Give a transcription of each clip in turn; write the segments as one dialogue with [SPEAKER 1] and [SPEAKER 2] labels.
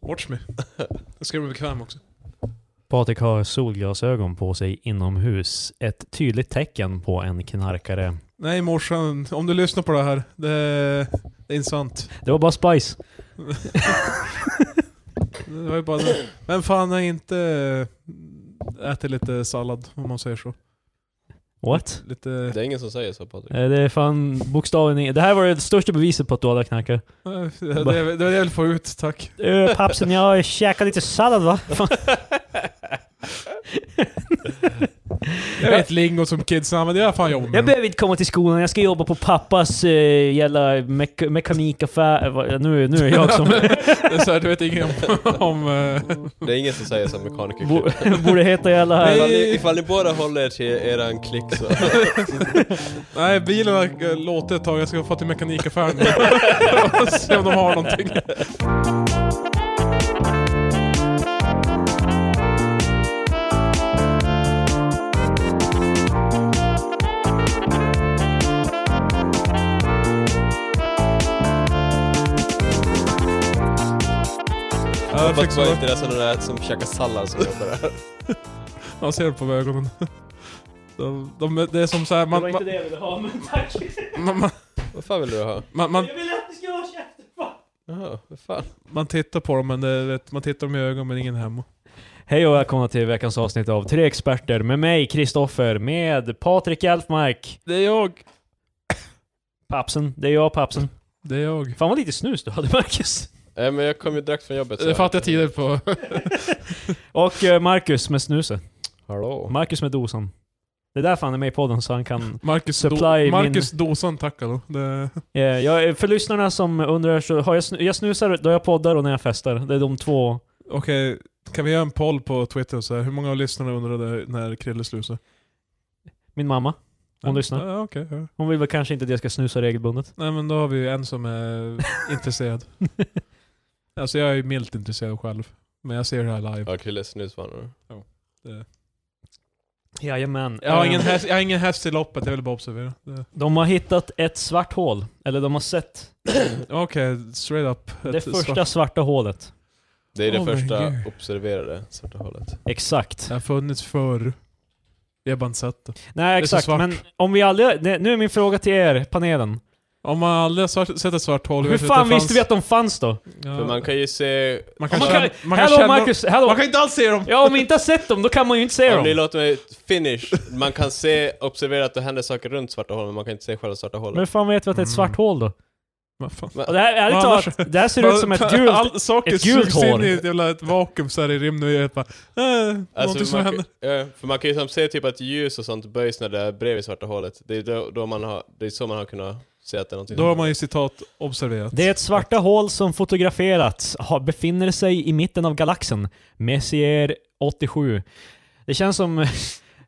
[SPEAKER 1] Watch me. Jag ska bli bekväm också.
[SPEAKER 2] Patrik har solglasögon på sig inomhus. Ett tydligt tecken på en knarkare.
[SPEAKER 1] Nej morsan, om du lyssnar på det här. Det, det är inte sant.
[SPEAKER 2] Det var bara Spice.
[SPEAKER 1] Det var ju bara det. Vem fan har inte eh, ätit lite sallad om man säger så?
[SPEAKER 2] What?
[SPEAKER 1] Lite...
[SPEAKER 3] Det är ingen som säger så Patrik.
[SPEAKER 2] Eh, Det är fan bokstaven i... Det här var det största beviset på att du hade knarkat.
[SPEAKER 1] Det, eh, det, det är det jag vill få ut, tack.
[SPEAKER 2] Öh, pappsen, jag käkar lite sallad va?
[SPEAKER 1] Jag vet lingon som kids använder, jag har fan jobbat
[SPEAKER 2] Jag
[SPEAKER 1] med dem.
[SPEAKER 2] behöver inte komma till skolan, jag ska jobba på pappas eh, jävla mek- mekanikaffär... eh, vad- Nu, nu är jag som...
[SPEAKER 1] Det är så här, du vet ingen om... om eh,
[SPEAKER 3] Det är ingen som säger så mekaniker
[SPEAKER 2] Bo- Borde heta jävla...
[SPEAKER 3] ifall,
[SPEAKER 1] Nej.
[SPEAKER 3] ni, ifall ni båda håller er till eran klick så...
[SPEAKER 1] nej, bilen har eh, låtit ett tag, jag ska få till mekanikaffären och se om de har någonting. Ja, jag fick
[SPEAKER 3] Fast var
[SPEAKER 1] så.
[SPEAKER 3] inte det sådana där som käkar sallad som jobbar där.
[SPEAKER 1] Jag ser det på ögonen. De, de, det är som så här, man, man,
[SPEAKER 2] det jag ville ha, men tack!
[SPEAKER 1] man, man,
[SPEAKER 3] Vad fan vill du ha?
[SPEAKER 1] man, man,
[SPEAKER 2] ville att ni skulle ha käften!
[SPEAKER 3] Jaha, vad fan.
[SPEAKER 1] man tittar på dem men det, vet, man tittar dem i ögonen men ingen är hemma.
[SPEAKER 2] Hej och välkomna till veckans avsnitt av Tre Experter med mig, Kristoffer, med Patrik Alfmark.
[SPEAKER 1] Det är jag.
[SPEAKER 2] Papsen, det är jag Papsen.
[SPEAKER 1] Det är jag.
[SPEAKER 2] Fan vad lite snus du hade Marcus.
[SPEAKER 3] Nej Eh, men jag kom ju direkt från jobbet. så-
[SPEAKER 1] Det fattar jag tidigare på.
[SPEAKER 2] Och eh, Marcus med snuset.
[SPEAKER 3] Hallå?
[SPEAKER 2] Marcus med dosan. Det är därför han är med i podden så han kan...
[SPEAKER 1] Marcus,
[SPEAKER 2] Supply
[SPEAKER 1] do,
[SPEAKER 2] min-
[SPEAKER 1] Marcus dosan tackar då. Det,
[SPEAKER 2] Eh, jag, för lyssnarna som undrar så har jag, snu, jag snusar då jag poddar och när jag festar. Det är de två.
[SPEAKER 1] Okej, kan vi göra en poll på Twitter så här? Hur många av lyssnarna undrade när Krille slusade?
[SPEAKER 2] Min mamma. Hon lyssnar.
[SPEAKER 1] Ja, okej. ja.
[SPEAKER 2] Hon vill väl kanske inte att jag ska snusa regelbundet.
[SPEAKER 1] Nej men då har vi ju en som är intresserad. Alltså jag är ju milt intresserad själv. Men jag ser det här live.
[SPEAKER 3] Ja, Krille snusvanor.
[SPEAKER 2] Jajamän.
[SPEAKER 1] Jag har
[SPEAKER 2] Eh,
[SPEAKER 1] ingen häst, jag har ingen häst i loppet, jag vill bara observera. Det-
[SPEAKER 2] De har hittat ett svart hål. Eller de har sett
[SPEAKER 1] Okej, straight up.
[SPEAKER 2] det
[SPEAKER 1] Ett
[SPEAKER 2] första
[SPEAKER 1] svart-
[SPEAKER 2] svarta hålet.
[SPEAKER 3] Det är det
[SPEAKER 1] Oh my
[SPEAKER 3] första
[SPEAKER 1] God.
[SPEAKER 3] observerade svarta hålet.
[SPEAKER 2] Exakt.
[SPEAKER 1] Det har funnits förr. Vi har bara inte sett det.
[SPEAKER 2] Nej
[SPEAKER 1] så
[SPEAKER 2] exakt,
[SPEAKER 1] svart.
[SPEAKER 2] men om vi aldrig... det- Nu är min fråga till er, panelen.
[SPEAKER 1] Om man aldrig har svart, sett ett svart hål...
[SPEAKER 2] Hur
[SPEAKER 1] vet vi
[SPEAKER 2] fan
[SPEAKER 1] att det
[SPEAKER 2] visste vi
[SPEAKER 1] fanns-
[SPEAKER 2] att de fanns då?
[SPEAKER 1] Ja.
[SPEAKER 3] För man kan ju se...
[SPEAKER 1] Man
[SPEAKER 2] Om
[SPEAKER 1] kan
[SPEAKER 2] Man
[SPEAKER 1] känna...
[SPEAKER 2] kan,
[SPEAKER 1] Man kan
[SPEAKER 2] hallå
[SPEAKER 1] känna...
[SPEAKER 2] Marcus, hallå!
[SPEAKER 1] Man kan inte alls se dem!
[SPEAKER 2] Ja, om vi inte har sett dem, då kan man ju inte se
[SPEAKER 3] Om ni
[SPEAKER 2] dem.
[SPEAKER 3] låter mig finish. Man kan se, observera att det händer saker runt svarta hål, men man kan inte se själva svarta
[SPEAKER 2] Men hur
[SPEAKER 3] hålet.
[SPEAKER 2] fan vet vi att det är ett svart hål då?
[SPEAKER 1] Vad fan?
[SPEAKER 2] Och det här, ärligt
[SPEAKER 1] Mm. Vad
[SPEAKER 2] talat, det här ser ut som ett gult...
[SPEAKER 1] All, saker
[SPEAKER 2] ett gult
[SPEAKER 1] sugs in
[SPEAKER 2] hår.
[SPEAKER 1] i ett jävla ett vakuum så här i rymden och bara... Eh, någonting
[SPEAKER 3] Alltså,
[SPEAKER 1] som
[SPEAKER 3] man,
[SPEAKER 1] händer.
[SPEAKER 3] kan, ja, för man kan ju som se typ att ljus och sånt böjs när det är bredvid svarta hålet. Det är, då, då man har, det är så man har kunnat se att det är någonting.
[SPEAKER 1] Då har man ju citat observerat.
[SPEAKER 2] Det är ett svarta hål som fotograferats, har, befinner sig i mitten av galaxen. Messier 87. Det känns som...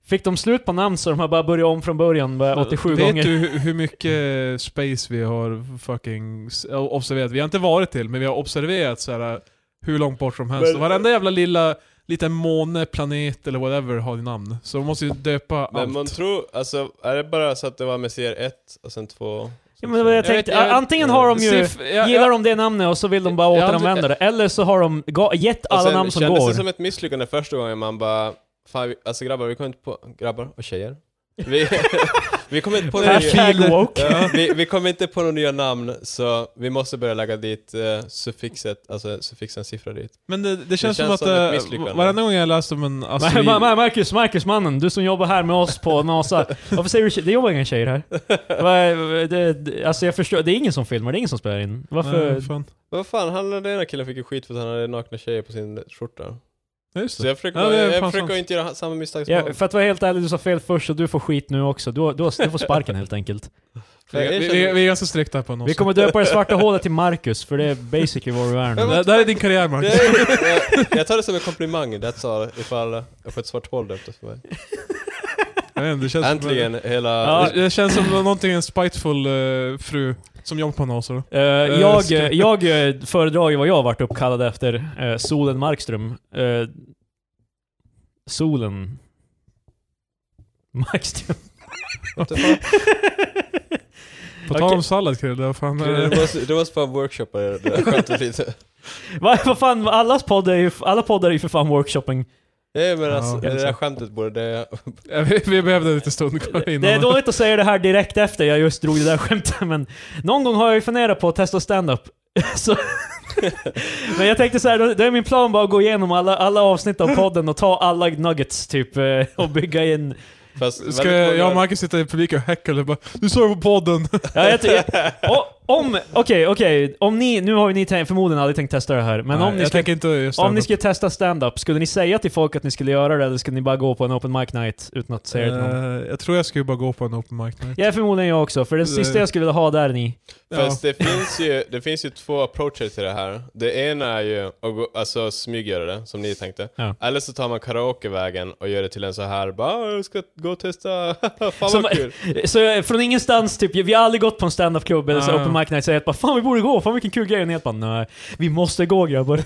[SPEAKER 2] Fick de slut på namn så de har bara börjat om från början, bara 87
[SPEAKER 1] Vet
[SPEAKER 2] gånger.
[SPEAKER 1] du hu- hur mycket space vi har fucking s- observerat? Vi har inte varit till, men vi har observerat så här hur långt bort som helst.
[SPEAKER 3] Men-
[SPEAKER 1] Och Varenda jävla lilla liten måne, planet eller whatever har ju namn. Så de måste ju döpa
[SPEAKER 3] Men
[SPEAKER 1] allt.
[SPEAKER 3] man tror, alltså är det bara så att det var Messier 1 och sen 2?
[SPEAKER 2] Ja, men vad jag
[SPEAKER 1] Jag
[SPEAKER 2] tänkte,
[SPEAKER 1] vet- jag-
[SPEAKER 2] antingen har de ju...
[SPEAKER 1] Siff- jag-
[SPEAKER 2] Gillar
[SPEAKER 1] jag-
[SPEAKER 2] de det namnet och så vill de bara
[SPEAKER 1] Jag- jag-
[SPEAKER 2] återanvända det, eller så har de ga- gett
[SPEAKER 3] Och
[SPEAKER 2] alla
[SPEAKER 3] sen
[SPEAKER 2] namn som
[SPEAKER 3] kändes
[SPEAKER 2] går.
[SPEAKER 3] det som ett misslyckande första gången man bara, fan vi, alltså grabbar vi kom inte på, grabbar och tjejer. Vi, vi kom inte på några nya,
[SPEAKER 2] Hashtag woke.
[SPEAKER 3] ja, vi, vi kom inte på några nya namn så vi måste börja lägga dit eh, suffixet, alltså suffixen siffra dit.
[SPEAKER 1] Men det, det, känns
[SPEAKER 3] känns
[SPEAKER 1] som
[SPEAKER 3] som ett
[SPEAKER 1] att
[SPEAKER 3] misslyckande.
[SPEAKER 1] eh, varenda gång jag läste om en
[SPEAKER 2] Ma-
[SPEAKER 1] asteroid...
[SPEAKER 2] ma- ma- Marcus, Marcus mannen, du som jobbar här med oss på NASA. Varför säger du tje- Det jobbar inga tjejer här. Va- Det, det, alltså jag förstår, det är ingen som filmar, det är ingen som spelar in. Varför?
[SPEAKER 1] Nej, fan.
[SPEAKER 3] Vad fan, han den ena killen fick ju skit för att han hade nakna tjejer på sin skjorta.
[SPEAKER 1] Ja, just
[SPEAKER 3] Så
[SPEAKER 1] det.
[SPEAKER 3] jag försöker,
[SPEAKER 1] Ja, det är
[SPEAKER 3] jag
[SPEAKER 1] fan
[SPEAKER 3] försöker
[SPEAKER 1] sant.
[SPEAKER 3] inte göra samma misstag som
[SPEAKER 2] Ja,
[SPEAKER 3] han.
[SPEAKER 2] för att vara helt ärlig, du sa fel först och du får skit nu också. Du, har- du, har- du får sparken helt enkelt.
[SPEAKER 3] Jag
[SPEAKER 1] Vi, vi,
[SPEAKER 3] erkänner-
[SPEAKER 1] vi, vi är ganska strikta på något
[SPEAKER 2] Vi kommer döpa det svarta hålet till Marcus, för det är basically vad du är nu.
[SPEAKER 1] Det, det här är din karriär Marcus.
[SPEAKER 3] Det är- jag- Jag tar det som en komplimang, that's all, ifall jag får ett svart hål döpt efter mig.
[SPEAKER 1] Jag vet inte, det känns
[SPEAKER 3] Äntligen hela...
[SPEAKER 2] Ja.
[SPEAKER 1] Som, det, det känns som någonting en spiteful eh, fru som jobbar på NASA då.
[SPEAKER 2] Eh, jag, eh, jag eh, föredrar ju vad jag har varit uppkallad efter. Eh, solen Markström. Eh, solen... Markström.
[SPEAKER 3] What the fuck?
[SPEAKER 1] På
[SPEAKER 2] Okej.
[SPEAKER 1] tal om sallad Krille, vad fan eh, är
[SPEAKER 3] Du
[SPEAKER 1] det?
[SPEAKER 3] måste, du måste bara workshoppa det där skämtet lite.
[SPEAKER 2] Vad vad fan, allas podd är ju, alla poddar är ju för fan workshopping.
[SPEAKER 3] Nej men alltså,
[SPEAKER 1] Ja.
[SPEAKER 3] det där skämtet borde... Det,
[SPEAKER 1] Ja, vi, vi behövde lite stund kvar innan.
[SPEAKER 2] Det är dåligt att säga det här direkt efter jag just drog det där skämtet, men någon gång har jag ju funderat på att testa stand-up. Så, men jag tänkte så här, då- då är min plan bara att gå igenom alla, alla avsnitt av podden och ta alla nuggets typ eh, och bygga in.
[SPEAKER 3] fast
[SPEAKER 1] Ska
[SPEAKER 3] väldigt många-
[SPEAKER 1] jag och Marcus sitta i publiken och häckla och bara Du sa det på podden!
[SPEAKER 2] Ja, jag, ty- jag, och- om, okej, okej, om ni, nu har ju ni tänkt- förmodligen aldrig tänkt testa det här, men
[SPEAKER 1] Nej,
[SPEAKER 2] om ni
[SPEAKER 1] jag
[SPEAKER 2] skulle
[SPEAKER 1] tänker inte just
[SPEAKER 2] Om ni
[SPEAKER 1] den.
[SPEAKER 2] skulle testa stand-up, skulle ni säga till folk att ni skulle göra det eller skulle ni bara gå på en open mic night utan att säga det till någon?
[SPEAKER 1] Eh, Jag tror jag skulle bara gå på en open mic night.
[SPEAKER 2] Jag är förmodligen jag också, för det
[SPEAKER 1] Eh.
[SPEAKER 2] sista jag skulle vilja ha där är ni.
[SPEAKER 3] Fast det, finns ju, det finns ju två approacher till det här. Det ena är ju att gå, alltså, smyggöra det, som ni tänkte.
[SPEAKER 2] Ja.
[SPEAKER 3] Eller så tar man karaokevägen och gör det till en så här bara "Ah, jag ska gå och testa, fan
[SPEAKER 2] Som-
[SPEAKER 3] vad kul.
[SPEAKER 2] Så jag- från ingenstans, typ, vi har aldrig gått på en stand-up-klubb eller så
[SPEAKER 1] Ah.
[SPEAKER 2] open mic night, så jag bara 'Fan vi borde gå, fan vilken kul grej' och ni helt bara 'Nej, vi måste gå grabbar'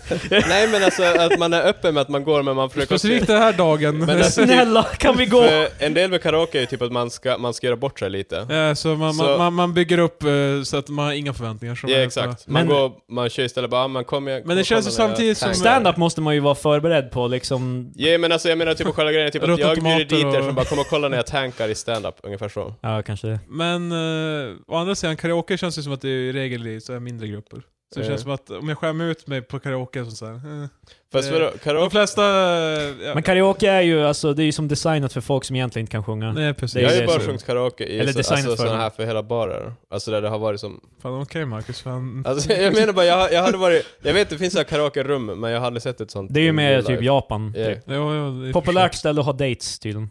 [SPEAKER 3] Nej men alltså att man är öppen med att man går men man försöker också-
[SPEAKER 1] Specifikt den här dagen.
[SPEAKER 3] Men det-
[SPEAKER 2] Snälla, kan vi gå?
[SPEAKER 3] För en del med karaoke är ju typ att man ska, man ska göra bort sig lite. Ja,
[SPEAKER 1] Eh, så, man,
[SPEAKER 3] Så-
[SPEAKER 1] Man, man, man bygger upp eh, så att man har inga förväntningar. så man är bara-
[SPEAKER 3] exakt. Man,
[SPEAKER 2] Men-
[SPEAKER 3] går, man kör istället bara, "Ah, man kommer jag,
[SPEAKER 1] Men det känns ju
[SPEAKER 3] kommer när jag
[SPEAKER 1] samtidigt som-
[SPEAKER 3] tangar."
[SPEAKER 2] Stand-up måste man ju vara förberedd på liksom...
[SPEAKER 3] Ja men alltså jag menar typ själva grejen är typ att
[SPEAKER 1] Ruttna
[SPEAKER 3] jag bjuder dit
[SPEAKER 1] tomater
[SPEAKER 3] er
[SPEAKER 1] och-
[SPEAKER 3] som bara kommer och kollar när jag tankar i stand-up, ungefär så.
[SPEAKER 2] Ja, kanske det.
[SPEAKER 1] Men eh, å andra sidan, karaoke känns ju som att det är i regel i så här mindre grupper. Så det
[SPEAKER 3] Eh.
[SPEAKER 1] känns som att om jag skämmer ut mig på karaoke så så här, eh.
[SPEAKER 3] Fast
[SPEAKER 1] Eh,
[SPEAKER 3] vadå,
[SPEAKER 1] De
[SPEAKER 3] karaoke...
[SPEAKER 1] flesta... eh, Ja,
[SPEAKER 2] Men karaoke är ju, alltså, det är ju som designat för folk som egentligen inte kan sjunga.
[SPEAKER 1] nej precis.
[SPEAKER 2] det är
[SPEAKER 3] Jag har
[SPEAKER 2] det
[SPEAKER 3] ju bara
[SPEAKER 2] som-
[SPEAKER 3] sjungit karaoke i
[SPEAKER 2] Eller
[SPEAKER 3] så,
[SPEAKER 2] designat
[SPEAKER 3] alltså,
[SPEAKER 2] för
[SPEAKER 3] såna
[SPEAKER 2] det.
[SPEAKER 3] här för hela barer. Alltså där det har varit som...
[SPEAKER 1] Fan okej Marcus, fan.
[SPEAKER 3] Alltså jag menar bara, jag, jag hade varit... Jag vet det finns så här karaoke-rum, men jag har aldrig sett ett sånt.
[SPEAKER 2] Det är ju
[SPEAKER 3] i real
[SPEAKER 2] mer typ
[SPEAKER 3] life.
[SPEAKER 2] Japan.
[SPEAKER 3] Ja.
[SPEAKER 2] typ.
[SPEAKER 1] Jo, jo, det är
[SPEAKER 2] Populärt ställe att ha dates tydligen.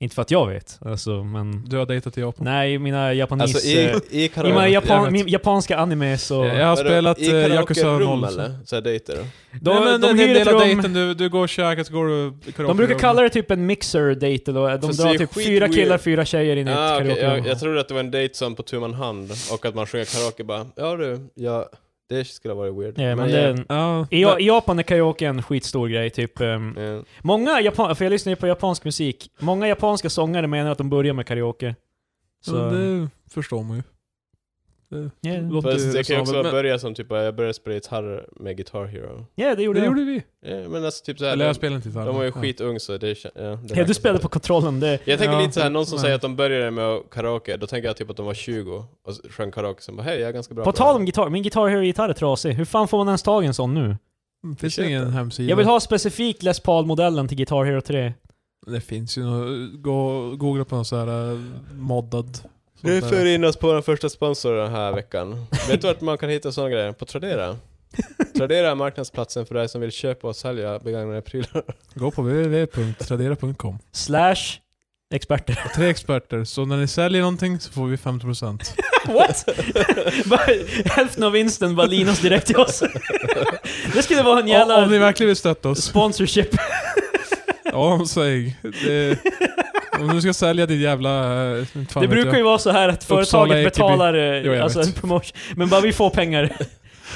[SPEAKER 2] Inte för att jag vet, alltså, men...
[SPEAKER 1] förstås. Du har dejtat i Japan.
[SPEAKER 2] Nej, mina japanis...
[SPEAKER 3] Alltså
[SPEAKER 2] eh,
[SPEAKER 3] i, i
[SPEAKER 2] i mina
[SPEAKER 3] karaoke...
[SPEAKER 2] japan,
[SPEAKER 1] vet.
[SPEAKER 2] min, japanska animes och...
[SPEAKER 1] Jag har
[SPEAKER 3] Vadå,
[SPEAKER 1] spelat
[SPEAKER 3] i
[SPEAKER 1] eh, Yakuza
[SPEAKER 3] karaoke-rum
[SPEAKER 1] 0. så-
[SPEAKER 3] eller? Såhär dejter?
[SPEAKER 2] De,
[SPEAKER 1] Nej, men
[SPEAKER 2] de,
[SPEAKER 1] det är en
[SPEAKER 2] hyr ett
[SPEAKER 1] del av
[SPEAKER 2] rum,
[SPEAKER 1] dejten, du, du går och käkar så går du i karaoke.
[SPEAKER 2] de brukar kalla det typ en mixer date eller de
[SPEAKER 3] Fast det
[SPEAKER 2] drar
[SPEAKER 3] är
[SPEAKER 2] typ
[SPEAKER 3] skit
[SPEAKER 2] fyra
[SPEAKER 3] weird.
[SPEAKER 2] killar, fyra tjejer in i ett
[SPEAKER 3] Ah, okej,
[SPEAKER 2] karaokerum.
[SPEAKER 3] jag, jag trodde att det var en dejt som på tu man hand, och att man sjunger karaoke bara Ja du, ja, det skulle ha varit weird.
[SPEAKER 2] Ja, men det är en,
[SPEAKER 1] Ja,
[SPEAKER 2] i, Ja- I Japan är karaoke en skitstor grej, typ. ehm,
[SPEAKER 3] ja, ja.
[SPEAKER 2] Många japan, för jag lyssnar ju på japansk musik, många japanska sångare menar att de börjar med karaoke. Så,
[SPEAKER 1] ja, det förstår man ju. Mm, Det,
[SPEAKER 2] Ja.
[SPEAKER 1] låter ju
[SPEAKER 3] Fast det kan ju
[SPEAKER 1] resonabelt,
[SPEAKER 3] också
[SPEAKER 1] men-
[SPEAKER 3] börja som typ, jag började spela gitarr med Guitar Hero.
[SPEAKER 2] ja, det gjorde
[SPEAKER 1] Det
[SPEAKER 2] jag.
[SPEAKER 1] gjorde vi.
[SPEAKER 3] Ja, men alltså typ såhär,
[SPEAKER 1] Eller jag
[SPEAKER 3] de,
[SPEAKER 1] spelade inte gitarr.
[SPEAKER 3] de var ju
[SPEAKER 1] Ja.
[SPEAKER 3] skitung så det kän- ja, det
[SPEAKER 2] Ja, du
[SPEAKER 3] räknas
[SPEAKER 2] spelade
[SPEAKER 3] inte.
[SPEAKER 2] på kontrollen, det...
[SPEAKER 3] Jag tänker
[SPEAKER 1] Ja,
[SPEAKER 3] lite såhär, någon som
[SPEAKER 1] nej.
[SPEAKER 3] säger att de började med karaoke, då tänker jag typ att de var 20 och sjöng karaoke, sen bara hej jag är ganska bra
[SPEAKER 2] På
[SPEAKER 3] det
[SPEAKER 2] tal
[SPEAKER 3] här."
[SPEAKER 2] om gitarr, min Guitar Hero-gitarr är trasig. Hur fan får man ens tag i en sån nu?
[SPEAKER 1] Mm, Finns
[SPEAKER 3] Försök
[SPEAKER 1] det ingen
[SPEAKER 3] det.
[SPEAKER 1] hemsida?
[SPEAKER 2] Jag vill ha specifikt Les Paul-modellen till Guitar Hero 3.
[SPEAKER 1] Det finns ju något, gå, googla på någon sån här eh, moddad. sånt
[SPEAKER 3] Nu
[SPEAKER 1] där.
[SPEAKER 3] för vi in oss på den första sponsorn den här veckan. Vet du vart man kan hitta sådana grejer? På Tradera. Tradera är marknadsplatsen för dig som vill köpa och sälja begagnade prylar.
[SPEAKER 1] Gå på www.tradera.com.
[SPEAKER 2] Slash experter.
[SPEAKER 1] Och Tre experter, så när ni säljer någonting så får vi 50%.
[SPEAKER 2] What? Bara- Hälften av vinsten bara linas direkt till oss. det skulle vara en
[SPEAKER 1] Om, om ni
[SPEAKER 2] jävla
[SPEAKER 1] verkligen vill stötta oss.
[SPEAKER 2] sponsorship.
[SPEAKER 1] Ja, säg. Det, om du ska sälja ditt jävla... eh, inte fan
[SPEAKER 2] Det
[SPEAKER 1] vet
[SPEAKER 2] brukar
[SPEAKER 1] jag.
[SPEAKER 2] ju vara så här att
[SPEAKER 1] Uppsala,
[SPEAKER 2] företaget
[SPEAKER 1] Ekeby.
[SPEAKER 2] betalar eh,
[SPEAKER 1] Jo, jag
[SPEAKER 2] alltså en
[SPEAKER 1] vet.
[SPEAKER 2] promotion, men bara vi får pengar.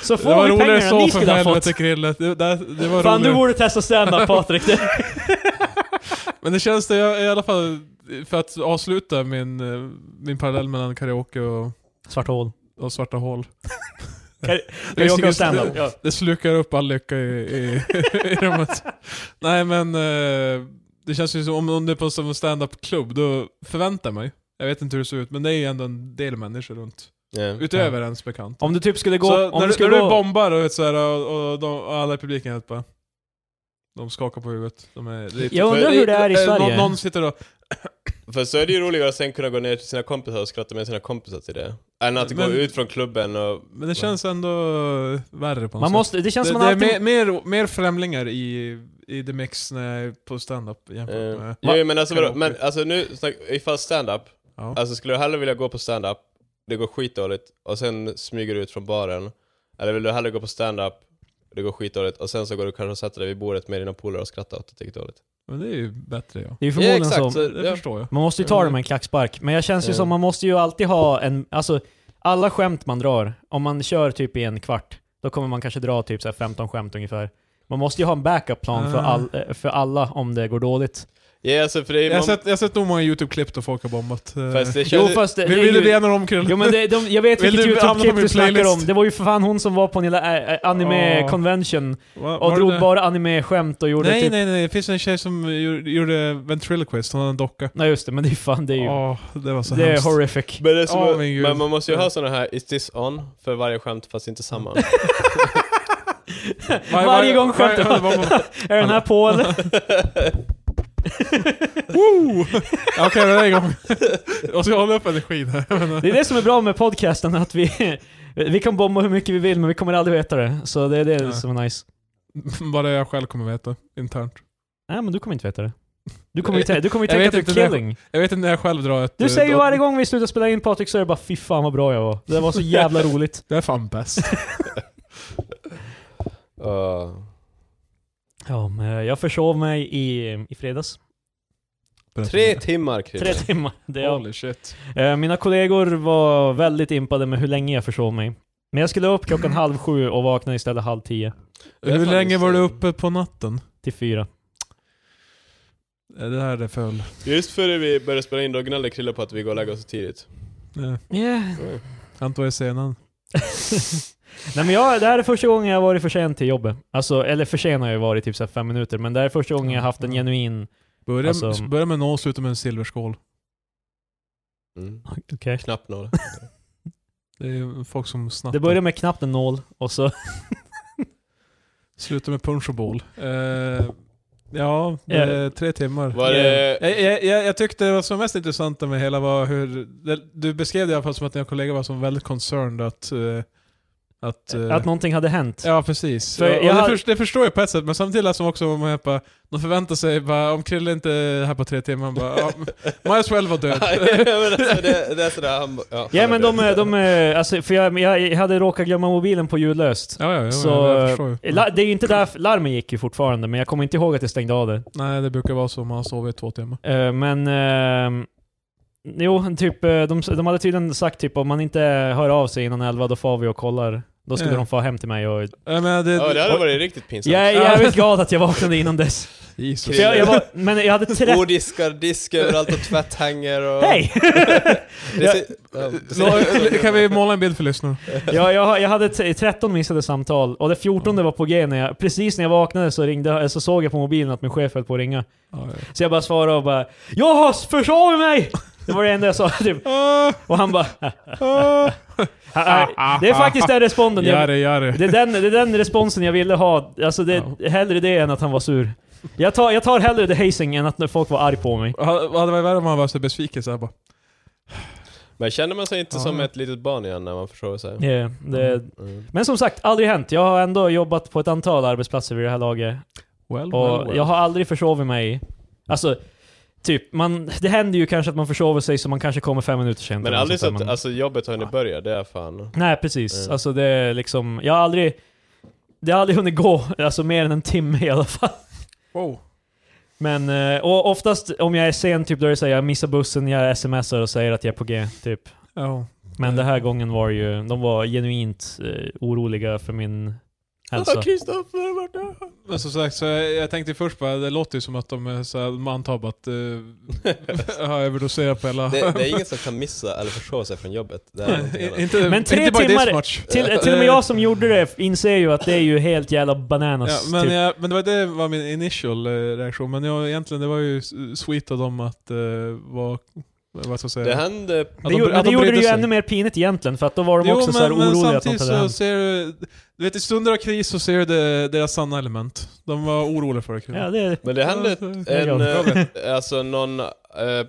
[SPEAKER 2] Så
[SPEAKER 1] Det
[SPEAKER 2] får
[SPEAKER 1] var
[SPEAKER 2] vi
[SPEAKER 1] roligare
[SPEAKER 2] pengarna
[SPEAKER 1] så
[SPEAKER 2] ni
[SPEAKER 1] för
[SPEAKER 2] skulle ha fått.
[SPEAKER 1] helvete Krille. Det, det, det var
[SPEAKER 2] Fan du
[SPEAKER 1] roligare.
[SPEAKER 2] borde testa stand-up Patrik. Det-
[SPEAKER 1] Men det känns det jag- i alla fall, för att avsluta min, eh, min parallell mellan karaoke och,
[SPEAKER 2] Svart hål.
[SPEAKER 1] och svarta hål.
[SPEAKER 2] Kar-
[SPEAKER 1] Det är
[SPEAKER 2] Karaoke och
[SPEAKER 1] just-
[SPEAKER 2] stand-up. Ja.
[SPEAKER 1] Det slukar upp all lycka i, i, i rummet. Nej men, eh, det känns ju som om, om det är på som en stand-up-klubb, då förväntar jag mig. Jag vet inte hur det ser ut, men det är ju ändå en del människor runt. Utöver ens bekant.
[SPEAKER 2] Om du typ skulle gå...
[SPEAKER 1] så
[SPEAKER 2] om
[SPEAKER 1] när,
[SPEAKER 2] du
[SPEAKER 1] du,
[SPEAKER 2] skulle
[SPEAKER 1] när du
[SPEAKER 2] gå...
[SPEAKER 1] bombar och, så här, och, och, de, och alla i publiken helt bara... De skakar på huvudet. De är, det är-
[SPEAKER 2] Jag undrar hur det är i
[SPEAKER 1] Eh,
[SPEAKER 2] Sverige.
[SPEAKER 1] Någon, någon sitter och...
[SPEAKER 3] För så är det ju roligare att sen kunna gå ner till sina kompisar och skratta med sina kompisar till det. Än att
[SPEAKER 1] Men-
[SPEAKER 3] gå ut från klubben och...
[SPEAKER 1] Men det känns ändå värre på något
[SPEAKER 2] Man
[SPEAKER 1] sätt.
[SPEAKER 2] måste, det känns
[SPEAKER 1] det,
[SPEAKER 2] som
[SPEAKER 1] det är
[SPEAKER 2] man alltid...
[SPEAKER 1] mer, mer, mer främlingar i, i the mix när jag är på stand-up jämfört
[SPEAKER 3] Eh,
[SPEAKER 1] med...
[SPEAKER 3] jo, men alltså vadå?
[SPEAKER 1] Karaoke.
[SPEAKER 3] Men alltså nu, snack, ifall stand-up,
[SPEAKER 1] Ja.
[SPEAKER 3] alltså skulle du hellre vilja gå på stand-up, det går skitdåligt, och sen smyger du ut från baren. Eller vill du hellre gå på stand-up, det går skitdåligt, och sen så går du kanske och sätter dig vid bordet med dina polare och skrattar åt att det gick dåligt.
[SPEAKER 1] Men det är ju bättre ja.
[SPEAKER 2] Det är ju
[SPEAKER 3] Ja,
[SPEAKER 2] förmodligen så.
[SPEAKER 3] så,
[SPEAKER 1] Det
[SPEAKER 3] ja.
[SPEAKER 1] förstår jag.
[SPEAKER 2] Man måste ju ta det med en klackspark. Men jag känns ju
[SPEAKER 3] Ja.
[SPEAKER 2] som man måste ju alltid ha en... Alltså, alla skämt man drar, om man kör typ i en kvart, då kommer man kanske dra typ så här 15 skämt ungefär. Man måste ju ha en backup plan för,
[SPEAKER 1] Ah.
[SPEAKER 2] all, eh, för alla om det går dåligt.
[SPEAKER 3] Ja, alltså för det är...
[SPEAKER 1] Jag har
[SPEAKER 3] Man,
[SPEAKER 1] sett, jag har sett nog många YouTube-klipp där folk har bombat. eh,
[SPEAKER 3] fast det
[SPEAKER 2] Jo
[SPEAKER 3] känns,
[SPEAKER 2] fast det, det
[SPEAKER 1] Vill
[SPEAKER 2] är
[SPEAKER 1] du
[SPEAKER 2] ju-
[SPEAKER 1] det när de omkull?
[SPEAKER 2] Jo men det, de, jag vet
[SPEAKER 1] Vill
[SPEAKER 2] vilket
[SPEAKER 1] du hamna på
[SPEAKER 2] YouTube-klipp
[SPEAKER 1] min
[SPEAKER 2] du snackar
[SPEAKER 1] playlist?
[SPEAKER 2] om. Det var ju för fan hon som var på en lilla äh, äh, anime
[SPEAKER 1] Ja.
[SPEAKER 2] convention
[SPEAKER 1] Va-
[SPEAKER 2] och
[SPEAKER 1] var
[SPEAKER 2] drog
[SPEAKER 1] det-
[SPEAKER 2] bara anime-skämt och gjorde
[SPEAKER 1] Nej,
[SPEAKER 2] typ...
[SPEAKER 1] nej, nej. Det finns en tjej som gjo- gjorde ventriloquist, hon hade en docka.
[SPEAKER 2] Nej just det, men det är ju fan, det är ju...
[SPEAKER 1] Ja, det var så
[SPEAKER 2] det är
[SPEAKER 1] hemskt.
[SPEAKER 2] horrific.
[SPEAKER 3] men, det är som,
[SPEAKER 1] Åh, min Gud.
[SPEAKER 3] men man måste ju ha såna här 'Is this on?' för varje skämt fast inte samma.
[SPEAKER 1] Var-
[SPEAKER 2] Varje
[SPEAKER 1] var-
[SPEAKER 2] gång skämtet
[SPEAKER 1] var- var- var-
[SPEAKER 2] Är den här på eller?
[SPEAKER 1] Woo! Ja, Okej, det är igång. Jag ska hålla upp energin här. men-
[SPEAKER 2] Det är det som är bra med podcasten, att vi... Vi kan bomba hur mycket vi vill, men vi kommer aldrig veta det. Så det är det
[SPEAKER 1] Nej.
[SPEAKER 2] som är nice.
[SPEAKER 1] Bara jag själv kommer veta, internt.
[SPEAKER 2] Nej men du kommer inte veta det. Du kommer ju, tä- du kommer ju
[SPEAKER 1] Jag vet
[SPEAKER 2] tänka att du
[SPEAKER 1] inte
[SPEAKER 2] är
[SPEAKER 1] när jag-
[SPEAKER 2] killing.
[SPEAKER 1] Jag vet inte när jag själv drar ett...
[SPEAKER 2] Du
[SPEAKER 1] eh,
[SPEAKER 2] säger ju
[SPEAKER 1] dot-
[SPEAKER 2] varje gång vi slutar spela in Patrik så är det bara fy fan vad bra jag var. Det var så jävla roligt.
[SPEAKER 1] Det är fan bäst.
[SPEAKER 3] Uh,
[SPEAKER 2] Ja, men eh, jag försov mig i, i fredags.
[SPEAKER 3] tre timmar
[SPEAKER 2] Tre
[SPEAKER 3] Chrille.
[SPEAKER 2] timmar. Det är,
[SPEAKER 1] Holy shit.
[SPEAKER 2] Eh, mina kollegor var väldigt impade med hur länge jag försov mig. Men jag skulle upp klockan halv sju och vaknade istället halv tio
[SPEAKER 3] Det är
[SPEAKER 1] Hur
[SPEAKER 3] fan
[SPEAKER 1] länge
[SPEAKER 3] just-
[SPEAKER 1] var du uppe på natten?
[SPEAKER 2] till fyra.
[SPEAKER 1] Eh, Det här är föl.
[SPEAKER 3] Just före vi började spela in då gnällde Krille på att vi går och lägger oss så tidigt.
[SPEAKER 1] Nej,
[SPEAKER 2] Yeah.
[SPEAKER 1] Anton är senan.
[SPEAKER 2] Nej men jag, det här är första gången jag har varit för sen till jobbet. Alltså, eller för sen har jag varit typ så här fem minuter, men det här är första gången jag har haft en genuin...
[SPEAKER 1] Börja,
[SPEAKER 2] Alltså-
[SPEAKER 1] börja med nål, sluta med en silverskål.
[SPEAKER 3] Mm.
[SPEAKER 2] Okej.
[SPEAKER 3] Knappt noll.
[SPEAKER 1] Det är ju folk som snattar.
[SPEAKER 2] Det började med knappt en nål, och så...
[SPEAKER 1] Eh. Sluta med punch och boll. Eh, ja, det
[SPEAKER 2] Ja.
[SPEAKER 1] är tre timmar.
[SPEAKER 3] Var det...
[SPEAKER 1] Jag, jag, jag, jag tyckte det var som mest intressanta med hela var hur... Det, du beskrev det i alla fall som att dina kollegor var som väldigt concerned att... eh, att, eh,
[SPEAKER 2] Att någonting hade hänt.
[SPEAKER 1] Ja, precis.
[SPEAKER 2] För
[SPEAKER 1] och och
[SPEAKER 2] jag
[SPEAKER 1] det,
[SPEAKER 2] har-
[SPEAKER 1] först- det förstår jag på ett sätt, men samtidigt som också om jag bara, de förväntar sig bara, om Krille inte är här på tre timmar, han bara, ja, might as well vara död.
[SPEAKER 3] Ja, men alltså, det, det är sådär han... Ja,
[SPEAKER 2] Ja
[SPEAKER 3] han
[SPEAKER 2] men
[SPEAKER 3] är
[SPEAKER 2] de,
[SPEAKER 3] död.
[SPEAKER 2] de, alltså, för jag, jag, jag hade råkat glömma mobilen på ljudlöst.
[SPEAKER 1] ja, ja, ja,
[SPEAKER 2] Så,
[SPEAKER 1] jag förstår ju.
[SPEAKER 2] La, det är ju inte där larmen gick ju fortfarande, men jag kommer inte ihåg att jag stängde av det.
[SPEAKER 1] Nej, det brukar vara så om man har sovit i två timmar.
[SPEAKER 2] Eh, men... Uh, jo, typ, eh, de, de hade tydligen sagt typ om man inte hör av sig innan 11, då får vi och kollar. Då skulle
[SPEAKER 1] Ja.
[SPEAKER 2] de få hem till mig och...
[SPEAKER 1] Jag menar, det,
[SPEAKER 3] Ja, det hade varit riktigt pinsamt.
[SPEAKER 2] Jag är jävligt glad att jag vaknade innan dess.
[SPEAKER 1] Jesus.
[SPEAKER 2] För jag, jag var, men jag hade 30...
[SPEAKER 3] Bodiskar, disk överallt och tvätthänger och...
[SPEAKER 2] Hej!
[SPEAKER 3] Det ser- ja, det ser-
[SPEAKER 1] Så, kan vi måla en bild för lyssnarna?
[SPEAKER 2] jag, jag, jag hade t- 13 missade samtal och det 14 var på G när jag... Precis när jag vaknade så, ringde, eh, så såg jag på mobilen att min chef höll på att ringa.
[SPEAKER 1] Ja,
[SPEAKER 2] Så jag bara svarade och bara Jag har försovit mig! Det var det enda jag sa typ.
[SPEAKER 1] ja.
[SPEAKER 2] Och han bara
[SPEAKER 1] Ah,
[SPEAKER 2] "Ah, ah." Det är faktiskt den responden
[SPEAKER 1] Gör
[SPEAKER 2] jag,
[SPEAKER 1] det, gör det.
[SPEAKER 2] det, är den, det är den responsen jag ville ha. Alltså det är hellre det än att han var sur. Jag tar, jag tar hellre the hazing än att när folk var arg på mig.
[SPEAKER 1] Hade hade varit värre om han var så besviken såhär bara.
[SPEAKER 3] Men känner man sig inte
[SPEAKER 1] Ja.
[SPEAKER 3] som ett litet barn igen när man försover sig?
[SPEAKER 2] Eh, det,
[SPEAKER 3] Mm.
[SPEAKER 2] men som sagt, aldrig hänt. Jag har ändå jobbat på ett antal arbetsplatser vid det här laget.
[SPEAKER 1] Well,
[SPEAKER 3] Oh,
[SPEAKER 1] well,
[SPEAKER 2] Och
[SPEAKER 1] well.
[SPEAKER 2] jag har aldrig försovit mig. Alltså, typ, man, det händer ju kanske att man försover sig så man kanske kommer fem minuter sent.
[SPEAKER 3] Men
[SPEAKER 2] eller
[SPEAKER 3] aldrig
[SPEAKER 2] något sånt
[SPEAKER 3] så
[SPEAKER 2] där,
[SPEAKER 3] att,
[SPEAKER 2] men-
[SPEAKER 3] alltså jobbet har hunnit börja, det är fan...
[SPEAKER 2] Nej, precis.
[SPEAKER 3] Mm.
[SPEAKER 2] Alltså det är liksom, jag har aldrig... Det har aldrig hunnit gå, alltså mer än en timme i alla fall.
[SPEAKER 1] Wow.
[SPEAKER 2] Men, eh, och oftast om jag är sen, typ då är det såhär, jag missar bussen, jag smsar och säger att jag är på G, typ.
[SPEAKER 1] Ja.
[SPEAKER 2] Men den
[SPEAKER 3] Mm.
[SPEAKER 2] här gången var ju, de var genuint eh, oroliga för min hälsa.
[SPEAKER 1] Alltså.
[SPEAKER 3] Ah, Kristoffer har varit där!
[SPEAKER 1] Men som sagt, så jag, jag tänkte först bara, det låter ju som att de är så här, man antar bara att eh, har överdoserat på hela...
[SPEAKER 3] Det, det är ingen som kan missa eller försova sig från jobbet. Det är någonting annat.
[SPEAKER 1] inte,
[SPEAKER 2] Men tre
[SPEAKER 1] inte by
[SPEAKER 2] timmar-
[SPEAKER 1] this much.
[SPEAKER 2] Till, eh, till och med jag som gjorde det inser ju att det är ju helt jävla
[SPEAKER 1] Ja,
[SPEAKER 2] bananas.
[SPEAKER 1] men,
[SPEAKER 2] typ.
[SPEAKER 1] jag, men det var det var min initial eh, reaktion, men jag, egentligen det var ju s- sweet av dem att eh, vara... Vad ska jag säga?
[SPEAKER 3] Det hände...
[SPEAKER 1] att
[SPEAKER 2] det
[SPEAKER 1] de-
[SPEAKER 2] gjorde,
[SPEAKER 1] att
[SPEAKER 2] men det
[SPEAKER 1] de
[SPEAKER 2] gjorde
[SPEAKER 1] brydde
[SPEAKER 2] det ju
[SPEAKER 1] sig.
[SPEAKER 2] ännu mer pinigt egentligen, för att då var de också så här
[SPEAKER 1] men
[SPEAKER 2] oroliga att
[SPEAKER 1] samtidigt
[SPEAKER 2] något hade
[SPEAKER 1] så ser du...
[SPEAKER 2] hänt.
[SPEAKER 1] Du vet i stunder av kris så ser du det, deras sanna element. De var oroliga för det. Kul.
[SPEAKER 2] Ja, det,
[SPEAKER 3] Men det hände
[SPEAKER 2] är
[SPEAKER 3] en,
[SPEAKER 2] glad.
[SPEAKER 3] eh, alltså någon, eh,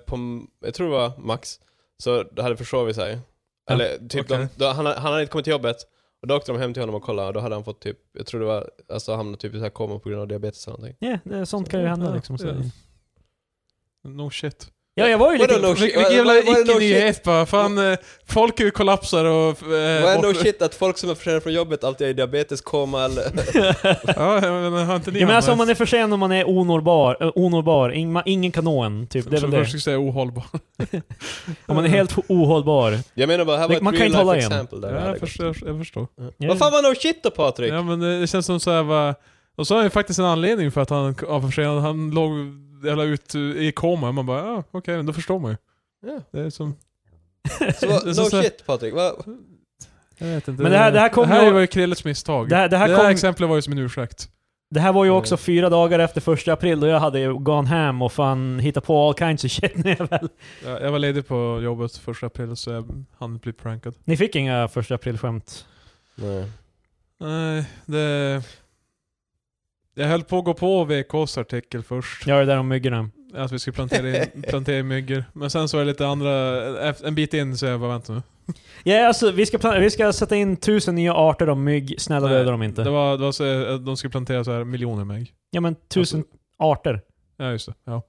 [SPEAKER 3] på, jag tror det var Max, så hade försovit sig.
[SPEAKER 1] Ja,
[SPEAKER 3] Eller typ,
[SPEAKER 1] okej.
[SPEAKER 3] de, då, han, han hade inte kommit till jobbet, och då åkte de hem till honom och kollade, och då hade han fått typ, jag tror det var, alltså hamnat typ i så här koma på grund av diabetes eller någonting.
[SPEAKER 2] ja, det, sånt kan ju hända
[SPEAKER 1] Ja,
[SPEAKER 2] liksom. Så.
[SPEAKER 1] ja. No shit.
[SPEAKER 2] Ja, jag var ju
[SPEAKER 3] Vadå
[SPEAKER 2] lite...
[SPEAKER 3] no shit?
[SPEAKER 1] Vil-
[SPEAKER 3] Vad-
[SPEAKER 1] Vilken jävla
[SPEAKER 3] vad- vad är no
[SPEAKER 1] icke-nyhet bara. Fan, eh, folk ju kollapsar och... eh,
[SPEAKER 3] Vad är no
[SPEAKER 1] bort-
[SPEAKER 3] shit att folk som är försenade från jobbet alltid är i diabetes, koma eller...
[SPEAKER 1] Ja, men har inte ni
[SPEAKER 2] Ja, men alltså
[SPEAKER 1] hamnat-
[SPEAKER 2] om man är för sen och man är onåbar, äh, onåbar ing, man, ingen kan nå en. Typ. Det är
[SPEAKER 1] Jag
[SPEAKER 2] väl
[SPEAKER 1] trodde först
[SPEAKER 2] det.
[SPEAKER 1] skulle jag säga ohållbar.
[SPEAKER 2] Om man är helt ho- ohållbar.
[SPEAKER 3] Jag menar bara, här var
[SPEAKER 2] Det-
[SPEAKER 3] ett
[SPEAKER 2] man kan
[SPEAKER 3] real
[SPEAKER 2] inte hålla
[SPEAKER 3] life
[SPEAKER 2] igen.
[SPEAKER 3] example där.
[SPEAKER 1] Ja,
[SPEAKER 3] det hade
[SPEAKER 1] jag,
[SPEAKER 3] gått.
[SPEAKER 1] förstår, jag förstår.
[SPEAKER 2] Ja.
[SPEAKER 3] Vad fan var no shit då Patrik?
[SPEAKER 1] eh, Ja, men det det känns som så här va... Och så har han ju faktiskt en anledning för att han var försenad. Han låg jävla ut eh, i koma. Man bara, ja ah, okej, men då förstår man ju.
[SPEAKER 3] Ja.
[SPEAKER 1] Det är som,
[SPEAKER 3] Så,
[SPEAKER 1] Det
[SPEAKER 3] vad-
[SPEAKER 1] är
[SPEAKER 3] no
[SPEAKER 1] så så här-
[SPEAKER 3] shit Patrik, va?
[SPEAKER 1] jag vet inte.
[SPEAKER 2] Men det här- det här kom
[SPEAKER 1] det här
[SPEAKER 2] ju-
[SPEAKER 1] var ju Krillets misstag.
[SPEAKER 2] Det här, det här,
[SPEAKER 1] det
[SPEAKER 2] kom,
[SPEAKER 1] här exemplet var ju som en ursäkt.
[SPEAKER 2] det här var ju också fyra dagar efter första april då jag hade ju gone ham och fan hittat på all kinds of shit när jag väl...
[SPEAKER 1] Jag, jag var ledig på jobbet första april så jag hann bli prankad.
[SPEAKER 2] Ni fick inga första april-skämt?
[SPEAKER 3] Nej.
[SPEAKER 1] Nej, det... Jag höll på att gå på VKs artikel först.
[SPEAKER 2] Jag är där om myggorna.
[SPEAKER 1] Att vi skulle plantera in, plantera in myggor. Men sen så var det lite andra... ef- En bit in så jag bara vänta nu.
[SPEAKER 2] Ja, alltså vi ska, plan- vi ska sätta in tusen nya arter av mygg, snälla
[SPEAKER 1] Nej,
[SPEAKER 2] döda dem inte.
[SPEAKER 1] Det var, det var så, eh, de skulle plantera så här miljoner mygg.
[SPEAKER 2] Ja men tusen
[SPEAKER 1] Alltså-
[SPEAKER 2] arter.
[SPEAKER 1] Ja just det, ja.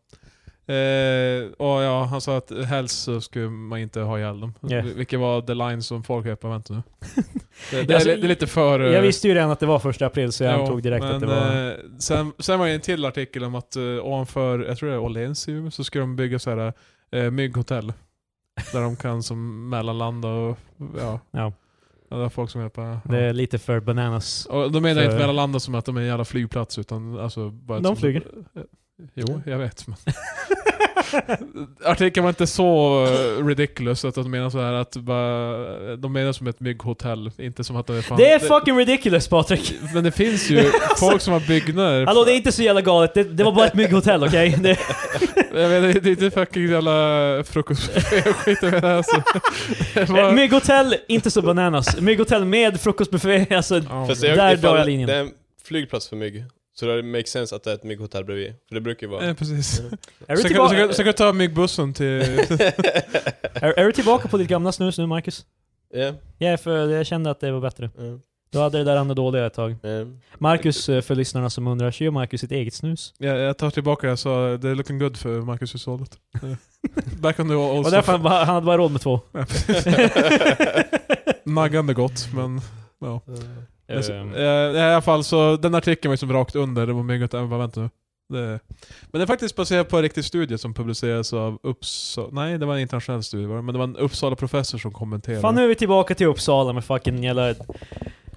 [SPEAKER 1] Eh, och ja, han sa att helst så skulle man inte ha ihjäl dem.
[SPEAKER 2] Ja.
[SPEAKER 1] Vil- Vilket var the line som folk höll på, vänta nu. Det, det,
[SPEAKER 2] Alltså,
[SPEAKER 1] är, li- det är lite för... eh,
[SPEAKER 2] Jag visste ju redan att det var första april så jag
[SPEAKER 1] Jo,
[SPEAKER 2] antog direkt
[SPEAKER 1] men,
[SPEAKER 2] att det var...
[SPEAKER 1] eh, sen, sen var det en till artikel om att eh, ovanför, jag tror det är Åhléns i Umeå, så skulle de bygga så här eh, mygghotell. Där de kan som mellanlanda och ja.
[SPEAKER 2] Ja.
[SPEAKER 1] Ja, det är folk som är på... Ja.
[SPEAKER 2] Det är lite för bananas.
[SPEAKER 1] Och då menar jag
[SPEAKER 2] för-
[SPEAKER 1] inte mellanlanda som att de är en jävla flygplats utan alltså bara ett
[SPEAKER 2] De
[SPEAKER 1] som-
[SPEAKER 2] flyger.
[SPEAKER 1] Eh, Jo, jag vet. Men artikeln var inte så eh, ridiculous att de menar så här att bara, eh, de menar som ett mygghotell, inte som att de är fan...
[SPEAKER 2] det är fucking ridiculous Patrik!
[SPEAKER 1] Men det finns ju folk som har byggnader
[SPEAKER 2] Hallå det är inte så jävla galet, det, det var bara ett mygghotell okej? Det-
[SPEAKER 1] Jag menar, det är inte fucking jävla frukostbuffé-skit jag menar alltså. Det
[SPEAKER 2] Eh,
[SPEAKER 1] var-
[SPEAKER 2] Mygghotell, inte så bananas. Mygghotell med frukostbuffé, alltså...
[SPEAKER 1] Ja,
[SPEAKER 3] Fast
[SPEAKER 1] men-
[SPEAKER 2] jag- Där drar linjen.
[SPEAKER 3] Det är en flygplats för mygg. Så det makes sense att det är ett mygghotell bredvid. För det brukar ju vara...
[SPEAKER 1] Eh, precis.
[SPEAKER 2] Är du,
[SPEAKER 1] Så kan, så,
[SPEAKER 2] tillbaka,
[SPEAKER 1] kan, så kan jag ta myggbussen till...
[SPEAKER 2] är, är du tillbaka på ditt gamla snus nu Marcus?
[SPEAKER 3] Ja,
[SPEAKER 2] Ja, för jag kände att det var bättre.
[SPEAKER 3] ja,
[SPEAKER 2] Du hade det där andra dåliga ett tag.
[SPEAKER 3] ja.
[SPEAKER 2] Marcus, eh, för lyssnarna som undrar, kör Marcus sitt eget snus?
[SPEAKER 1] ja, jag tar tillbaka det jag sa, det är looking good för Marcus-hushållet. Eh, Back on the old
[SPEAKER 2] Och därför
[SPEAKER 1] stuff.
[SPEAKER 2] han, bara- han hade bara råd med två.
[SPEAKER 1] Ja, precis. Naggande gott, men... Ja. Men så-
[SPEAKER 2] Ehm.
[SPEAKER 1] eh, I alla fall, så den artikeln var ju som rakt under, det var myggot, jag bara vänta nu. Det, men det är faktiskt baserat på en riktig studie som publicerades av Uppsala... Nej, det var en internationell studie var det, men det var en Uppsala-professor som kommenterade.
[SPEAKER 2] Eh, Fan nu är vi tillbaka till Uppsala med fucking jävla... för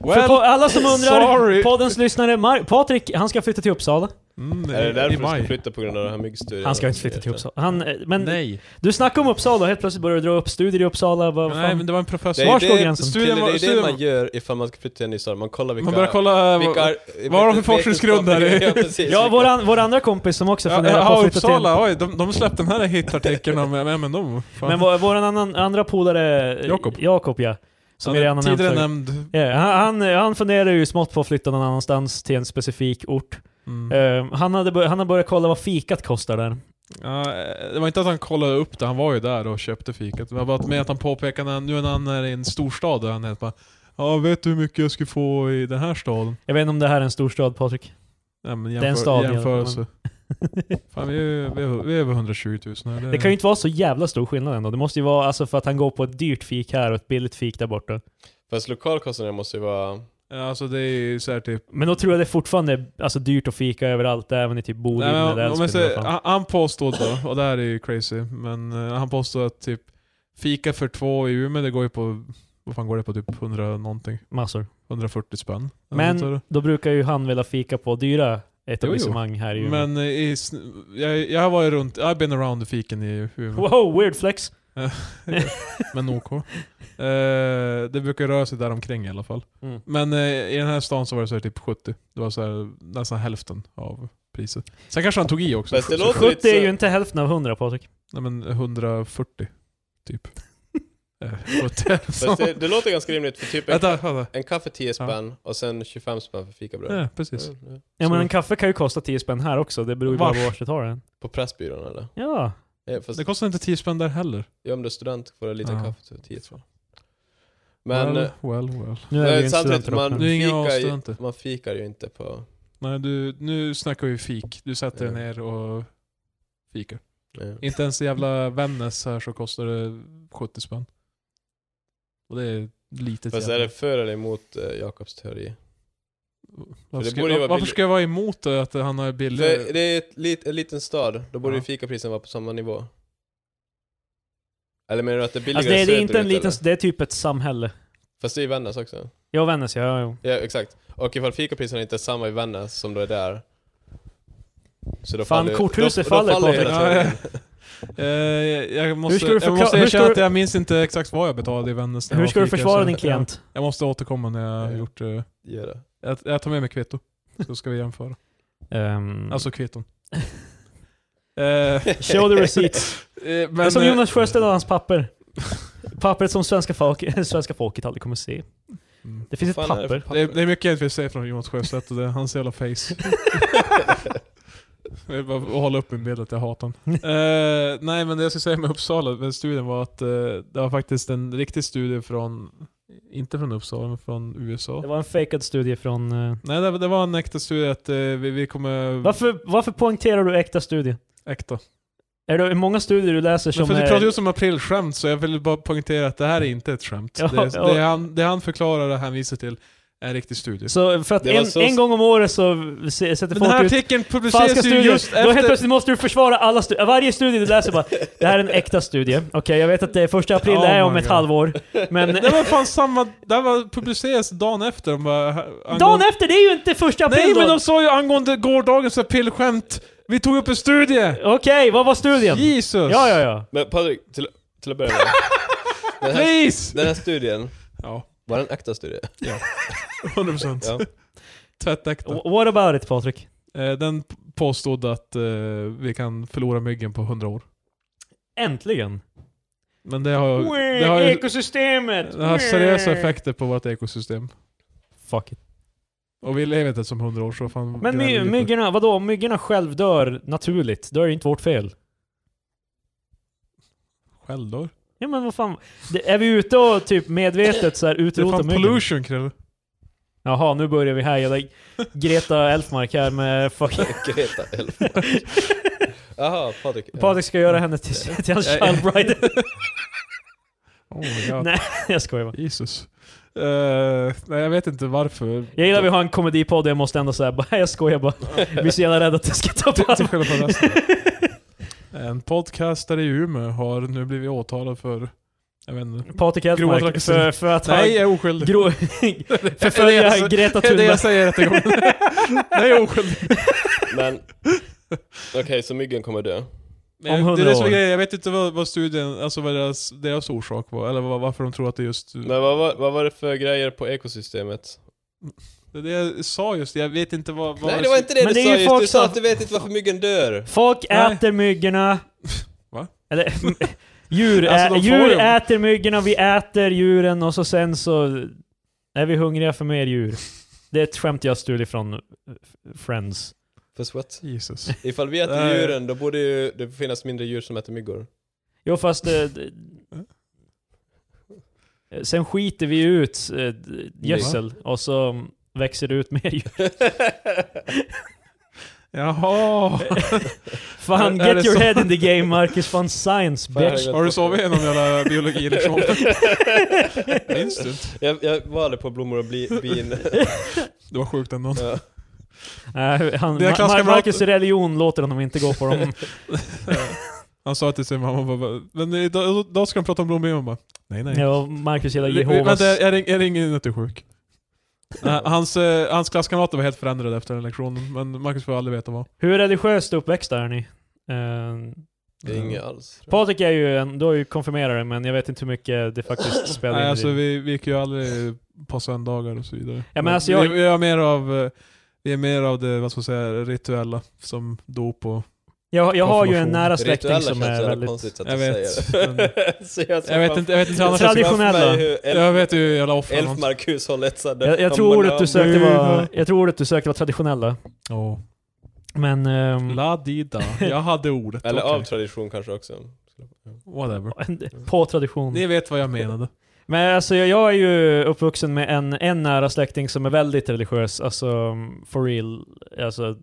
[SPEAKER 1] Well,
[SPEAKER 2] på, alla som undrar,
[SPEAKER 1] sorry.
[SPEAKER 2] poddens lyssnare, Mar- Patrik, han ska flytta till Uppsala.
[SPEAKER 1] Mm,
[SPEAKER 3] Är det
[SPEAKER 1] i- i
[SPEAKER 3] därför du
[SPEAKER 1] maj.
[SPEAKER 3] ska flytta på grund av den här myggstudien?
[SPEAKER 2] Han ska inte flytta till Uppsala. Han, eh, men
[SPEAKER 1] Nej.
[SPEAKER 2] du snackar om Uppsala och helt plötsligt börjar du dra upp studier i Uppsala. Vad fan?
[SPEAKER 1] Nej men det var en professor.
[SPEAKER 3] Det
[SPEAKER 2] Var
[SPEAKER 3] är
[SPEAKER 2] står
[SPEAKER 3] det-
[SPEAKER 2] gränsen?
[SPEAKER 3] Till, det
[SPEAKER 1] Studien var,
[SPEAKER 3] är det
[SPEAKER 1] studien
[SPEAKER 3] man gör ifall man ska flytta till en ny stad. Man kollar vilka...
[SPEAKER 1] man börjar kolla...
[SPEAKER 3] vilka,
[SPEAKER 1] Vilka,
[SPEAKER 3] eh,
[SPEAKER 1] vad har de för
[SPEAKER 3] vetenskapliga-
[SPEAKER 1] forskningsgrunder?
[SPEAKER 3] Ja, precis.
[SPEAKER 2] Ja,
[SPEAKER 3] Vilka-
[SPEAKER 2] vår, vår andra kompis som också
[SPEAKER 1] ja,
[SPEAKER 2] funderar på
[SPEAKER 1] ja,
[SPEAKER 2] att flytta till...
[SPEAKER 1] Uppsala, oj, de, de släppte den här hitartikeln om M&M. Fan.
[SPEAKER 2] Men vår, vår annan, andra polare... eh,
[SPEAKER 1] Jakob.
[SPEAKER 2] Jakob, ja. Som vi redan har nämnt.
[SPEAKER 1] Tidigare
[SPEAKER 2] förut.
[SPEAKER 1] nämnd...
[SPEAKER 2] Ja, han, han, han funderar ju smått på att flytta någon annanstans till en specifik ort.
[SPEAKER 1] Mm.
[SPEAKER 2] Eh, han, hade bör- han har börjat kolla vad fikat kostar där.
[SPEAKER 1] Ja, eh, det var inte att han kollade upp det, han var ju där och köpte fikat. Det var bara att med att han påpekade, när, nu när han är i en storstad, där han är bara Ja, vet du hur mycket jag skulle få i den här staden?
[SPEAKER 2] Jag vet inte om det här är en storstad Patrik.
[SPEAKER 1] Ja, men
[SPEAKER 2] är en stad i alla
[SPEAKER 1] jämförelse. Fan, vi är, vi är, vi är över 120 000 här.
[SPEAKER 2] Det kan ju inte vara så jävla stor skillnad ändå. Det måste ju vara alltså för att han går på ett dyrt fik här och ett billigt fik där borta.
[SPEAKER 3] Fast lokalkostnaderna måste ju vara...
[SPEAKER 1] Ja, Alltså det är ju såhär typ...
[SPEAKER 2] Men då tror jag det fortfarande är alltså, dyrt att fika överallt, även i typ Boden
[SPEAKER 1] Nej, men,
[SPEAKER 2] eller
[SPEAKER 1] om- om jag
[SPEAKER 2] Älvsbyn. eller
[SPEAKER 1] säger,
[SPEAKER 2] vad fan.
[SPEAKER 1] han, han påstod då, och det här är ju crazy, men eh, han påstod att typ fika för två i Umeå, det går ju på, vad fan går det på, typ 100 någonting?
[SPEAKER 2] Massor.
[SPEAKER 1] 140 spänn. Eller något
[SPEAKER 2] Men
[SPEAKER 1] sådär.
[SPEAKER 2] då brukar ju han vilja fika på dyra etablissemang här i Umeå.
[SPEAKER 1] men eh, i, sn- jag, jag var ju runt, I've been around fiken i Umeå,
[SPEAKER 2] Wow, weird flex!
[SPEAKER 1] men OK. Eh, det brukar röra sig där omkring i alla fall.
[SPEAKER 2] Mm.
[SPEAKER 1] Men eh, i den här stan så var det så här typ 70. Det var så här, nästan hälften av priset. Sen kanske han tog i också.
[SPEAKER 3] Fast det låter
[SPEAKER 2] 70 är
[SPEAKER 3] lite
[SPEAKER 2] ju
[SPEAKER 3] så-
[SPEAKER 2] inte hälften av 100 Patrik.
[SPEAKER 1] Nej men 140, typ. Eh, 70.
[SPEAKER 3] Fast det, det låter ganska rimligt för typ en,
[SPEAKER 1] Vänta, vänta.
[SPEAKER 3] en kaffe 10 spänn och sen 25 spänn för fikabröd.
[SPEAKER 1] Ja, precis.
[SPEAKER 3] Ja, ja.
[SPEAKER 2] Ja
[SPEAKER 1] Så-
[SPEAKER 2] men en kaffe kan ju kosta 10 spänn här också, det beror ju bara på
[SPEAKER 1] Vars?
[SPEAKER 2] vart du tar den.
[SPEAKER 3] På Pressbyrån eller?
[SPEAKER 2] Ja.
[SPEAKER 3] Ja, fast
[SPEAKER 1] Det kostar inte 10 spänn där heller.
[SPEAKER 3] ja, om du är student får du en liten
[SPEAKER 1] Ja.
[SPEAKER 3] kaffe för 10 spänn. Men... eh,
[SPEAKER 1] well, well, well.
[SPEAKER 2] Nu är
[SPEAKER 3] Nej,
[SPEAKER 2] vi ju inte
[SPEAKER 3] samtidigt,
[SPEAKER 2] studenter dock,
[SPEAKER 3] man-
[SPEAKER 2] men-
[SPEAKER 1] Du är ingen
[SPEAKER 3] fikar
[SPEAKER 1] av
[SPEAKER 3] ju-
[SPEAKER 1] oss
[SPEAKER 2] Typ.
[SPEAKER 1] studenter.
[SPEAKER 3] Man fikar ju inte på...
[SPEAKER 1] Nej, du, nu snackar vi fik. Du sätter dig
[SPEAKER 3] Ja.
[SPEAKER 1] ner och fikar.
[SPEAKER 3] Ja.
[SPEAKER 1] Inte ens i jävla Vännäs här så kostar det 70 spänn. Och det är litet
[SPEAKER 3] Fast
[SPEAKER 1] jävla-
[SPEAKER 3] är det för eller emot eh, Jakobs teori?
[SPEAKER 1] varför,
[SPEAKER 3] det
[SPEAKER 1] ska,
[SPEAKER 3] borde
[SPEAKER 1] var-
[SPEAKER 3] ju vara
[SPEAKER 1] varför
[SPEAKER 3] billigt.
[SPEAKER 1] ska jag vara emot det, att han har billigare?
[SPEAKER 3] För det är ett lit, en liten stad, då borde
[SPEAKER 1] Ja.
[SPEAKER 3] ju fikaprisen vara på samma nivå. Eller menar du att det är billigare
[SPEAKER 2] Alltså det är, det är inte en
[SPEAKER 3] söderut,
[SPEAKER 2] liten,
[SPEAKER 3] eller?
[SPEAKER 2] det är typ ett samhälle.
[SPEAKER 3] Fast det är i Vännäs också.
[SPEAKER 2] Jag och Vännäs, ja, ja.
[SPEAKER 3] Ja, exakt. Och ifall fikapriserna inte är samma i Vännäs som då är där, Så då
[SPEAKER 2] Fan,
[SPEAKER 3] faller-
[SPEAKER 2] korthuset faller,
[SPEAKER 3] ju
[SPEAKER 2] Patrik.
[SPEAKER 3] hela tiden.
[SPEAKER 1] Eh, jag, jag måste,
[SPEAKER 2] ska du
[SPEAKER 1] jag
[SPEAKER 2] förkla-
[SPEAKER 1] måste
[SPEAKER 2] hur ska
[SPEAKER 1] erkänna
[SPEAKER 2] du-
[SPEAKER 1] att jag minns inte exakt vad jag betalade i Vännäs. när jag
[SPEAKER 2] Hur
[SPEAKER 1] var
[SPEAKER 2] ska du
[SPEAKER 1] fikare,
[SPEAKER 2] försvara
[SPEAKER 1] så
[SPEAKER 2] din
[SPEAKER 1] jag-
[SPEAKER 2] klient?
[SPEAKER 1] Jag, jag måste återkomma när jag har
[SPEAKER 3] Ja.
[SPEAKER 1] gjort... eh,
[SPEAKER 3] Ge det.
[SPEAKER 1] jag, jag tar med mig kvitto. Så ska vi
[SPEAKER 2] Mm.
[SPEAKER 1] jämföra.
[SPEAKER 2] Um,
[SPEAKER 1] Alltså kvitton. Eh,
[SPEAKER 2] show the receipts.
[SPEAKER 1] eh,
[SPEAKER 2] Men,
[SPEAKER 1] men,
[SPEAKER 2] som
[SPEAKER 1] eh,
[SPEAKER 2] Jonas Sjöstedt och hans papper. Pappret som svenska, folk, svenska folket aldrig kommer se.
[SPEAKER 1] mm.
[SPEAKER 2] Det finns ett
[SPEAKER 3] Vad fan är det för
[SPEAKER 2] papper.
[SPEAKER 1] det, är, det är mycket jag inte vill se från Jonas Sjöstedt och det är hans jävla face. Jag vill bara hålla upp min bild att jag hatar honom. Eh, nej men det jag skulle säga med Uppsala, med studien var att eh, det var faktiskt en riktig studie från, inte från Uppsala, men från USA.
[SPEAKER 2] Det var en fejkad studie från... eh,
[SPEAKER 1] Nej det, det var en äkta studie att eh, vi, vi kommer...
[SPEAKER 2] varför, varför poängterar du äkta studie? Äkta. Är det många studier du läser
[SPEAKER 1] Men
[SPEAKER 2] som
[SPEAKER 1] för att
[SPEAKER 2] är...
[SPEAKER 1] du pratar just om aprilskämt så jag vill bara poängtera att det här är inte ett skämt.
[SPEAKER 2] Ja,
[SPEAKER 1] det,
[SPEAKER 2] ja.
[SPEAKER 1] det, han, det han förklarar och hänvisar till är en riktig studie.
[SPEAKER 2] Så för att
[SPEAKER 3] Det var
[SPEAKER 2] en,
[SPEAKER 3] så-
[SPEAKER 2] en gång om året så se- sätter
[SPEAKER 1] Men den här
[SPEAKER 2] folk ut
[SPEAKER 1] artikeln
[SPEAKER 2] falska
[SPEAKER 1] publiceras ju
[SPEAKER 2] studier.
[SPEAKER 1] just
[SPEAKER 2] Då helt
[SPEAKER 1] efter...
[SPEAKER 2] plötsligt måste du försvara alla studier. Varje studie du läser bara, det här är en äkta studie. Okej, jag vet att det är första april, det är
[SPEAKER 1] Oh
[SPEAKER 2] om
[SPEAKER 1] my
[SPEAKER 2] ett
[SPEAKER 1] God.
[SPEAKER 2] halvår. Men
[SPEAKER 1] Det var fan samma... Det här var publiceras dagen efter. De bara, här-
[SPEAKER 2] dagen
[SPEAKER 1] angående-
[SPEAKER 2] efter, det är ju inte första april
[SPEAKER 1] Nej men
[SPEAKER 2] då!
[SPEAKER 1] de sa ju angående gårdagens aprilskämt. Vi tog upp en studie!
[SPEAKER 2] Okej, vad var studien?
[SPEAKER 1] Jesus!
[SPEAKER 2] Ja, ja, ja.
[SPEAKER 3] Men Patrik, till, till att börja med. Den här,
[SPEAKER 1] Please!
[SPEAKER 3] den här studien,
[SPEAKER 1] Ja,
[SPEAKER 3] var det en äkta studie?
[SPEAKER 1] 100%.
[SPEAKER 3] Ja.
[SPEAKER 1] Tvättäkta.
[SPEAKER 2] Wh- What about it Patrik?
[SPEAKER 1] Eh, den p- påstod att eh, vi kan förlora myggen på 100 år.
[SPEAKER 2] Äntligen!
[SPEAKER 1] Men det har, det har ju
[SPEAKER 2] ekosystemet!
[SPEAKER 1] det har seriösa effekter på vårt ekosystem.
[SPEAKER 2] Fuck it.
[SPEAKER 1] Och vi lever inte som 100 år så fan...
[SPEAKER 2] Men
[SPEAKER 1] gnäller vi
[SPEAKER 2] my,
[SPEAKER 1] lite.
[SPEAKER 2] myggorna, vadå? Om myggorna själv dör naturligt, då är det inte vårt fel.
[SPEAKER 1] Själv då?
[SPEAKER 2] Ja men vad fan. Det, är vi ute och typ medvetet så här
[SPEAKER 1] Det är
[SPEAKER 2] utrotar
[SPEAKER 1] fan
[SPEAKER 2] myggen?
[SPEAKER 1] pollution Krille.
[SPEAKER 2] Jaha, nu börjar vi här. Jag lägger- Greta Elfmark här med fucking...
[SPEAKER 3] Greta Elfmark. Jaha, Patrik. Ja.
[SPEAKER 2] Patrik ska göra henne till, till hans
[SPEAKER 1] Ja, ja.
[SPEAKER 2] childbride.
[SPEAKER 1] Oh my god.
[SPEAKER 2] Nej, jag skojar bara.
[SPEAKER 1] Jesus. Eh, nej jag vet inte varför.
[SPEAKER 2] Jag gillar att vi har en komedipodd, jag måste ändå säga bara, jag skojar bara. Vi är så jävla rädda att det ska ta
[SPEAKER 1] Till- till
[SPEAKER 2] på
[SPEAKER 1] skillnad från resten. En podcastare i Umeå har nu blivit åtalad för... Jag vet inte.
[SPEAKER 2] Patrik
[SPEAKER 1] Grova
[SPEAKER 2] Elfmark
[SPEAKER 1] trakasserier.
[SPEAKER 2] för, för att han
[SPEAKER 1] Nej jag är oskyldig.
[SPEAKER 2] grå,
[SPEAKER 1] Det är det
[SPEAKER 2] förfölja
[SPEAKER 1] jag-
[SPEAKER 2] Greta
[SPEAKER 1] Det är det
[SPEAKER 2] Thunberg.
[SPEAKER 1] jag säger i rättegången. Nej jag är oskyldig.
[SPEAKER 3] Men, okej så myggen kommer dö.
[SPEAKER 1] Men
[SPEAKER 2] Om
[SPEAKER 1] det
[SPEAKER 2] 100
[SPEAKER 1] är det som är
[SPEAKER 2] år.
[SPEAKER 1] grejen, jag vet inte vad, vad studien, alltså vad deras, deras orsak var, eller vad, varför de tror att det är just...
[SPEAKER 3] Men vad, var- vad var det för grejer på ekosystemet?
[SPEAKER 1] Det, det jag sa just, jag vet inte vad... vad
[SPEAKER 3] Nej det var inte det
[SPEAKER 2] Men
[SPEAKER 3] du
[SPEAKER 2] det är
[SPEAKER 3] sa
[SPEAKER 2] ju
[SPEAKER 3] just, du
[SPEAKER 2] folk som-
[SPEAKER 3] sa att du vet inte varför myggen dör.
[SPEAKER 2] Folk
[SPEAKER 1] Nej.
[SPEAKER 2] äter myggorna.
[SPEAKER 1] Va?
[SPEAKER 2] Eller, m- djur,
[SPEAKER 1] Alltså,
[SPEAKER 2] ä,
[SPEAKER 1] de får
[SPEAKER 2] djur
[SPEAKER 1] dem.
[SPEAKER 2] äter myggorna, vi äter djuren och så sen så är vi hungriga för mer djur. Det är ett skämt jag stulit från eh, Friends.
[SPEAKER 3] För what?
[SPEAKER 1] Jesus.
[SPEAKER 3] Ifall vi äter
[SPEAKER 1] Nej.
[SPEAKER 3] djuren, då borde ju det finnas mindre djur som äter myggor.
[SPEAKER 2] Jo fast... Eh, d- eh, sen skiter vi ut eh, d- gödsel och så växer det ut mer djur.
[SPEAKER 1] Jaha!
[SPEAKER 2] Fan,
[SPEAKER 1] Är- är
[SPEAKER 2] get
[SPEAKER 1] det så?
[SPEAKER 2] your head in the game Marcus, fan science
[SPEAKER 3] Fan, jag
[SPEAKER 2] bitch.
[SPEAKER 1] Har du sovit igenom jävla biologilektion? liksom? Minns du inte?
[SPEAKER 3] jag, jag var aldrig på blommor och bli, bin.
[SPEAKER 1] Det var sjukt ändå.
[SPEAKER 3] Ja.
[SPEAKER 2] Nej, han,
[SPEAKER 1] Det är
[SPEAKER 2] Ma- Ma-
[SPEAKER 1] klasskamrat-
[SPEAKER 2] Marcus religion låter honom inte gå på dem.
[SPEAKER 1] Han sa till sin mamma bara, men idag, idag ska de prata om blommor, och bara, nej nej.
[SPEAKER 2] Ja, Marcus gillar
[SPEAKER 1] Vi- vi-
[SPEAKER 2] Jehovas.
[SPEAKER 1] Vänta, jag, ring, jag ringer in att du är sjuk. Nej, hans, eh, hans klasskamrater var helt förändrade efter den lektionen, men Marcus får aldrig veta vad.
[SPEAKER 2] Hur religiöst uppväxta är ni? Uh,
[SPEAKER 3] Det är inget alls.
[SPEAKER 2] Patrik är ju en, du har ju konfirmerat dig, men jag vet inte hur mycket det faktiskt spelar
[SPEAKER 1] Nej,
[SPEAKER 2] in
[SPEAKER 1] alltså
[SPEAKER 2] i
[SPEAKER 1] vi, vi gick ju aldrig på söndagar och så vidare.
[SPEAKER 2] Ja, men alltså jag-
[SPEAKER 1] vi, vi är mer av, eh, vi är mer av det, vad ska man säga, rituella som dop och...
[SPEAKER 2] Jag, jag har ju en
[SPEAKER 1] konfirmation.
[SPEAKER 2] nära släkting
[SPEAKER 3] Rituella
[SPEAKER 2] som
[SPEAKER 3] känns
[SPEAKER 2] är
[SPEAKER 3] jävla
[SPEAKER 2] väldigt...
[SPEAKER 3] konstigt att
[SPEAKER 1] Jag
[SPEAKER 3] du
[SPEAKER 1] vet,
[SPEAKER 3] säger det. Så jag
[SPEAKER 1] Jag vet inte, jag vet inte hur annars jag ska...
[SPEAKER 2] Tradition- Traditionella.
[SPEAKER 1] Jag vet ju hur jävla offer man...
[SPEAKER 3] Elfmark-hushållet sådär.
[SPEAKER 2] Jag, jag, tror ordet du sökte
[SPEAKER 1] Mm.
[SPEAKER 2] var, jag tror ordet du sökte var traditionella.
[SPEAKER 1] Åh.
[SPEAKER 2] Men... ehm,
[SPEAKER 1] La di da. Jag hade ordet.
[SPEAKER 3] Eller
[SPEAKER 1] okej.
[SPEAKER 3] av tradition kanske också.
[SPEAKER 1] Whatever.
[SPEAKER 2] på tradition.
[SPEAKER 1] Ni vet vad jag menade.
[SPEAKER 2] Men alltså jag, jag är ju uppvuxen med en, en nära släkting som är väldigt religiös, alltså for real. Alltså,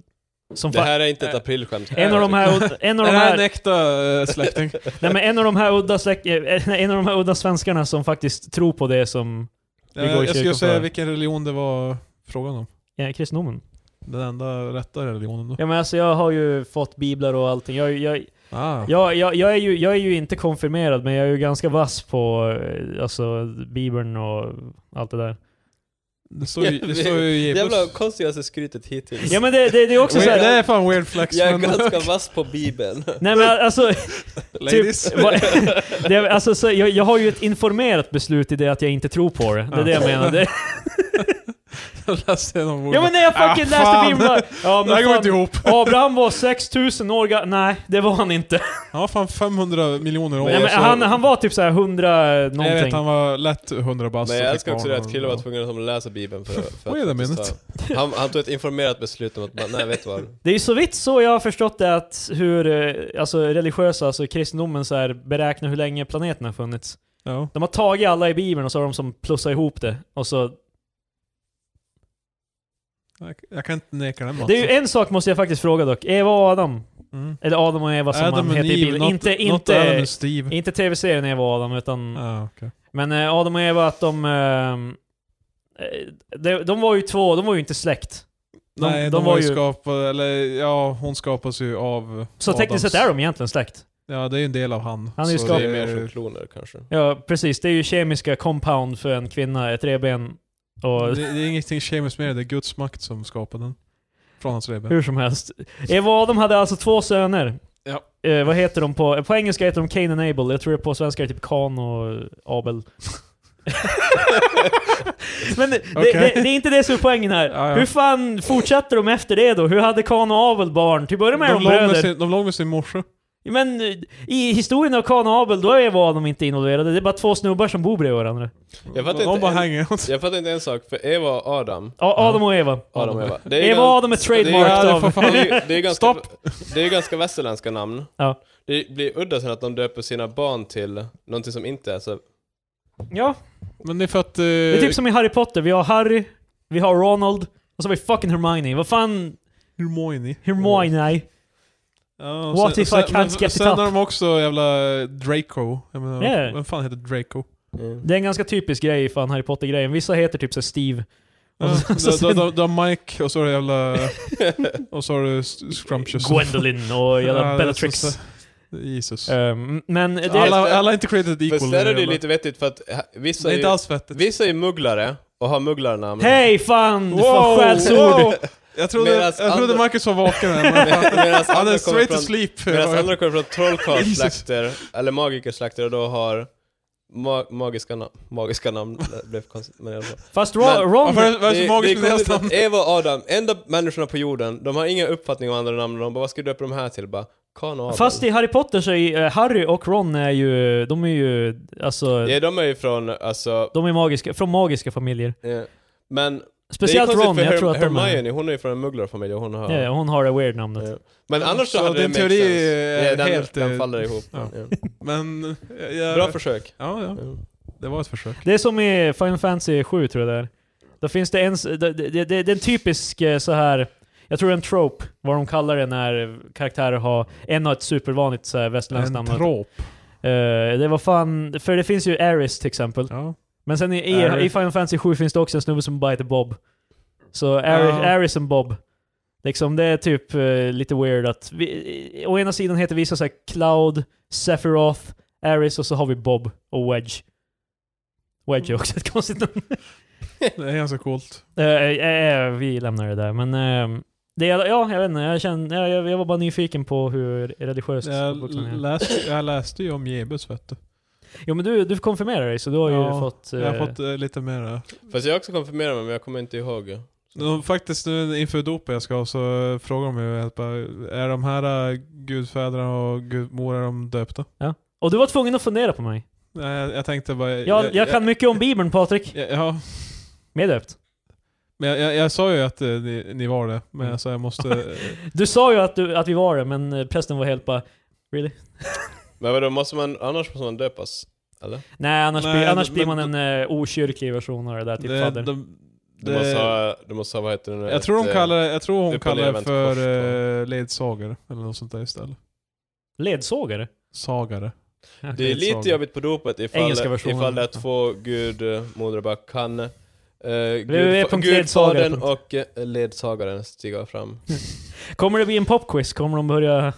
[SPEAKER 2] som
[SPEAKER 3] Det
[SPEAKER 2] fa-
[SPEAKER 3] här är inte ett aprilskämt.
[SPEAKER 2] Äh, en av de här, en av de
[SPEAKER 1] är det här en
[SPEAKER 2] här
[SPEAKER 1] äkta eh, släkting?
[SPEAKER 2] Nej men en av de här udda släk- eh, en av de här udda svenskarna som faktiskt tror på det som
[SPEAKER 1] Eh,
[SPEAKER 2] går i
[SPEAKER 1] jag
[SPEAKER 2] kyrkan
[SPEAKER 1] skulle säga
[SPEAKER 2] för-
[SPEAKER 1] vilken religion det var frågan om.
[SPEAKER 2] ja, kristendomen.
[SPEAKER 1] Den enda rätta religionen då.
[SPEAKER 2] Ja men alltså jag har ju fått biblar och allting. Jag, jag,
[SPEAKER 1] Ah.
[SPEAKER 2] jag, jag, jag, är, ju, jag är ju inte konfirmerad men jag är ju ganska vass på eh, alltså, bibeln och allt det där.
[SPEAKER 1] Det står ju, det står ju i
[SPEAKER 3] Jävla
[SPEAKER 1] e-post.
[SPEAKER 3] konstigaste skrytet hittills.
[SPEAKER 2] Ja men det, det, det är också
[SPEAKER 1] Weird-
[SPEAKER 2] såhär...
[SPEAKER 1] Det är fan weird flex
[SPEAKER 3] jag är
[SPEAKER 1] men...
[SPEAKER 3] ganska vass på bibeln.
[SPEAKER 2] Nej men alltså...
[SPEAKER 1] Ladies.
[SPEAKER 2] vad- det, är- alltså så, jag, jag har ju ett informerat beslut i det att jag inte tror på det. Det är det jag menar. Det,
[SPEAKER 1] Jag läste genom ordet.
[SPEAKER 2] ja men när jag fucking
[SPEAKER 1] Ah,
[SPEAKER 2] läste
[SPEAKER 1] fan.
[SPEAKER 2] bibeln... Ja
[SPEAKER 1] Det här
[SPEAKER 2] men
[SPEAKER 1] går inte
[SPEAKER 2] fan,
[SPEAKER 1] ihop.
[SPEAKER 2] Abraham var 6000 år gammal. Nej, det var han inte.
[SPEAKER 1] Han var fan 500 miljoner år.
[SPEAKER 2] Nej, men
[SPEAKER 3] jag såg-
[SPEAKER 2] han, han var typ såhär 100 någonting.
[SPEAKER 1] jag vet, han var lätt 100 bast.
[SPEAKER 3] Men
[SPEAKER 1] och
[SPEAKER 3] jag
[SPEAKER 1] Alltså, fick
[SPEAKER 3] älskar också
[SPEAKER 1] barn
[SPEAKER 3] det att
[SPEAKER 1] och-
[SPEAKER 3] killen var tvungen att läsa bibeln för, för
[SPEAKER 1] Wait a
[SPEAKER 3] att
[SPEAKER 1] minute.
[SPEAKER 3] han, han tog ett informerat beslut om att bara, nej vet du vad.
[SPEAKER 2] Det är ju så vitt så jag har förstått det att hur eh, alltså, religiösa, alltså kristendomen så här, beräknar hur länge planeten har funnits.
[SPEAKER 1] Ja.
[SPEAKER 2] De har tagit alla i Bibeln och så har de som plussat ihop det. Och så,
[SPEAKER 1] Jag, jag kan inte neka den
[SPEAKER 2] det är ju en sak måste jag faktiskt fråga dock. Eva och Adam,
[SPEAKER 1] Mm.
[SPEAKER 2] eller Adam och Eva som
[SPEAKER 1] Adam
[SPEAKER 2] man
[SPEAKER 1] and
[SPEAKER 2] heter i
[SPEAKER 1] Eve,
[SPEAKER 2] Bibeln.
[SPEAKER 1] not,
[SPEAKER 2] inte
[SPEAKER 1] not Adam
[SPEAKER 2] inte,
[SPEAKER 1] and Steve.
[SPEAKER 2] inte tv-serien Eva och Adam, utan...
[SPEAKER 1] Ah, okej.
[SPEAKER 2] Men eh, Adam och Eva, att de... ehm, eh, de, de var ju två, de var ju inte släkt. De-
[SPEAKER 1] Nej, de,
[SPEAKER 2] de
[SPEAKER 1] var
[SPEAKER 2] var
[SPEAKER 1] ju
[SPEAKER 2] ju-
[SPEAKER 1] skapade, eller ja, hon skapas ju av
[SPEAKER 2] Så tekniskt sett är de egentligen släkt.
[SPEAKER 1] Ja, det är ju en del av han.
[SPEAKER 2] Han är ju
[SPEAKER 1] så
[SPEAKER 3] Det
[SPEAKER 2] skapad-
[SPEAKER 1] det
[SPEAKER 3] är mer som kloner kanske.
[SPEAKER 2] Ja, precis. Det är ju kemiska compound för en kvinna, ett revben och...
[SPEAKER 1] Det, det är ingenting kemiskt med det, det är Guds makt som skapade den. Från hans revben.
[SPEAKER 2] Hur som helst. Eva och Adam hade alltså två söner.
[SPEAKER 1] Ja.
[SPEAKER 2] Eh, vad heter de på... På engelska heter de Cain and Abel. Jag tror det på svenska är typ Kan och Abel. Men det,
[SPEAKER 1] Okej.
[SPEAKER 2] det, det, det är inte det som är poängen här.
[SPEAKER 1] Ja, ja.
[SPEAKER 2] Hur fan fortsätter de efter det då? Hur hade Kan och Abel barn? Till att börja med är de
[SPEAKER 1] låg med
[SPEAKER 2] bröder.
[SPEAKER 1] sin, de låg med sin morsa.
[SPEAKER 2] Men eh, i historien av Kan och Abel, då är Eva och Adam inte involverade. Det är bara två snubbar som bor bredvid varandra.
[SPEAKER 3] Jag
[SPEAKER 1] De,
[SPEAKER 3] fattar inte
[SPEAKER 1] bara
[SPEAKER 3] en-
[SPEAKER 1] hänger.
[SPEAKER 3] Jag fattar inte en sak, för Eva och Adam,
[SPEAKER 2] A- Adam och Eva.
[SPEAKER 3] Adam och Eva. Det ju
[SPEAKER 2] Eva och
[SPEAKER 3] gans-
[SPEAKER 2] Adam är
[SPEAKER 3] det är
[SPEAKER 2] trademarked
[SPEAKER 1] Ja, det
[SPEAKER 2] av...
[SPEAKER 1] får
[SPEAKER 3] Det
[SPEAKER 1] fan-
[SPEAKER 3] är, ju- det är ju ganska,
[SPEAKER 1] Stopp.
[SPEAKER 3] Det är ju ganska västerländska namn.
[SPEAKER 2] Ja.
[SPEAKER 3] Det blir udda sen att de döper sina barn till någonting som inte är så...
[SPEAKER 2] Ja,
[SPEAKER 1] Men det är för att... eh,
[SPEAKER 2] det är typ som i Harry Potter. Vi har Harry, vi har Ronald, och så har vi fucking Hermione. Vad fan...
[SPEAKER 1] Hermione. Mm.
[SPEAKER 2] Hermione?
[SPEAKER 1] Ja,
[SPEAKER 2] What if I can't
[SPEAKER 1] men-
[SPEAKER 2] get it
[SPEAKER 1] Sen
[SPEAKER 2] up?
[SPEAKER 1] har de också jävla Draco. Jag menar,
[SPEAKER 2] Yeah.
[SPEAKER 1] Vem fan heter Draco?
[SPEAKER 2] Det är en ganska typisk grej, fan Harry Potter-grejen. Vissa heter typ så här Steve.
[SPEAKER 1] Ja,
[SPEAKER 2] Och
[SPEAKER 1] då-
[SPEAKER 2] så- så
[SPEAKER 1] då-
[SPEAKER 2] sen-
[SPEAKER 1] då- då har Mike och så har du jävla... och så har du S- Scrumptious.
[SPEAKER 2] Gwendolyn och
[SPEAKER 1] Ja, det
[SPEAKER 2] jävla
[SPEAKER 1] är
[SPEAKER 2] Bellatrix.
[SPEAKER 1] så- Jesus.
[SPEAKER 2] Ehm, men det...
[SPEAKER 1] alla, alla är inte created
[SPEAKER 3] För
[SPEAKER 1] equal.
[SPEAKER 3] sen är det ju
[SPEAKER 1] jävla-
[SPEAKER 3] lite vettigt för att eh,
[SPEAKER 1] det
[SPEAKER 3] vissa
[SPEAKER 1] är
[SPEAKER 3] är,
[SPEAKER 1] inte
[SPEAKER 3] ju,
[SPEAKER 1] alls vettigt.
[SPEAKER 3] vissa är ju mugglare och har mugglarnamn.
[SPEAKER 2] Hej fan! Fan skällsord!
[SPEAKER 1] wow. Jag trodde,
[SPEAKER 3] Medans
[SPEAKER 1] jag trodde
[SPEAKER 3] andra-
[SPEAKER 1] Marcus var vaken här, men fan,
[SPEAKER 3] Medan
[SPEAKER 1] han är
[SPEAKER 3] andra kommer
[SPEAKER 1] straight to
[SPEAKER 3] från,
[SPEAKER 1] sleep.
[SPEAKER 3] medans andra
[SPEAKER 1] Ja,
[SPEAKER 3] kommer från trollkarlslakter, eller magikersläkter och då har ma magiska namn. Magiska namn, det blev konstigt men i alla fall.
[SPEAKER 2] Fast Ro-
[SPEAKER 3] Men-
[SPEAKER 2] Ronald...
[SPEAKER 1] Varför är det- vad är det
[SPEAKER 3] Det-
[SPEAKER 1] så magiskt
[SPEAKER 3] det är
[SPEAKER 1] med deras
[SPEAKER 3] konstigt
[SPEAKER 1] namn?
[SPEAKER 3] att Eva och Adam, enda människorna på jorden, de har inga uppfattningar om andra namn. De bara, vad ska du döpa de här till? Bara, Kan och Abel.
[SPEAKER 2] Fast i Harry Potter så är ju, eh, Harry och Ron är ju, de är ju, alltså,
[SPEAKER 3] Ja, de är ju från, alltså...
[SPEAKER 2] de är magiska, från magiska familjer.
[SPEAKER 3] eh, Men
[SPEAKER 2] Speciellt
[SPEAKER 3] det är konstigt
[SPEAKER 2] Ron,
[SPEAKER 3] för
[SPEAKER 2] jag tror att de är,
[SPEAKER 3] Hermione, hon är ju från en mugglarfamilj och hon har...
[SPEAKER 2] ja, ja, hon har det weird namnet.
[SPEAKER 3] Ja. Men annars så,
[SPEAKER 1] Så
[SPEAKER 3] hade
[SPEAKER 1] din
[SPEAKER 3] det make
[SPEAKER 1] teori
[SPEAKER 3] sense.
[SPEAKER 1] är
[SPEAKER 3] Ja, den,
[SPEAKER 1] helt, eh,
[SPEAKER 3] den faller ihop.
[SPEAKER 1] ja.
[SPEAKER 3] Ja.
[SPEAKER 1] Men... Jag, jag,
[SPEAKER 3] Bra försök.
[SPEAKER 1] ja, ja,
[SPEAKER 3] Ja.
[SPEAKER 1] det var ett försök.
[SPEAKER 2] Det är som i Final Fantasy 7 tror jag det är. Då finns det en, s- det, det, det, det är en typisk eh, så här jag tror det är en trope, vad de kallar det när karaktärer har, en har ett supervanligt så här västerländskt
[SPEAKER 1] En
[SPEAKER 2] namn.
[SPEAKER 1] trop.
[SPEAKER 2] Eh, det var fan, för det finns ju Aris till exempel.
[SPEAKER 1] Ja.
[SPEAKER 2] Men sen i, i,
[SPEAKER 1] Aris.
[SPEAKER 2] i Final Fantasy 7 finns det också en snubbe som bara heter Bob. Så Aris,
[SPEAKER 1] Ja.
[SPEAKER 2] Aris and Bob. Liksom det är typ eh, lite weird att vi, i- å ena sidan heter vissa såhär Cloud, Sephiroth, Aris och så har vi Bob och Wedge. Wedge är också ett konstigt namn.
[SPEAKER 1] Det är ganska coolt.
[SPEAKER 2] Eh, eh, eh, vi lämnar det där men eh, det, är- ja, jag vet inte, jag, känner, jag, jag, jag var bara nyfiken på hur religiöst
[SPEAKER 1] Jag
[SPEAKER 2] vuxna är.
[SPEAKER 1] läste, jag läste ju om Jesus vet du.
[SPEAKER 2] Jo men du, du konfirmerar dig så du har ju
[SPEAKER 1] Ja,
[SPEAKER 2] fått...
[SPEAKER 1] Jag
[SPEAKER 2] eh,
[SPEAKER 1] har fått eh, lite mer...
[SPEAKER 3] Fast jag har också konfirmerat mig, men jag kommer inte ihåg.
[SPEAKER 1] De, faktiskt nu inför dopet jag ska ha så eh, frågar de mig helt bara, är de här eh, gudfäderna och gudmorar de döpta?
[SPEAKER 2] Och du var tvungen att fundera på mig.
[SPEAKER 1] Nej, Jag, jag tänkte bara...
[SPEAKER 2] Jag, jag, kan mycket om Bibeln Patrik.
[SPEAKER 1] jag- Ja,
[SPEAKER 2] Meddöpt.
[SPEAKER 1] men jag, jag, jag sa ju att eh, ni, ni var det,
[SPEAKER 2] Mm.
[SPEAKER 1] men jag sa jag måste... eh,
[SPEAKER 2] Du sa ju att, du, att vi var det, men eh, prästen var helt bara Really?
[SPEAKER 3] Men vadå, måste man, annars måste man döpas? Eller?
[SPEAKER 2] Nej, annars,
[SPEAKER 1] Nej,
[SPEAKER 2] blir, annars
[SPEAKER 1] men-
[SPEAKER 2] blir man en eh, okyrklig version av det där, typ
[SPEAKER 1] det,
[SPEAKER 2] fadder.
[SPEAKER 1] de,
[SPEAKER 3] Du
[SPEAKER 1] det-
[SPEAKER 3] måste ha, du måste ha vad heter det nu?
[SPEAKER 1] jag tror hon
[SPEAKER 3] Ett, eh,
[SPEAKER 1] kallar, det- jag tror hon
[SPEAKER 3] upp och
[SPEAKER 1] kallar det
[SPEAKER 3] nervänt
[SPEAKER 1] för
[SPEAKER 3] kors på-
[SPEAKER 1] eh, ledsagare, eller något sånt där istället.
[SPEAKER 2] Ledsågare?
[SPEAKER 1] Sagare.
[SPEAKER 3] Det är lite
[SPEAKER 1] Ledsagare.
[SPEAKER 3] jobbigt på dopet ifall,
[SPEAKER 2] Engelska versionen.
[SPEAKER 3] ifall det är två gudmodrar bara kan eh, gud,
[SPEAKER 2] www.ledsagare.
[SPEAKER 3] Gudfadern och eh, ledsagaren stiga fram.
[SPEAKER 2] Kommer det bli en popquiz? Kommer de börja...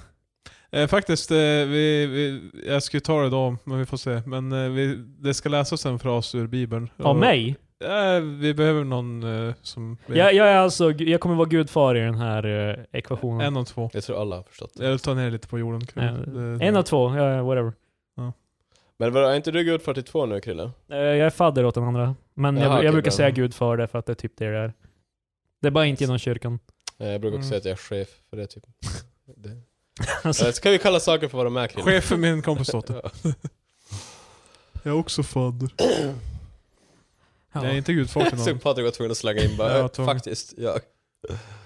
[SPEAKER 1] Eh, faktiskt, eh, vi, vi, jag skulle ta det idag, men vi får se. Men eh, vi, det ska läsas en fras ur Bibeln.
[SPEAKER 2] Av mig?
[SPEAKER 1] eh, vi behöver någon eh, som...
[SPEAKER 2] Jag, jag är alltså, jag kommer vara gudfar i den här eh, ekvationen.
[SPEAKER 1] En av två.
[SPEAKER 3] Jag tror alla har förstått.
[SPEAKER 1] Jag vill ta ner lite på jorden. Kul.
[SPEAKER 2] Eh,
[SPEAKER 1] Det-
[SPEAKER 2] En av två, ja, whatever.
[SPEAKER 3] Men vadå, är inte du Gud 42 nu Krille?
[SPEAKER 2] Eh, Jag är fadder åt den andra. Men
[SPEAKER 3] Jaha,
[SPEAKER 2] jag,
[SPEAKER 3] okej,
[SPEAKER 2] jag brukar
[SPEAKER 3] bra.
[SPEAKER 2] säga gud för det, för att det är typ det det är. Det är bara inte genom kyrkan.
[SPEAKER 3] Eh, Jag brukar också
[SPEAKER 1] Mm.
[SPEAKER 3] säga att jag är chef för det typ. det.
[SPEAKER 2] Alltså,
[SPEAKER 3] Eh, Så kan vi kalla saker för vad de är Krille.
[SPEAKER 1] Chef för min komposdotter. Jag är också fadder.
[SPEAKER 2] Ja.
[SPEAKER 1] Jag är inte gudfar till
[SPEAKER 3] Så
[SPEAKER 1] någon.
[SPEAKER 3] Patrik var tvungen att slänga in bara,
[SPEAKER 1] Ja,
[SPEAKER 3] eh,
[SPEAKER 1] tvungen.
[SPEAKER 3] faktiskt, jag.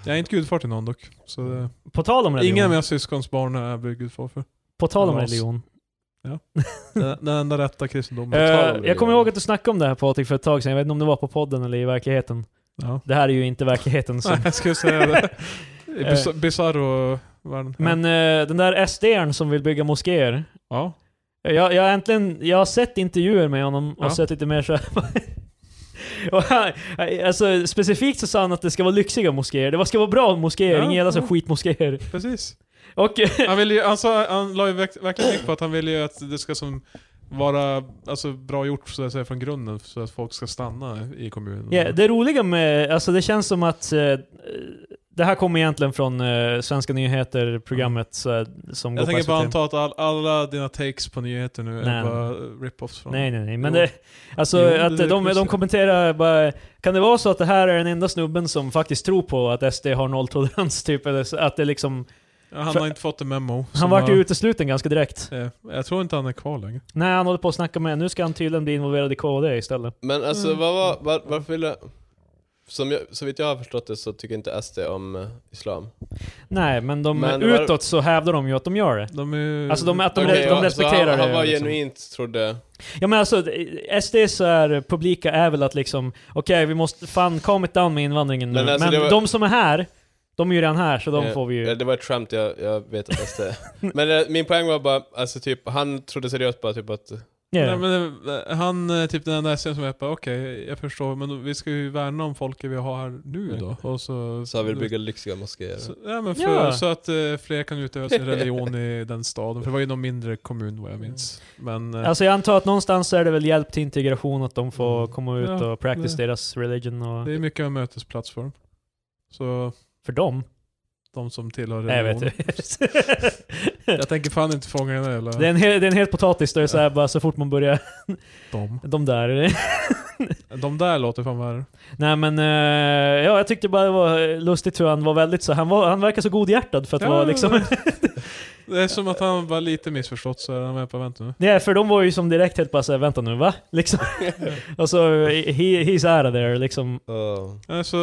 [SPEAKER 1] Jag är inte gudfar till någon dock. Så
[SPEAKER 2] Mm.
[SPEAKER 1] det...
[SPEAKER 2] På tal om religion.
[SPEAKER 1] Ingen av mina syskons barn har jag blivit gudfar för.
[SPEAKER 2] På tal om
[SPEAKER 1] Ras.
[SPEAKER 2] religion.
[SPEAKER 1] Den, den enda rätta kristendomen.
[SPEAKER 2] Eh,
[SPEAKER 3] tal om religion.
[SPEAKER 2] jag kommer ihåg att du snackade om det här Patrik för ett tag sedan. Jag vet inte om det var på podden eller i verkligheten.
[SPEAKER 1] Ja.
[SPEAKER 2] Det här är ju inte verkligheten. Så.
[SPEAKER 1] Nej, jag skulle säga det. I bis- Bizarro-världen.
[SPEAKER 2] Eh. Men eh, den där SD'n som vill bygga moskéer.
[SPEAKER 1] Ja.
[SPEAKER 2] Jag, jag, har äntligen, jag har sett intervjuer med honom och
[SPEAKER 1] Ja.
[SPEAKER 2] sett lite mer såhär... och han, alltså, specifikt så sa han att det ska vara lyxiga moskéer. Det ska vara bra moskéer,
[SPEAKER 1] Ja, Mm.
[SPEAKER 2] inga jävla så
[SPEAKER 1] ja.
[SPEAKER 2] skitmoskéer.
[SPEAKER 1] Precis.
[SPEAKER 2] Och eh,
[SPEAKER 1] Han, vill ju, alltså, han la ju verk- verkligen vikt på att han vill ju att det ska som vara alltså, bra gjort så att säga, från grunden så att folk ska stanna i kommunen.
[SPEAKER 2] Ja, det roliga med, alltså det känns som att eh, det här kommer egentligen från eh, Svenska nyheter-programmet så, som
[SPEAKER 1] jag
[SPEAKER 2] går på
[SPEAKER 1] tänker
[SPEAKER 2] SVT.
[SPEAKER 1] bara anta att all, alla dina takes på nyheter nu är
[SPEAKER 2] Nej.
[SPEAKER 1] bara rip-offs från...
[SPEAKER 2] Nej, nej, nej. Men
[SPEAKER 1] Jo.
[SPEAKER 2] det, alltså
[SPEAKER 1] Jo, det
[SPEAKER 2] att
[SPEAKER 1] är
[SPEAKER 2] de, de
[SPEAKER 1] konstigt.
[SPEAKER 2] kommenterar bara, kan det vara så att det här är den enda snubben som faktiskt tror på att SD har nolltolerans typ? Eller så- att det liksom,
[SPEAKER 1] Ja, Han
[SPEAKER 2] För-
[SPEAKER 1] har inte fått en memo.
[SPEAKER 2] han
[SPEAKER 1] som
[SPEAKER 2] vart ju
[SPEAKER 1] har-
[SPEAKER 2] utesluten ganska direkt.
[SPEAKER 1] eh, Jag tror inte han är kvar längre.
[SPEAKER 2] Nej, han håller på att snacka med, nu ska han tydligen bli involverad i KD istället.
[SPEAKER 3] Men alltså
[SPEAKER 1] Mm.
[SPEAKER 3] vad var, var, varför ville... Som jag, så vitt jag har förstått det så tycker inte SD om eh, Islam.
[SPEAKER 2] Nej, men, de,
[SPEAKER 3] Men det var-
[SPEAKER 2] utåt så hävdar de ju att de gör det.
[SPEAKER 1] De är ju...
[SPEAKER 2] Alltså de, att de,
[SPEAKER 3] Okej,
[SPEAKER 2] de,
[SPEAKER 3] ja, så
[SPEAKER 2] respekterar
[SPEAKER 3] han,
[SPEAKER 2] det.
[SPEAKER 3] han var
[SPEAKER 2] liksom.
[SPEAKER 3] genuint trodde...
[SPEAKER 2] Ja men alltså, SD så här publika är väl att liksom, okej vi måste, fan calm it down med invandringen nu.
[SPEAKER 3] Men
[SPEAKER 2] Men,
[SPEAKER 3] alltså, det var-
[SPEAKER 2] de som är här, de är ju redan här så de
[SPEAKER 3] eh,
[SPEAKER 2] får vi ju...
[SPEAKER 3] eh, Det var ett skämt, jag, jag vet att SD... men eh, min poäng var bara, alltså typ, han trodde seriöst bara typ att...
[SPEAKER 2] Yeah.
[SPEAKER 1] Nej, men, eh, han är typ den enda SM som är bara okej, jag förstår, men vi ska ju värna om folket vi har här nu då. Och så,
[SPEAKER 3] Så han vill bygga lyxiga moskéer.
[SPEAKER 1] Så, ja, men för,
[SPEAKER 2] Ja.
[SPEAKER 1] så att eh, fler kan utöva sin religion i den staden. För det var ju någon mindre kommun vad jag minns. Men eh,
[SPEAKER 2] Alltså jag antar att någonstans så är det väl hjälp till integration att de får komma ut
[SPEAKER 1] Mm. Ja,
[SPEAKER 2] och practice
[SPEAKER 1] det-
[SPEAKER 2] deras religion och...
[SPEAKER 1] det är mycket av en mötesplats för dem. Så
[SPEAKER 2] För dem?
[SPEAKER 1] de som tillhör
[SPEAKER 2] Nej jag
[SPEAKER 1] religion.
[SPEAKER 2] vet
[SPEAKER 1] jag,
[SPEAKER 2] inte.
[SPEAKER 1] tänker fan inte fånga den där
[SPEAKER 2] det,
[SPEAKER 1] eller
[SPEAKER 2] är en hel, det är en hel potatis där det är så här, bara så fort man börjar,
[SPEAKER 1] de.
[SPEAKER 2] de där.
[SPEAKER 1] De där låter fan värre.
[SPEAKER 2] Nej men, eh, ja jag tyckte bara det var lustigt hur han var väldigt så, han, var, han verkar så godhjärtad för att
[SPEAKER 1] Ja,
[SPEAKER 2] vara liksom...
[SPEAKER 1] Det är som att han var lite missförstått så är han med på vänta nu.
[SPEAKER 2] Nej, för de var ju som direkt helt bara såhär, vänta nu va? Liksom. och så, eh, he, he's out of there liksom.
[SPEAKER 3] Oh.
[SPEAKER 1] Eh, Så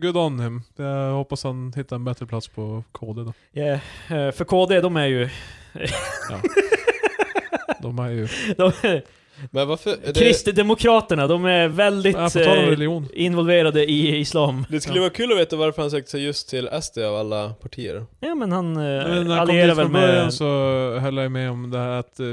[SPEAKER 1] good on him. Jag hoppas han hittar en bättre plats på KD då.
[SPEAKER 2] Yeah. eh, För KD, de är ju...
[SPEAKER 1] De är ju...
[SPEAKER 2] De,
[SPEAKER 3] Men varför... Det,
[SPEAKER 2] Kristdemokraterna, de är väldigt
[SPEAKER 1] Ja, på tal om
[SPEAKER 2] eh,
[SPEAKER 1] religion.
[SPEAKER 2] involverade i islam.
[SPEAKER 3] det skulle vara kul att veta varför han sökte sig just till SD av alla partier.
[SPEAKER 2] Ja men han eh,
[SPEAKER 1] Men när jag kom
[SPEAKER 2] allierar
[SPEAKER 1] dit
[SPEAKER 2] väl
[SPEAKER 1] från början
[SPEAKER 2] med...
[SPEAKER 1] så höll jag med om det här att, eh,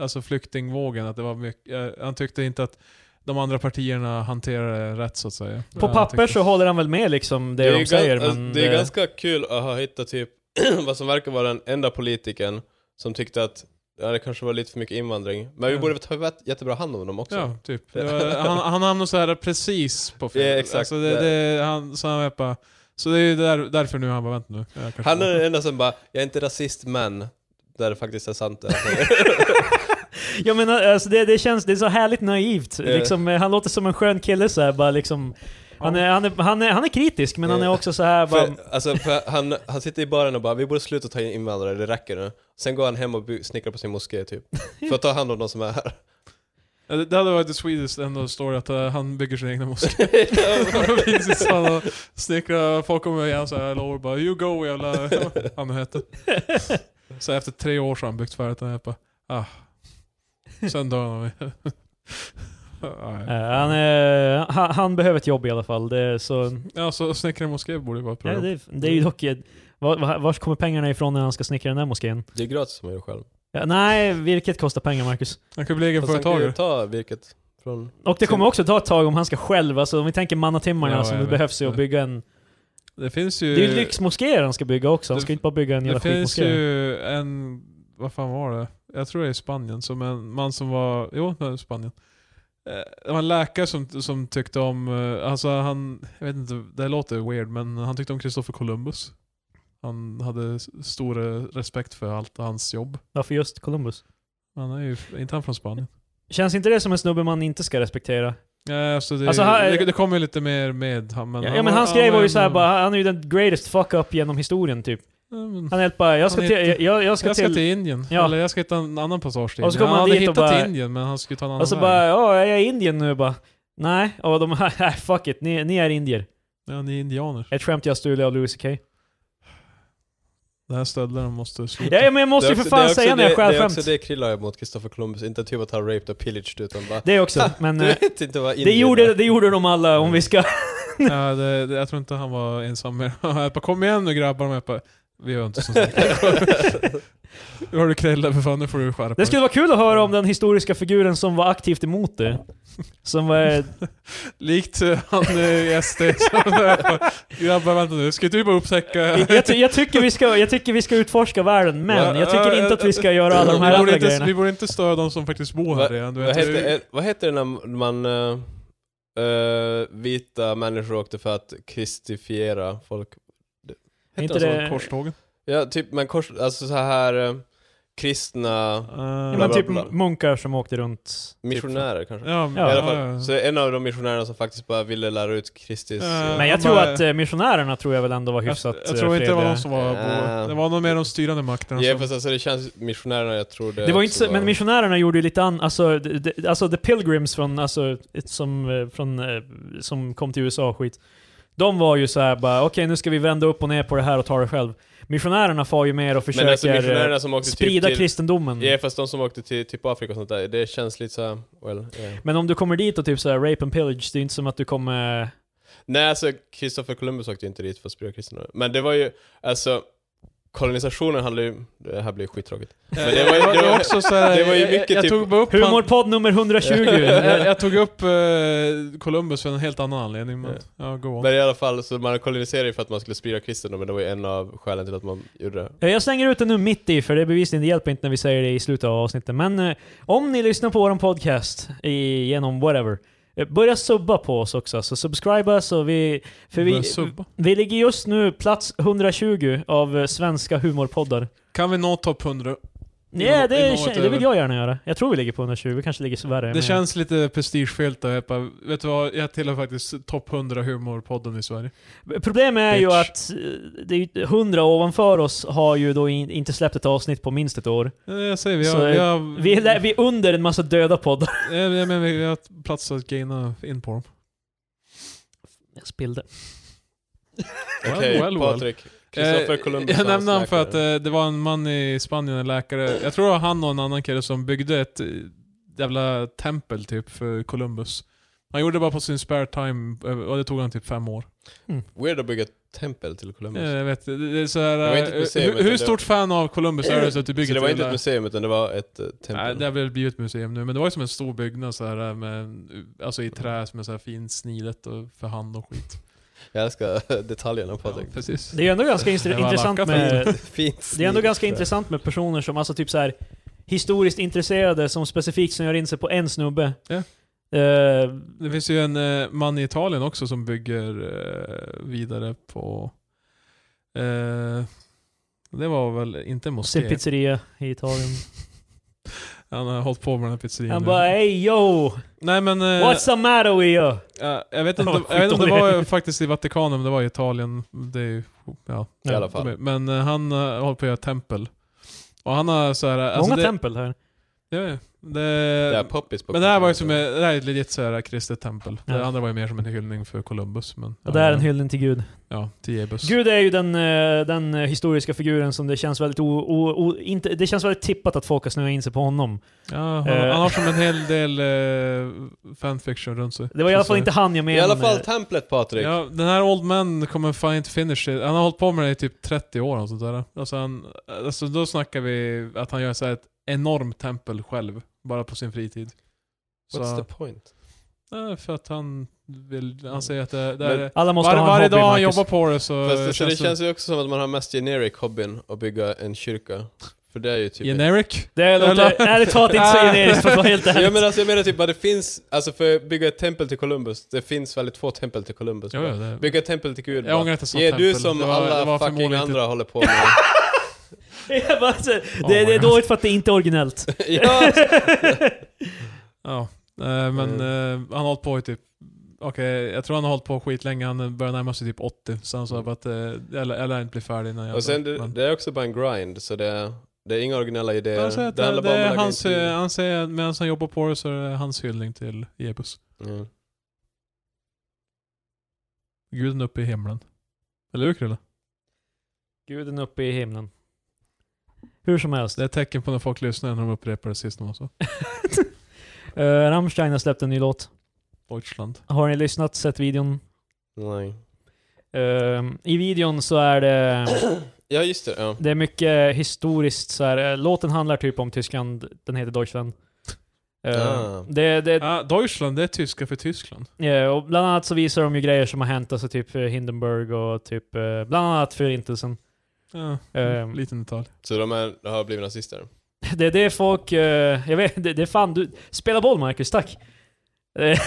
[SPEAKER 1] alltså flyktingvågen, att det var mycket, eh, han tyckte inte att de andra partierna hanterade det rätt så att säga.
[SPEAKER 2] På
[SPEAKER 1] Han
[SPEAKER 2] papper
[SPEAKER 1] tyckte-
[SPEAKER 2] så håller han väl med liksom det,
[SPEAKER 3] är
[SPEAKER 2] de
[SPEAKER 3] ju
[SPEAKER 2] säger
[SPEAKER 3] gan- alltså,
[SPEAKER 2] men...
[SPEAKER 3] det är
[SPEAKER 2] eh,
[SPEAKER 3] ganska kul att ha hittat typ vad som verkar vara den enda politikern som tyckte att ja, det kanske var lite för mycket invandring. Men vi
[SPEAKER 1] Ja.
[SPEAKER 3] borde ta vett- jättebra hand om dem också.
[SPEAKER 1] Ja, typ. Det var, han, han hamnade så här precis på fel.
[SPEAKER 3] Ja, exakt.
[SPEAKER 1] Alltså det, det, han, så han var bara, så det är ju där, därför nu han bara, vänta nu. jag kanske-
[SPEAKER 3] Han är den enda som bara, jag är inte rasist men, där det faktiskt är sant. det.
[SPEAKER 2] Jag menar, alltså det, det känns, det är så härligt naivt.
[SPEAKER 3] Eh.
[SPEAKER 2] Liksom, eh, han låter som en skön kille så här, bara liksom... Han är, han, är, han, är, han är kritisk men han är
[SPEAKER 3] Eh.
[SPEAKER 2] också så här bara...
[SPEAKER 3] för, alltså, för han, han sitter i baren och bara, vi borde sluta ta in invandrare, det räcker nu. Sen går han hem och by- snickrar på sin moské typ. För att ta hand om de som är här.
[SPEAKER 1] Ja, Det det hade varit the Swedish end of story att eh, han bygger sin egna moské. Precis, han snickrar, folk kommer igen så här lovar bara 'You go jävla... han nu hette. Så efter tre år så har han byggt färdigt den här bara, ah. Sen dör han av Ah, mig.
[SPEAKER 2] Eh,
[SPEAKER 1] Nej.
[SPEAKER 2] Han, eh, han, han behöver ett jobb i alla fall. Det, är så,
[SPEAKER 1] Ja, så snickra en moské borde ju vara ett
[SPEAKER 2] ja,
[SPEAKER 1] program.
[SPEAKER 2] det, det är ju dock... eh, Var, var vars kommer pengarna ifrån när han ska snickra den där moskén?
[SPEAKER 3] Det är gratis som man gör själv.
[SPEAKER 2] Ja, nej, virket kostar pengar Marcus.
[SPEAKER 1] Han kan bli
[SPEAKER 3] Fast han kan ju
[SPEAKER 1] egenföretagare.
[SPEAKER 3] ta virket från...
[SPEAKER 2] Och det kommer också ta ett tag om han ska själv, alltså om vi tänker mannatimmarna
[SPEAKER 1] Ja,
[SPEAKER 2] som
[SPEAKER 1] jag vet.
[SPEAKER 2] det behövs ju att
[SPEAKER 1] Ja.
[SPEAKER 2] bygga en...
[SPEAKER 1] Det finns
[SPEAKER 2] Det
[SPEAKER 1] ju...
[SPEAKER 2] är ju lyxmoskéer han ska bygga också, han
[SPEAKER 1] Det-
[SPEAKER 2] ska inte bara bygga en
[SPEAKER 1] Det
[SPEAKER 2] jävla
[SPEAKER 1] finns
[SPEAKER 2] skitmoské.
[SPEAKER 1] ju en, vad fan var det? Jag tror det är i Spanien, som en man som var, jo det är i Spanien. eh, det var en läkare som, som tyckte om, eh, alltså han, jag vet inte, det här låter weird, men han tyckte om Christopher Columbus. Han hade s- stor eh, respekt för allt hans jobb.
[SPEAKER 2] Varför just Columbus?
[SPEAKER 1] Han är ju, är inte han från Spanien?
[SPEAKER 2] Känns inte det som en snubbe man inte ska respektera?
[SPEAKER 1] Ja, alltså det,
[SPEAKER 2] Alltså, han-
[SPEAKER 1] det, det kommer ju lite mer med han, men
[SPEAKER 2] Ja,
[SPEAKER 1] han
[SPEAKER 2] ja men
[SPEAKER 1] var-
[SPEAKER 2] hans grej
[SPEAKER 1] han
[SPEAKER 2] var ju
[SPEAKER 1] en-
[SPEAKER 2] såhär bara, han är ju den greatest fuck-up genom historien typ.
[SPEAKER 1] Ja, men-
[SPEAKER 2] Han är helt bara, jag ska
[SPEAKER 1] Han
[SPEAKER 2] till,
[SPEAKER 1] heter-
[SPEAKER 2] jag, jag, jag ska
[SPEAKER 1] jag ska till,
[SPEAKER 2] till...
[SPEAKER 1] Indien.
[SPEAKER 2] Ja.
[SPEAKER 1] Eller jag ska hitta en annan passage till
[SPEAKER 2] Och så
[SPEAKER 1] Indien.
[SPEAKER 2] kommer
[SPEAKER 1] Han
[SPEAKER 2] han
[SPEAKER 1] hade
[SPEAKER 2] dit och
[SPEAKER 1] hittat
[SPEAKER 2] bara-
[SPEAKER 1] till Indien men han skulle ta en annan
[SPEAKER 2] Och så
[SPEAKER 1] väg.
[SPEAKER 2] bara, ja jag är i Indien nu bara. Nej, och de här, nej, fuck it, ni, ni är indier.
[SPEAKER 1] Ja, ni är indianer.
[SPEAKER 2] Ett skämt jag stulit av Louis CK.
[SPEAKER 1] Det här stöldlaren måste sluta.
[SPEAKER 2] Ja, ja, men jag måste ju för fan säga när jag
[SPEAKER 3] det,
[SPEAKER 2] stjäl
[SPEAKER 3] det är också
[SPEAKER 2] skämt.
[SPEAKER 3] det Krilla har mot Christopher Columbus, inte typ att han raped och pillaged utan bara...
[SPEAKER 2] Det också, men...
[SPEAKER 3] Du
[SPEAKER 2] eh,
[SPEAKER 3] vet inte vad
[SPEAKER 2] Det
[SPEAKER 3] Indien
[SPEAKER 2] gjorde,
[SPEAKER 3] är.
[SPEAKER 2] det gjorde de alla om vi ska...
[SPEAKER 1] Ja, det, det, jag tror inte han var ensam med det. Jag bara, kom igen nu grabbar. Men jag bara, vi gör inte sånt här. Nu har du krällat för fan, nu får du skärpa
[SPEAKER 2] Det
[SPEAKER 1] dig.
[SPEAKER 2] skulle vara kul att höra om den historiska figuren som var aktivt emot det. Som var...
[SPEAKER 1] Likt eh, han eh, i SD. som- grabbar vänta nu, ska inte vi bara upptäcka...
[SPEAKER 2] Jag, ty, jag, tycker vi ska, jag tycker vi ska utforska världen, men jag tycker inte att vi ska göra alla de här
[SPEAKER 1] vi, borde
[SPEAKER 2] andra
[SPEAKER 1] inte, vi
[SPEAKER 2] grejerna.
[SPEAKER 1] borde inte störa de som faktiskt bor här
[SPEAKER 3] Vad-
[SPEAKER 1] igen. Du
[SPEAKER 3] Vad
[SPEAKER 1] vet,
[SPEAKER 3] heter,
[SPEAKER 1] det-
[SPEAKER 3] eh, vad heter det när man... eh, eh, vita människor åkte för att kristifiera folk? Det- heter
[SPEAKER 2] Inte
[SPEAKER 3] något sånt?
[SPEAKER 2] det-
[SPEAKER 1] Korstågen.
[SPEAKER 3] Ja, typ, men kors... Alltså så här eh, kristna
[SPEAKER 2] Ja,
[SPEAKER 1] Eh,
[SPEAKER 2] men
[SPEAKER 3] bla,
[SPEAKER 2] typ
[SPEAKER 3] bla.
[SPEAKER 2] munkar som åkte runt. typ.
[SPEAKER 3] missionärer kanske?
[SPEAKER 1] ja,
[SPEAKER 2] Ja.
[SPEAKER 3] I alla
[SPEAKER 1] ja,
[SPEAKER 3] fall.
[SPEAKER 1] ja.
[SPEAKER 3] Så en av de missionärerna som faktiskt bara ville lära ut Kristus...
[SPEAKER 1] Eh,
[SPEAKER 2] Men jag
[SPEAKER 1] Han
[SPEAKER 2] tror
[SPEAKER 1] bara-
[SPEAKER 2] att eh, missionärerna tror jag väl ändå var
[SPEAKER 1] Jag,
[SPEAKER 2] hyfsat
[SPEAKER 1] jag tror inte det var de som var
[SPEAKER 3] Eh.
[SPEAKER 1] bo. Det var nog mer de styrande makterna.
[SPEAKER 3] Ja
[SPEAKER 1] som-
[SPEAKER 3] fast alltså det känns, missionärerna jag tror det
[SPEAKER 2] det var
[SPEAKER 3] också
[SPEAKER 2] inte så, men missionärerna gjorde ju lite an, alltså, de, de, alltså the pilgrims från, alltså, ett- som, eh, från, eh, som kom till USA och skit. De var ju så här bara, okej nu ska vi vända upp och ner på det här och ta det själv. Missionärerna far ju mer och
[SPEAKER 3] Men alltså
[SPEAKER 2] försöker eh,
[SPEAKER 3] missionärerna som åkte
[SPEAKER 2] sprida
[SPEAKER 3] typ till...
[SPEAKER 2] kristendomen.
[SPEAKER 3] Ja
[SPEAKER 1] Mm.
[SPEAKER 3] fast de som åkte till typ Afrika och sånt där, det känns lite såhär, well... yeah.
[SPEAKER 2] Men om du kommer dit och typ så här rape and pillage, det är inte som att du kommer...
[SPEAKER 3] Nej alltså Christopher Columbus åkte ju inte dit för att sprida kristna. Men det var ju, alltså kolonisationen handlade ju, det här blir skittråkigt. Men det var ju- det var-
[SPEAKER 1] också så här,
[SPEAKER 3] det var ju
[SPEAKER 1] jag-
[SPEAKER 3] mycket
[SPEAKER 1] jag,
[SPEAKER 3] typ-
[SPEAKER 1] jag tog bara upp han,
[SPEAKER 2] Humorpodd nummer 120!
[SPEAKER 1] jag,
[SPEAKER 2] Eh,
[SPEAKER 1] jag tog upp eh, Columbus för en helt annan anledning men,
[SPEAKER 3] Ja.
[SPEAKER 1] ja, go on.
[SPEAKER 3] Men i alla fall, så man koloniserade ju för att man skulle sprida kristendomen, det var ju en av skälen till att man gjorde det.
[SPEAKER 2] Jag slänger ut det nu mitt i, för det är bevisligen, det hjälper inte när vi säger det i slutet av avsnittet. Men eh, om ni lyssnar på vår podcast i, genom whatever, eh, börja subba på oss också. Så subscribe oss och vi... För vi,
[SPEAKER 1] Börja subba.
[SPEAKER 2] vi ligger just nu plats 120 av eh, svenska humorpoddar.
[SPEAKER 1] Kan vi nå topp 100?
[SPEAKER 2] Nej,
[SPEAKER 1] Inno-
[SPEAKER 2] det,
[SPEAKER 1] innovativa.
[SPEAKER 2] kän- det vill jag gärna göra. Jag tror vi ligger på 120, vi kanske ligger så värre.
[SPEAKER 1] Det
[SPEAKER 2] men-
[SPEAKER 1] känns lite prestigefyllt att bara, vet du vad, jag tillhör faktiskt topp 100 humorpodden i Sverige.
[SPEAKER 2] Problemet är ju
[SPEAKER 1] Bitch.
[SPEAKER 2] att eh, det är ju 100 ovanför oss har ju då in, inte släppt ett avsnitt på minst ett år.
[SPEAKER 1] Eh, Jag säger vi
[SPEAKER 2] Så,
[SPEAKER 1] har, vi har,
[SPEAKER 2] Vi är, lä- vi är under en massa döda poddar.
[SPEAKER 1] eh, jag menar, vi har plats att gaina in på dem.
[SPEAKER 2] Jag spillde.
[SPEAKER 1] Well,
[SPEAKER 3] Okej,
[SPEAKER 1] well, well.
[SPEAKER 3] Patrik. Christopher
[SPEAKER 1] Eh,
[SPEAKER 3] Columbus
[SPEAKER 1] Jag
[SPEAKER 3] och hans
[SPEAKER 1] nämnde han för att
[SPEAKER 3] läkare.
[SPEAKER 1] eh, det var en man i Spanien, en läkare. Jag tror det var han och en annan kille som byggde ett eh, jävla tempel typ för Columbus. Han gjorde det bara på sin spare time eh, och det tog han typ fem år.
[SPEAKER 3] Weird att bygga ett tempel till Columbus.
[SPEAKER 1] Eh, Jag vet, det det är så här,
[SPEAKER 3] Det var inte ett
[SPEAKER 1] eh,
[SPEAKER 3] museum,
[SPEAKER 1] hur,
[SPEAKER 3] utan
[SPEAKER 1] hur
[SPEAKER 3] det-
[SPEAKER 1] stort fan av Columbus är du så att du bygger
[SPEAKER 3] så det var
[SPEAKER 1] ett
[SPEAKER 3] inte ett
[SPEAKER 1] jävla-
[SPEAKER 3] museum utan det var ett eh,
[SPEAKER 1] Nej,
[SPEAKER 3] tempel.
[SPEAKER 1] det har väl blivit ett museum nu, men det var ju som en stor byggnad så här eh, med, alltså i trä som är så här fint snidet och för hand och skit.
[SPEAKER 3] Jag älskar detaljerna Patrik.
[SPEAKER 1] Ja, precis.
[SPEAKER 2] Det är ju ändå ganska
[SPEAKER 1] Det
[SPEAKER 2] instr-
[SPEAKER 1] var
[SPEAKER 2] intressant
[SPEAKER 1] lackat
[SPEAKER 2] med...
[SPEAKER 3] Fint
[SPEAKER 2] Det är ändå ganska intressant med personer som alltså typ så här historiskt intresserade som specifikt snöar in sig på en snubbe.
[SPEAKER 1] Ja.
[SPEAKER 2] Eh,
[SPEAKER 1] Det finns ju en eh, man i Italien också som bygger eh, vidare på... Eh, det var väl inte
[SPEAKER 2] sin
[SPEAKER 1] moské.
[SPEAKER 2] pizzeria i Italien.
[SPEAKER 1] Han har hållit på med den här pizzerian
[SPEAKER 2] Han
[SPEAKER 1] nu.
[SPEAKER 2] bara ey yo!
[SPEAKER 1] Nej men... eh,
[SPEAKER 2] What's the matter with you?
[SPEAKER 1] ja, jag vet inte,
[SPEAKER 2] Vad
[SPEAKER 1] jag vet inte om det
[SPEAKER 2] skitdålig.
[SPEAKER 1] var faktiskt i Vatikanen, men det var i Italien. Det är ju... Ja.
[SPEAKER 3] I alla fall.
[SPEAKER 1] Men eh, han eh, håller på att göra tempel. Och han har så här... alltså
[SPEAKER 2] Många
[SPEAKER 1] det-
[SPEAKER 2] tempel här.
[SPEAKER 1] Ja, ja. Det,
[SPEAKER 3] Det är poppis på
[SPEAKER 1] men det här var ju
[SPEAKER 3] kontinenten.
[SPEAKER 1] som eh, en- det här är ett legit så här kristet tempel.
[SPEAKER 2] Ja.
[SPEAKER 1] Det andra var ju mer som en hyllning för Columbus. Men,
[SPEAKER 2] Och det här är en hyllning till Gud.
[SPEAKER 1] Ja, till Jebus.
[SPEAKER 2] Gud är ju den, eh, den eh, historiska figuren som det känns väldigt o, o, o, inte, Det känns väldigt tippat att folk har snöat in sig på honom.
[SPEAKER 1] Ja, han,
[SPEAKER 2] Eh.
[SPEAKER 1] han har som en hel del eh, fanfiction runt sig.
[SPEAKER 2] Det var i alla
[SPEAKER 1] Så-
[SPEAKER 2] fall inte han jag
[SPEAKER 3] I
[SPEAKER 2] menade.
[SPEAKER 3] alla fall templet Patrik.
[SPEAKER 1] eh, Ja, den här Old Man kommer fan inte finish it. Han har hållit på med det i typ 30 år och sånt där. Alltså, han, alltså då snackar vi att han gör så här ett enormt tempel själv. Bara på sin fritid. Så,
[SPEAKER 3] What's the point?
[SPEAKER 1] eh, för att han vill, han säger att det, det är...
[SPEAKER 3] Men-
[SPEAKER 2] Alla måste
[SPEAKER 1] var,
[SPEAKER 2] ha en
[SPEAKER 1] varje
[SPEAKER 2] hobby,
[SPEAKER 1] dag han
[SPEAKER 2] Marcus.
[SPEAKER 1] jobbar på det så...
[SPEAKER 3] Fast det, så det
[SPEAKER 1] det-
[SPEAKER 3] känns ju också som att man har mest generic hobbyn att bygga en kyrka. För det är ju typ...
[SPEAKER 1] Generic?
[SPEAKER 2] Det låter
[SPEAKER 1] Eller-
[SPEAKER 2] ärligt talat inte så
[SPEAKER 1] Ah.
[SPEAKER 2] generiskt för att vara helt ärlig.
[SPEAKER 3] Ja men alltså jag menar typ att det finns, alltså för att bygga ett tempel till Columbus, det finns väldigt få tempel till Columbus.
[SPEAKER 1] Jo, ja, det...
[SPEAKER 3] Bygga ett tempel till Gud
[SPEAKER 1] Jag
[SPEAKER 3] bara.
[SPEAKER 1] ångrar att jag sa
[SPEAKER 3] Ge
[SPEAKER 1] tempel.
[SPEAKER 3] Alltså, du som
[SPEAKER 1] Det var- det var
[SPEAKER 3] alla fucking
[SPEAKER 1] förmodligen inte-
[SPEAKER 3] andra håller på med.
[SPEAKER 2] Jag bara säger,
[SPEAKER 1] Oh
[SPEAKER 2] det,
[SPEAKER 1] my
[SPEAKER 2] det är
[SPEAKER 1] God.
[SPEAKER 2] dåligt för att det inte är originellt.
[SPEAKER 3] ja,
[SPEAKER 1] Ja. Eh, men
[SPEAKER 3] Mm.
[SPEAKER 1] eh, han har hållit på i typ... Okej, jag tror han har hållit på skitlänge. Han börjar närma sig typ 80. Så han sa bara att eh, jag lär jag lär inte bli färdig innan jag...
[SPEAKER 3] Mm. och sen det,
[SPEAKER 1] men,
[SPEAKER 3] det är också bara en grind, så det, det är inga originella
[SPEAKER 1] Men
[SPEAKER 3] idéer.
[SPEAKER 1] han säger att
[SPEAKER 3] det
[SPEAKER 1] det,
[SPEAKER 3] handlar bara
[SPEAKER 1] det
[SPEAKER 3] om att
[SPEAKER 1] är
[SPEAKER 3] lägga
[SPEAKER 1] hans...
[SPEAKER 3] in tid.
[SPEAKER 1] eh, Han säger att medan han jobbar på det så är det hans hyllning till Jesus.
[SPEAKER 3] Mm.
[SPEAKER 1] Guden uppe i himlen. Eller hur Chrille?
[SPEAKER 2] Guden uppe i himlen. Hur som helst.
[SPEAKER 1] Det är ett tecken på när folk lyssnar när de upprepar det sist de sa.
[SPEAKER 2] Eh, Rammstein har släppt en ny låt.
[SPEAKER 1] Deutschland.
[SPEAKER 2] Har ni lyssnat, sett videon?
[SPEAKER 3] Nej.
[SPEAKER 2] Ehm, I videon så är det,
[SPEAKER 3] Ja just det, ja.
[SPEAKER 2] det är mycket historiskt så här. eh, Låten handlar typ om Tyskland, den heter Deutschland. Ehm,
[SPEAKER 3] Ah.
[SPEAKER 2] det, det,
[SPEAKER 1] Ja, Deutschland, det är tyska för Tyskland.
[SPEAKER 2] eh, och bland annat så visar de ju grejer som har hänt, alltså typ eh, Hindenburg och typ, eh, bland annat Förintelsen.
[SPEAKER 1] Ja,
[SPEAKER 2] Ehm,
[SPEAKER 1] liten detalj.
[SPEAKER 3] Så de är, har blivit nazister?
[SPEAKER 2] Det är det folk... eh, jag vet, det, det är fan du... Spela boll Marcus, tack! Eh,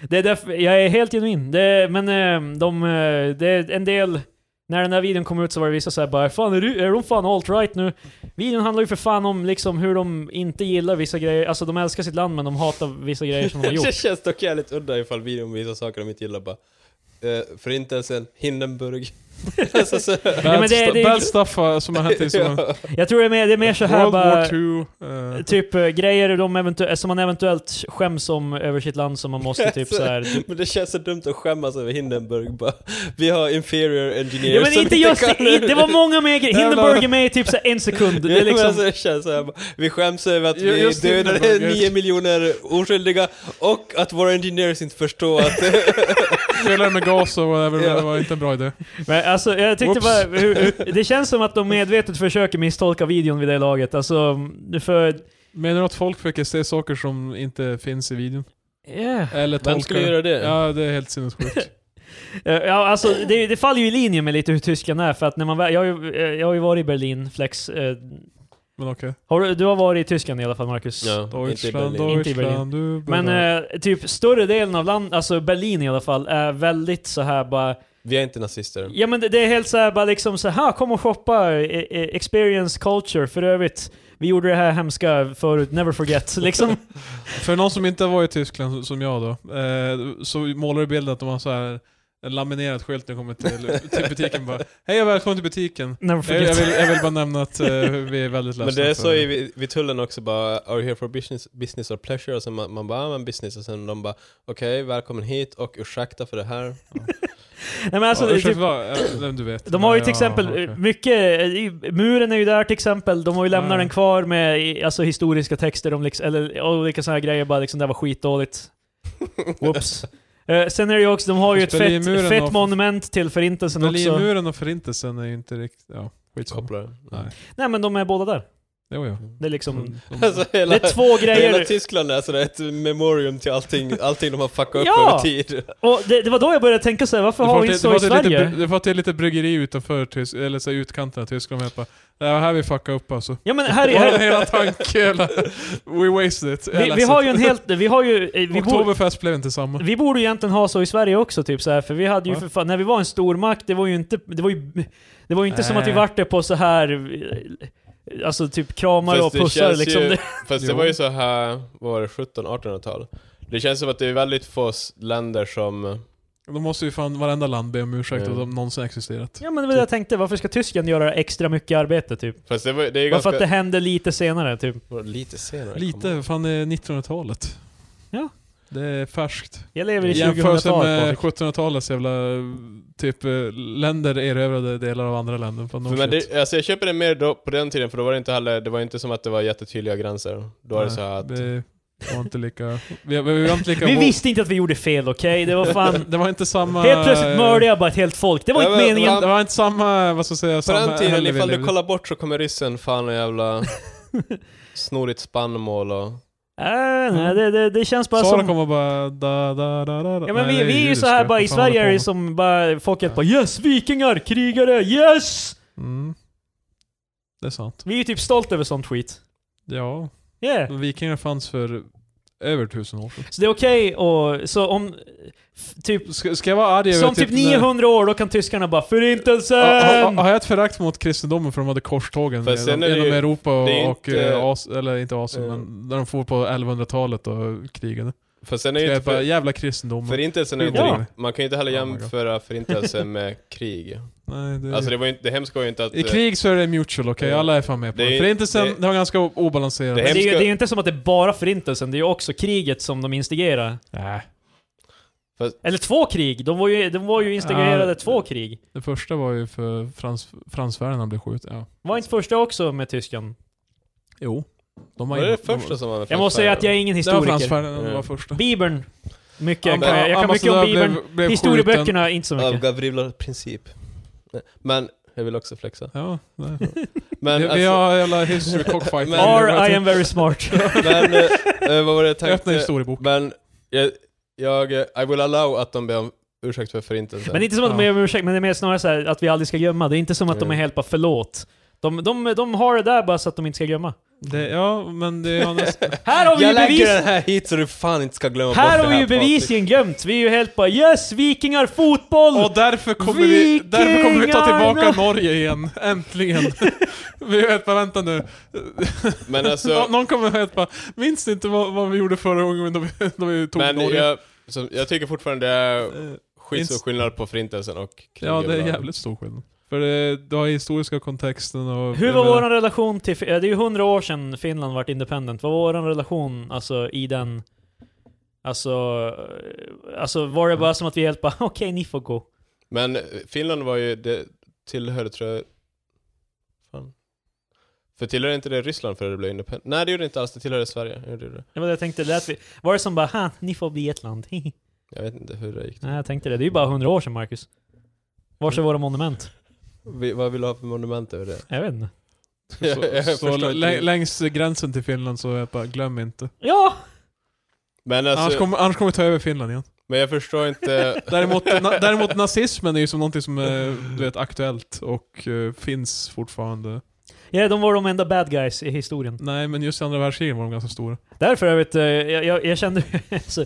[SPEAKER 2] det är därför, jag är helt genuin. Det, men eh, de... eh, det är en del... När den här videon kom ut så var det vissa såhär bara Fan är, du, är de fan alt-right nu? Videon handlar ju för fan om liksom hur de inte gillar vissa grejer, alltså de älskar sitt land men de hatar vissa grejer som de har gjort.
[SPEAKER 3] det känns dock jävligt udda ifall videon visar saker de inte gillar bara. Eh, förintelsen, Hindenburg. alltså, så,
[SPEAKER 1] Bad,
[SPEAKER 2] men det-
[SPEAKER 1] stu-
[SPEAKER 2] det-
[SPEAKER 1] bad stuff uh, som har hänt i som
[SPEAKER 3] ja.
[SPEAKER 2] Jag tror det är mer, det är mer så här
[SPEAKER 1] World
[SPEAKER 2] bara...
[SPEAKER 1] War 2.
[SPEAKER 2] Typ eh, grejer de eventu- som man eventuellt skäms om över sitt land som man måste typ
[SPEAKER 3] Alltså,
[SPEAKER 2] såhär...
[SPEAKER 3] Men det känns så dumt att skämmas över Hindenburg bara. Vi har inferior engineers
[SPEAKER 2] Ja men
[SPEAKER 3] som
[SPEAKER 2] inte just
[SPEAKER 3] kan- alltså-
[SPEAKER 2] det, det var många mer grejer. Hindenburg är med i typ så här en sekund.
[SPEAKER 3] Ja,
[SPEAKER 2] Det är
[SPEAKER 3] men alltså,
[SPEAKER 2] liksom,
[SPEAKER 3] det känns så här, bara, vi skäms över att
[SPEAKER 1] Ju-
[SPEAKER 3] vi
[SPEAKER 1] just
[SPEAKER 3] dödade
[SPEAKER 1] Hindenburg, just-
[SPEAKER 3] 9 miljoner oskyldiga och att våra engineers inte förstår att...
[SPEAKER 1] Fyller med gas och whatever, men det var inte en bra idé.
[SPEAKER 2] men alltså, jag tyckte
[SPEAKER 1] Whoops.
[SPEAKER 2] bara, hur, hur, det känns som att de medvetet försöker misstolka videon vid det laget. Alltså, för...
[SPEAKER 1] Menar du att folk försöker se saker som inte finns i videon?
[SPEAKER 2] Yeah.
[SPEAKER 1] Eller tolkar det?
[SPEAKER 3] det?
[SPEAKER 1] Ja, det är helt sinnessjukt.
[SPEAKER 2] Ja, alltså, det, det faller ju i linje med lite hur Tyskland är, för att när man väl- jag, har ju- eh, jag har ju varit i Berlin, Flex. eh,
[SPEAKER 1] Men okej.
[SPEAKER 2] Har, du- du har varit i Tyskland i alla fall, Marcus?
[SPEAKER 3] inte i
[SPEAKER 1] Deutschland,
[SPEAKER 3] Berlin.
[SPEAKER 2] Inte i Berlin.
[SPEAKER 1] Deutschland, du...
[SPEAKER 2] Men
[SPEAKER 1] bara-
[SPEAKER 3] Mm-hmm.
[SPEAKER 2] eh, typ större delen av landet, alltså Berlin i alla fall, är väldigt så här bara
[SPEAKER 3] Vi är inte nazister.
[SPEAKER 2] Ja men det, det är helt såhär bara liksom såhär, kom och shoppa, e- e- experience culture, för övrigt, vi gjorde det här hemska förut, never forget. Liksom.
[SPEAKER 1] För någon som inte var i Tyskland, som jag då, eh, så målar du bilden att de har så här en laminerad skylt när de kommer till, till butiken bara Hej och välkommen till butiken.
[SPEAKER 2] never
[SPEAKER 1] Jag, jag,
[SPEAKER 2] forget.
[SPEAKER 1] vill, jag vill bara nämna att eh, vi är väldigt ledsna
[SPEAKER 3] Men det är så
[SPEAKER 1] för-
[SPEAKER 3] i, vid- vid tullen också bara, are you here for business, business or pleasure? Och sen man, man bara, ah, men business. Och sen de bara, okej, välkommen hit och ursäkta för det här.
[SPEAKER 2] Nej, men alltså,
[SPEAKER 1] ja,
[SPEAKER 2] det, är
[SPEAKER 1] ursäkta,
[SPEAKER 2] typ,
[SPEAKER 1] vad- eh, nej, du vet.
[SPEAKER 2] de har ju till
[SPEAKER 1] Ja,
[SPEAKER 2] exempel
[SPEAKER 1] okej.
[SPEAKER 2] eh, mycket, eh, i- muren är ju där till exempel, de har ju lämnat
[SPEAKER 1] Ja.
[SPEAKER 2] den kvar med i- alltså, historiska texter om liksom, eller olika sådana grejer, bara liksom det här var skitdåligt. Whoops. Eh, sen är det ju också, de har ju ett fett,
[SPEAKER 1] Berlinmuren
[SPEAKER 2] fett
[SPEAKER 1] och-
[SPEAKER 2] monument till förintelsen också.
[SPEAKER 1] Berlinmuren och förintelsen är ju inte riktigt... Ja, skitsamma.
[SPEAKER 3] Kopplar. Mm.
[SPEAKER 1] Nej.
[SPEAKER 2] Nej men de är båda där.
[SPEAKER 1] Jo, jo.
[SPEAKER 2] Det är liksom...
[SPEAKER 1] De, de,
[SPEAKER 3] Alltså, hela,
[SPEAKER 2] Det är två
[SPEAKER 3] hela
[SPEAKER 2] grejer.
[SPEAKER 3] Tyskland är sådär ett memorium till allting, allting de har fuckat upp
[SPEAKER 2] Ja!
[SPEAKER 3] över tid.
[SPEAKER 2] Och det, det var då jag började tänka så här, varför
[SPEAKER 1] det
[SPEAKER 2] har
[SPEAKER 1] var
[SPEAKER 2] vi
[SPEAKER 1] till- det
[SPEAKER 2] inte så i
[SPEAKER 1] var till lite
[SPEAKER 2] Sverige?
[SPEAKER 1] bry- det var till lite bryggeri utanför Tys eller så här utkanten av Tyskland. och jag bara, Det var här vi fuckade upp alltså.
[SPEAKER 2] Ja men här, är-
[SPEAKER 1] Vår
[SPEAKER 2] här
[SPEAKER 1] hela tanke, hela, we wasted it.
[SPEAKER 2] vi, vi har ju en helt, vi har ju, eh, vi borde,
[SPEAKER 1] Oktoberfest blev inte samma.
[SPEAKER 2] vi borde ju egentligen ha så i Sverige också typ så här, för vi hade ju
[SPEAKER 1] Ja.
[SPEAKER 2] för fan, när vi var en stormakt, det var ju inte, det var ju, det var ju inte som att vi
[SPEAKER 1] Nej.
[SPEAKER 2] vart det på så här eh, alltså typ kramar
[SPEAKER 3] Fast
[SPEAKER 2] och
[SPEAKER 3] det
[SPEAKER 2] pussar
[SPEAKER 3] känns
[SPEAKER 2] liksom.
[SPEAKER 3] ju-
[SPEAKER 2] Det-
[SPEAKER 3] Fast det
[SPEAKER 1] Jo.
[SPEAKER 3] var ju så här, vad var det, 1700-1800-tal? Det känns som att det är väldigt få s- länder som...
[SPEAKER 1] Då måste ju fan varenda land be om ursäkt
[SPEAKER 3] Ja.
[SPEAKER 1] att de någonsin existerat.
[SPEAKER 2] Ja men det var det jag tänkte, varför ska Tyskland göra extra mycket arbete typ?
[SPEAKER 3] Fast det, var, det är ju
[SPEAKER 2] Bara för
[SPEAKER 3] ganska...
[SPEAKER 2] att det händer lite senare typ.
[SPEAKER 3] var det lite senare.
[SPEAKER 1] Lite, fan det är 1900-talet.
[SPEAKER 2] Ja.
[SPEAKER 1] Det är färskt.
[SPEAKER 2] Jag lever i
[SPEAKER 1] I
[SPEAKER 2] typ.
[SPEAKER 1] jämförelse
[SPEAKER 2] 2000-talet
[SPEAKER 1] med
[SPEAKER 2] Patrik.
[SPEAKER 1] 1700-talets jävla typ eh, länder erövrade delar av andra länder. Fan, no
[SPEAKER 3] För men
[SPEAKER 1] shit.
[SPEAKER 3] det, alltså jag köper det mer då, på den tiden, för då var det inte heller, det var inte som att det var jättetydliga gränser. Då är det
[SPEAKER 1] Nej,
[SPEAKER 3] så här att...
[SPEAKER 1] Vi var inte lika... Vi, vi var inte lika
[SPEAKER 2] Vi
[SPEAKER 1] woke.
[SPEAKER 2] visste inte att vi gjorde fel, okej? Det var fan...
[SPEAKER 1] Det var inte samma...
[SPEAKER 2] Helt plötsligt mördade jag bara ett helt folk. Det var
[SPEAKER 3] Ja,
[SPEAKER 2] inte
[SPEAKER 3] men-
[SPEAKER 2] meningen.
[SPEAKER 1] Det var inte samma, vad ska jag säga,
[SPEAKER 3] På
[SPEAKER 1] samma...
[SPEAKER 3] den tiden,
[SPEAKER 1] heller vi
[SPEAKER 3] ifall du
[SPEAKER 1] levde.
[SPEAKER 3] kollar bort så kommer ryssen fan och jävla snorigt spannmål och...
[SPEAKER 2] Äh, nej, det, det, det känns bara
[SPEAKER 1] Sara
[SPEAKER 2] som...
[SPEAKER 1] kommer bara da, da, da, da, da.
[SPEAKER 2] Ja, men
[SPEAKER 1] Nej,
[SPEAKER 2] vi,
[SPEAKER 1] det
[SPEAKER 2] vi är ju
[SPEAKER 1] judiska.
[SPEAKER 2] så här bara, i
[SPEAKER 1] Vad fan
[SPEAKER 2] Sverige är
[SPEAKER 1] håller
[SPEAKER 2] det
[SPEAKER 1] du
[SPEAKER 2] ju
[SPEAKER 1] på
[SPEAKER 2] som bara, folket bara 'Yes! Vikingar! Krigare! Yes!'
[SPEAKER 1] med? Mm. det är sant.
[SPEAKER 2] Vi är ju typ stolta över sånt skit.
[SPEAKER 1] Ja,
[SPEAKER 2] Yeah.
[SPEAKER 1] men vikingar fanns för över tusen år sedan.
[SPEAKER 2] Så det är okej och så om... f- Typ,
[SPEAKER 1] Ska, ska jag vara arg över
[SPEAKER 2] som typ 900 år, då kan tyskarna bara
[SPEAKER 1] Har, har,
[SPEAKER 2] Förintelsen!
[SPEAKER 1] har jag ett förakt mot kristendomen för de hade korstågen
[SPEAKER 3] Fast
[SPEAKER 1] genom,
[SPEAKER 3] sen är det ju-
[SPEAKER 1] genom Europa och,
[SPEAKER 3] det är
[SPEAKER 1] och
[SPEAKER 3] inte-
[SPEAKER 1] eh, As, eller inte Asien,
[SPEAKER 3] Eh.
[SPEAKER 1] men där de får på 1100-talet och krigade.
[SPEAKER 3] Fast sen är
[SPEAKER 1] Ska
[SPEAKER 3] ju
[SPEAKER 1] jag
[SPEAKER 3] inte
[SPEAKER 1] bara,
[SPEAKER 3] för,
[SPEAKER 1] jävla kristendomen.
[SPEAKER 3] förintelsen är ju inte,
[SPEAKER 2] Ja.
[SPEAKER 3] riktigt- man kan ju inte heller
[SPEAKER 1] Oh my God.
[SPEAKER 3] jämföra förintelsen med krig.
[SPEAKER 1] Nej, det är...
[SPEAKER 3] Alltså det, var ju, inte- det hemska var ju inte att...
[SPEAKER 1] I
[SPEAKER 3] eh,
[SPEAKER 1] krig så är det mutual, okej?
[SPEAKER 3] Eh,
[SPEAKER 1] Alla är fan med på
[SPEAKER 3] det
[SPEAKER 1] det.
[SPEAKER 3] är-
[SPEAKER 1] Förintelsen,
[SPEAKER 3] det-
[SPEAKER 1] det, var ganska o- obalanserat.
[SPEAKER 3] Det
[SPEAKER 2] Men det, är ju,
[SPEAKER 3] hemska-
[SPEAKER 2] det är ju inte som att det är bara förintelsen, det är ju också kriget som de instigerar.
[SPEAKER 1] Nej.
[SPEAKER 2] Eller två krig, de var ju, de var ju instigerade
[SPEAKER 1] Ja.
[SPEAKER 2] två krig.
[SPEAKER 1] Det första var ju för Frans, Frans Ferdinand blev skjuten, ja.
[SPEAKER 2] Var inte första också med tyskan?
[SPEAKER 1] Jo. De
[SPEAKER 3] var
[SPEAKER 1] in-
[SPEAKER 3] det det första som var med
[SPEAKER 2] Jag måste säga att jag är ingen
[SPEAKER 1] Det var Frans
[SPEAKER 2] historiker.
[SPEAKER 1] Ferdinand, det var första.
[SPEAKER 2] Bibeln. Mycket.
[SPEAKER 1] Am-
[SPEAKER 2] kan jag, jag kan mycket om
[SPEAKER 1] ambassadör
[SPEAKER 2] Bibeln.
[SPEAKER 1] blev- blev skjuten.
[SPEAKER 2] Historieböckerna, inte så
[SPEAKER 3] Av
[SPEAKER 2] mycket.
[SPEAKER 3] Gavrila princip. Men, jag vill också flexa.
[SPEAKER 1] Ja, nej.
[SPEAKER 3] Men, alltså-
[SPEAKER 1] vi, vi har jävla history cockfight.
[SPEAKER 3] Men-
[SPEAKER 2] Or I am very smart.
[SPEAKER 3] men eh, vad var det jag
[SPEAKER 1] Öppna
[SPEAKER 3] tänkte?
[SPEAKER 1] historiebok.
[SPEAKER 3] Men, jag, jag, eh, I will allow att de ber om ursäkt för förintelsen.
[SPEAKER 2] Men det är inte som att de
[SPEAKER 1] Ja.
[SPEAKER 2] är om ursäkt, men det är mer snarare så här att vi aldrig ska glömma. Det är inte som att de är
[SPEAKER 3] Mm.
[SPEAKER 2] helt bara förlåt. De, de, de har det där bara så att de inte ska glömma.
[SPEAKER 1] Det, ja, men det är annars...
[SPEAKER 2] Här har vi ju
[SPEAKER 3] jag lägger
[SPEAKER 2] bevis!
[SPEAKER 3] den här hit så du fan inte ska glömma bort
[SPEAKER 2] Här har
[SPEAKER 3] det
[SPEAKER 2] vi ju
[SPEAKER 3] Patrik.
[SPEAKER 2] bevisligen glömt. Vi är ju helt bara yes, vikingar, fotboll!
[SPEAKER 1] Och därför kommer, vi, därför kommer vi ta
[SPEAKER 2] Vikingarna!
[SPEAKER 1] tillbaka Norge igen. Äntligen. vi vet bara, vänta nu.
[SPEAKER 3] Men
[SPEAKER 1] Nå-
[SPEAKER 3] alltså,
[SPEAKER 1] Någon kommer och bara, minns ni inte vad, vad vi gjorde förra gången då vi, då vi tog
[SPEAKER 3] men
[SPEAKER 1] Norge?
[SPEAKER 3] jag, som, jag tycker fortfarande det är
[SPEAKER 1] Eh,
[SPEAKER 3] skitstor skillnad på förintelsen och kriget.
[SPEAKER 1] Ja, det är jävligt stor skillnad. För det, du har historiska kontexten och...
[SPEAKER 2] Hur
[SPEAKER 1] jag
[SPEAKER 2] var
[SPEAKER 1] menar-
[SPEAKER 2] vår relation till... Fin- ja, Det är ju hundra år sedan Finland vart independent. Vad var vår relation alltså, i den... Alltså, eh, alltså var det bara som att vi helt bara okej, ni får gå.
[SPEAKER 3] Men eh, Finland var ju, det tillhörde tror jag... Fan. För tillhörde inte det Ryssland före det blev independent? Nej det gjorde det inte alls, det tillhörde Sverige. Ja, det gjorde det.
[SPEAKER 2] Det var det jag tänkte. Lät vi, var det som bara ha, ni får bli ett land. Hihi.
[SPEAKER 3] Jag vet inte hur det gick.
[SPEAKER 2] Nej, jag tänkte det. Det är ju bara hundra år sedan, Marcus. Vars är våra monument?
[SPEAKER 3] Vi, vad vill du ha för monument över det?
[SPEAKER 2] Jag vet inte.
[SPEAKER 3] Jag- jag
[SPEAKER 1] Så, så
[SPEAKER 3] förstår
[SPEAKER 1] lä-
[SPEAKER 3] inte. Alltså-
[SPEAKER 1] längs gränsen till Finland så är jag bara, glöm inte.
[SPEAKER 2] Ja!
[SPEAKER 3] Men
[SPEAKER 1] annars,
[SPEAKER 3] alltså,
[SPEAKER 1] kommer, annars kommer vi ta över Finland igen.
[SPEAKER 3] men jag förstår inte...
[SPEAKER 1] Däremot, na, däremot nazismen är ju som någonting som är du vet, aktuellt och eh, finns fortfarande.
[SPEAKER 2] Ja, de var de enda bad guys i historien.
[SPEAKER 1] Nej, men just i andra världskriget var de ganska stora.
[SPEAKER 2] Därför, jag vet, eh, jag, jag, jag kände... alltså,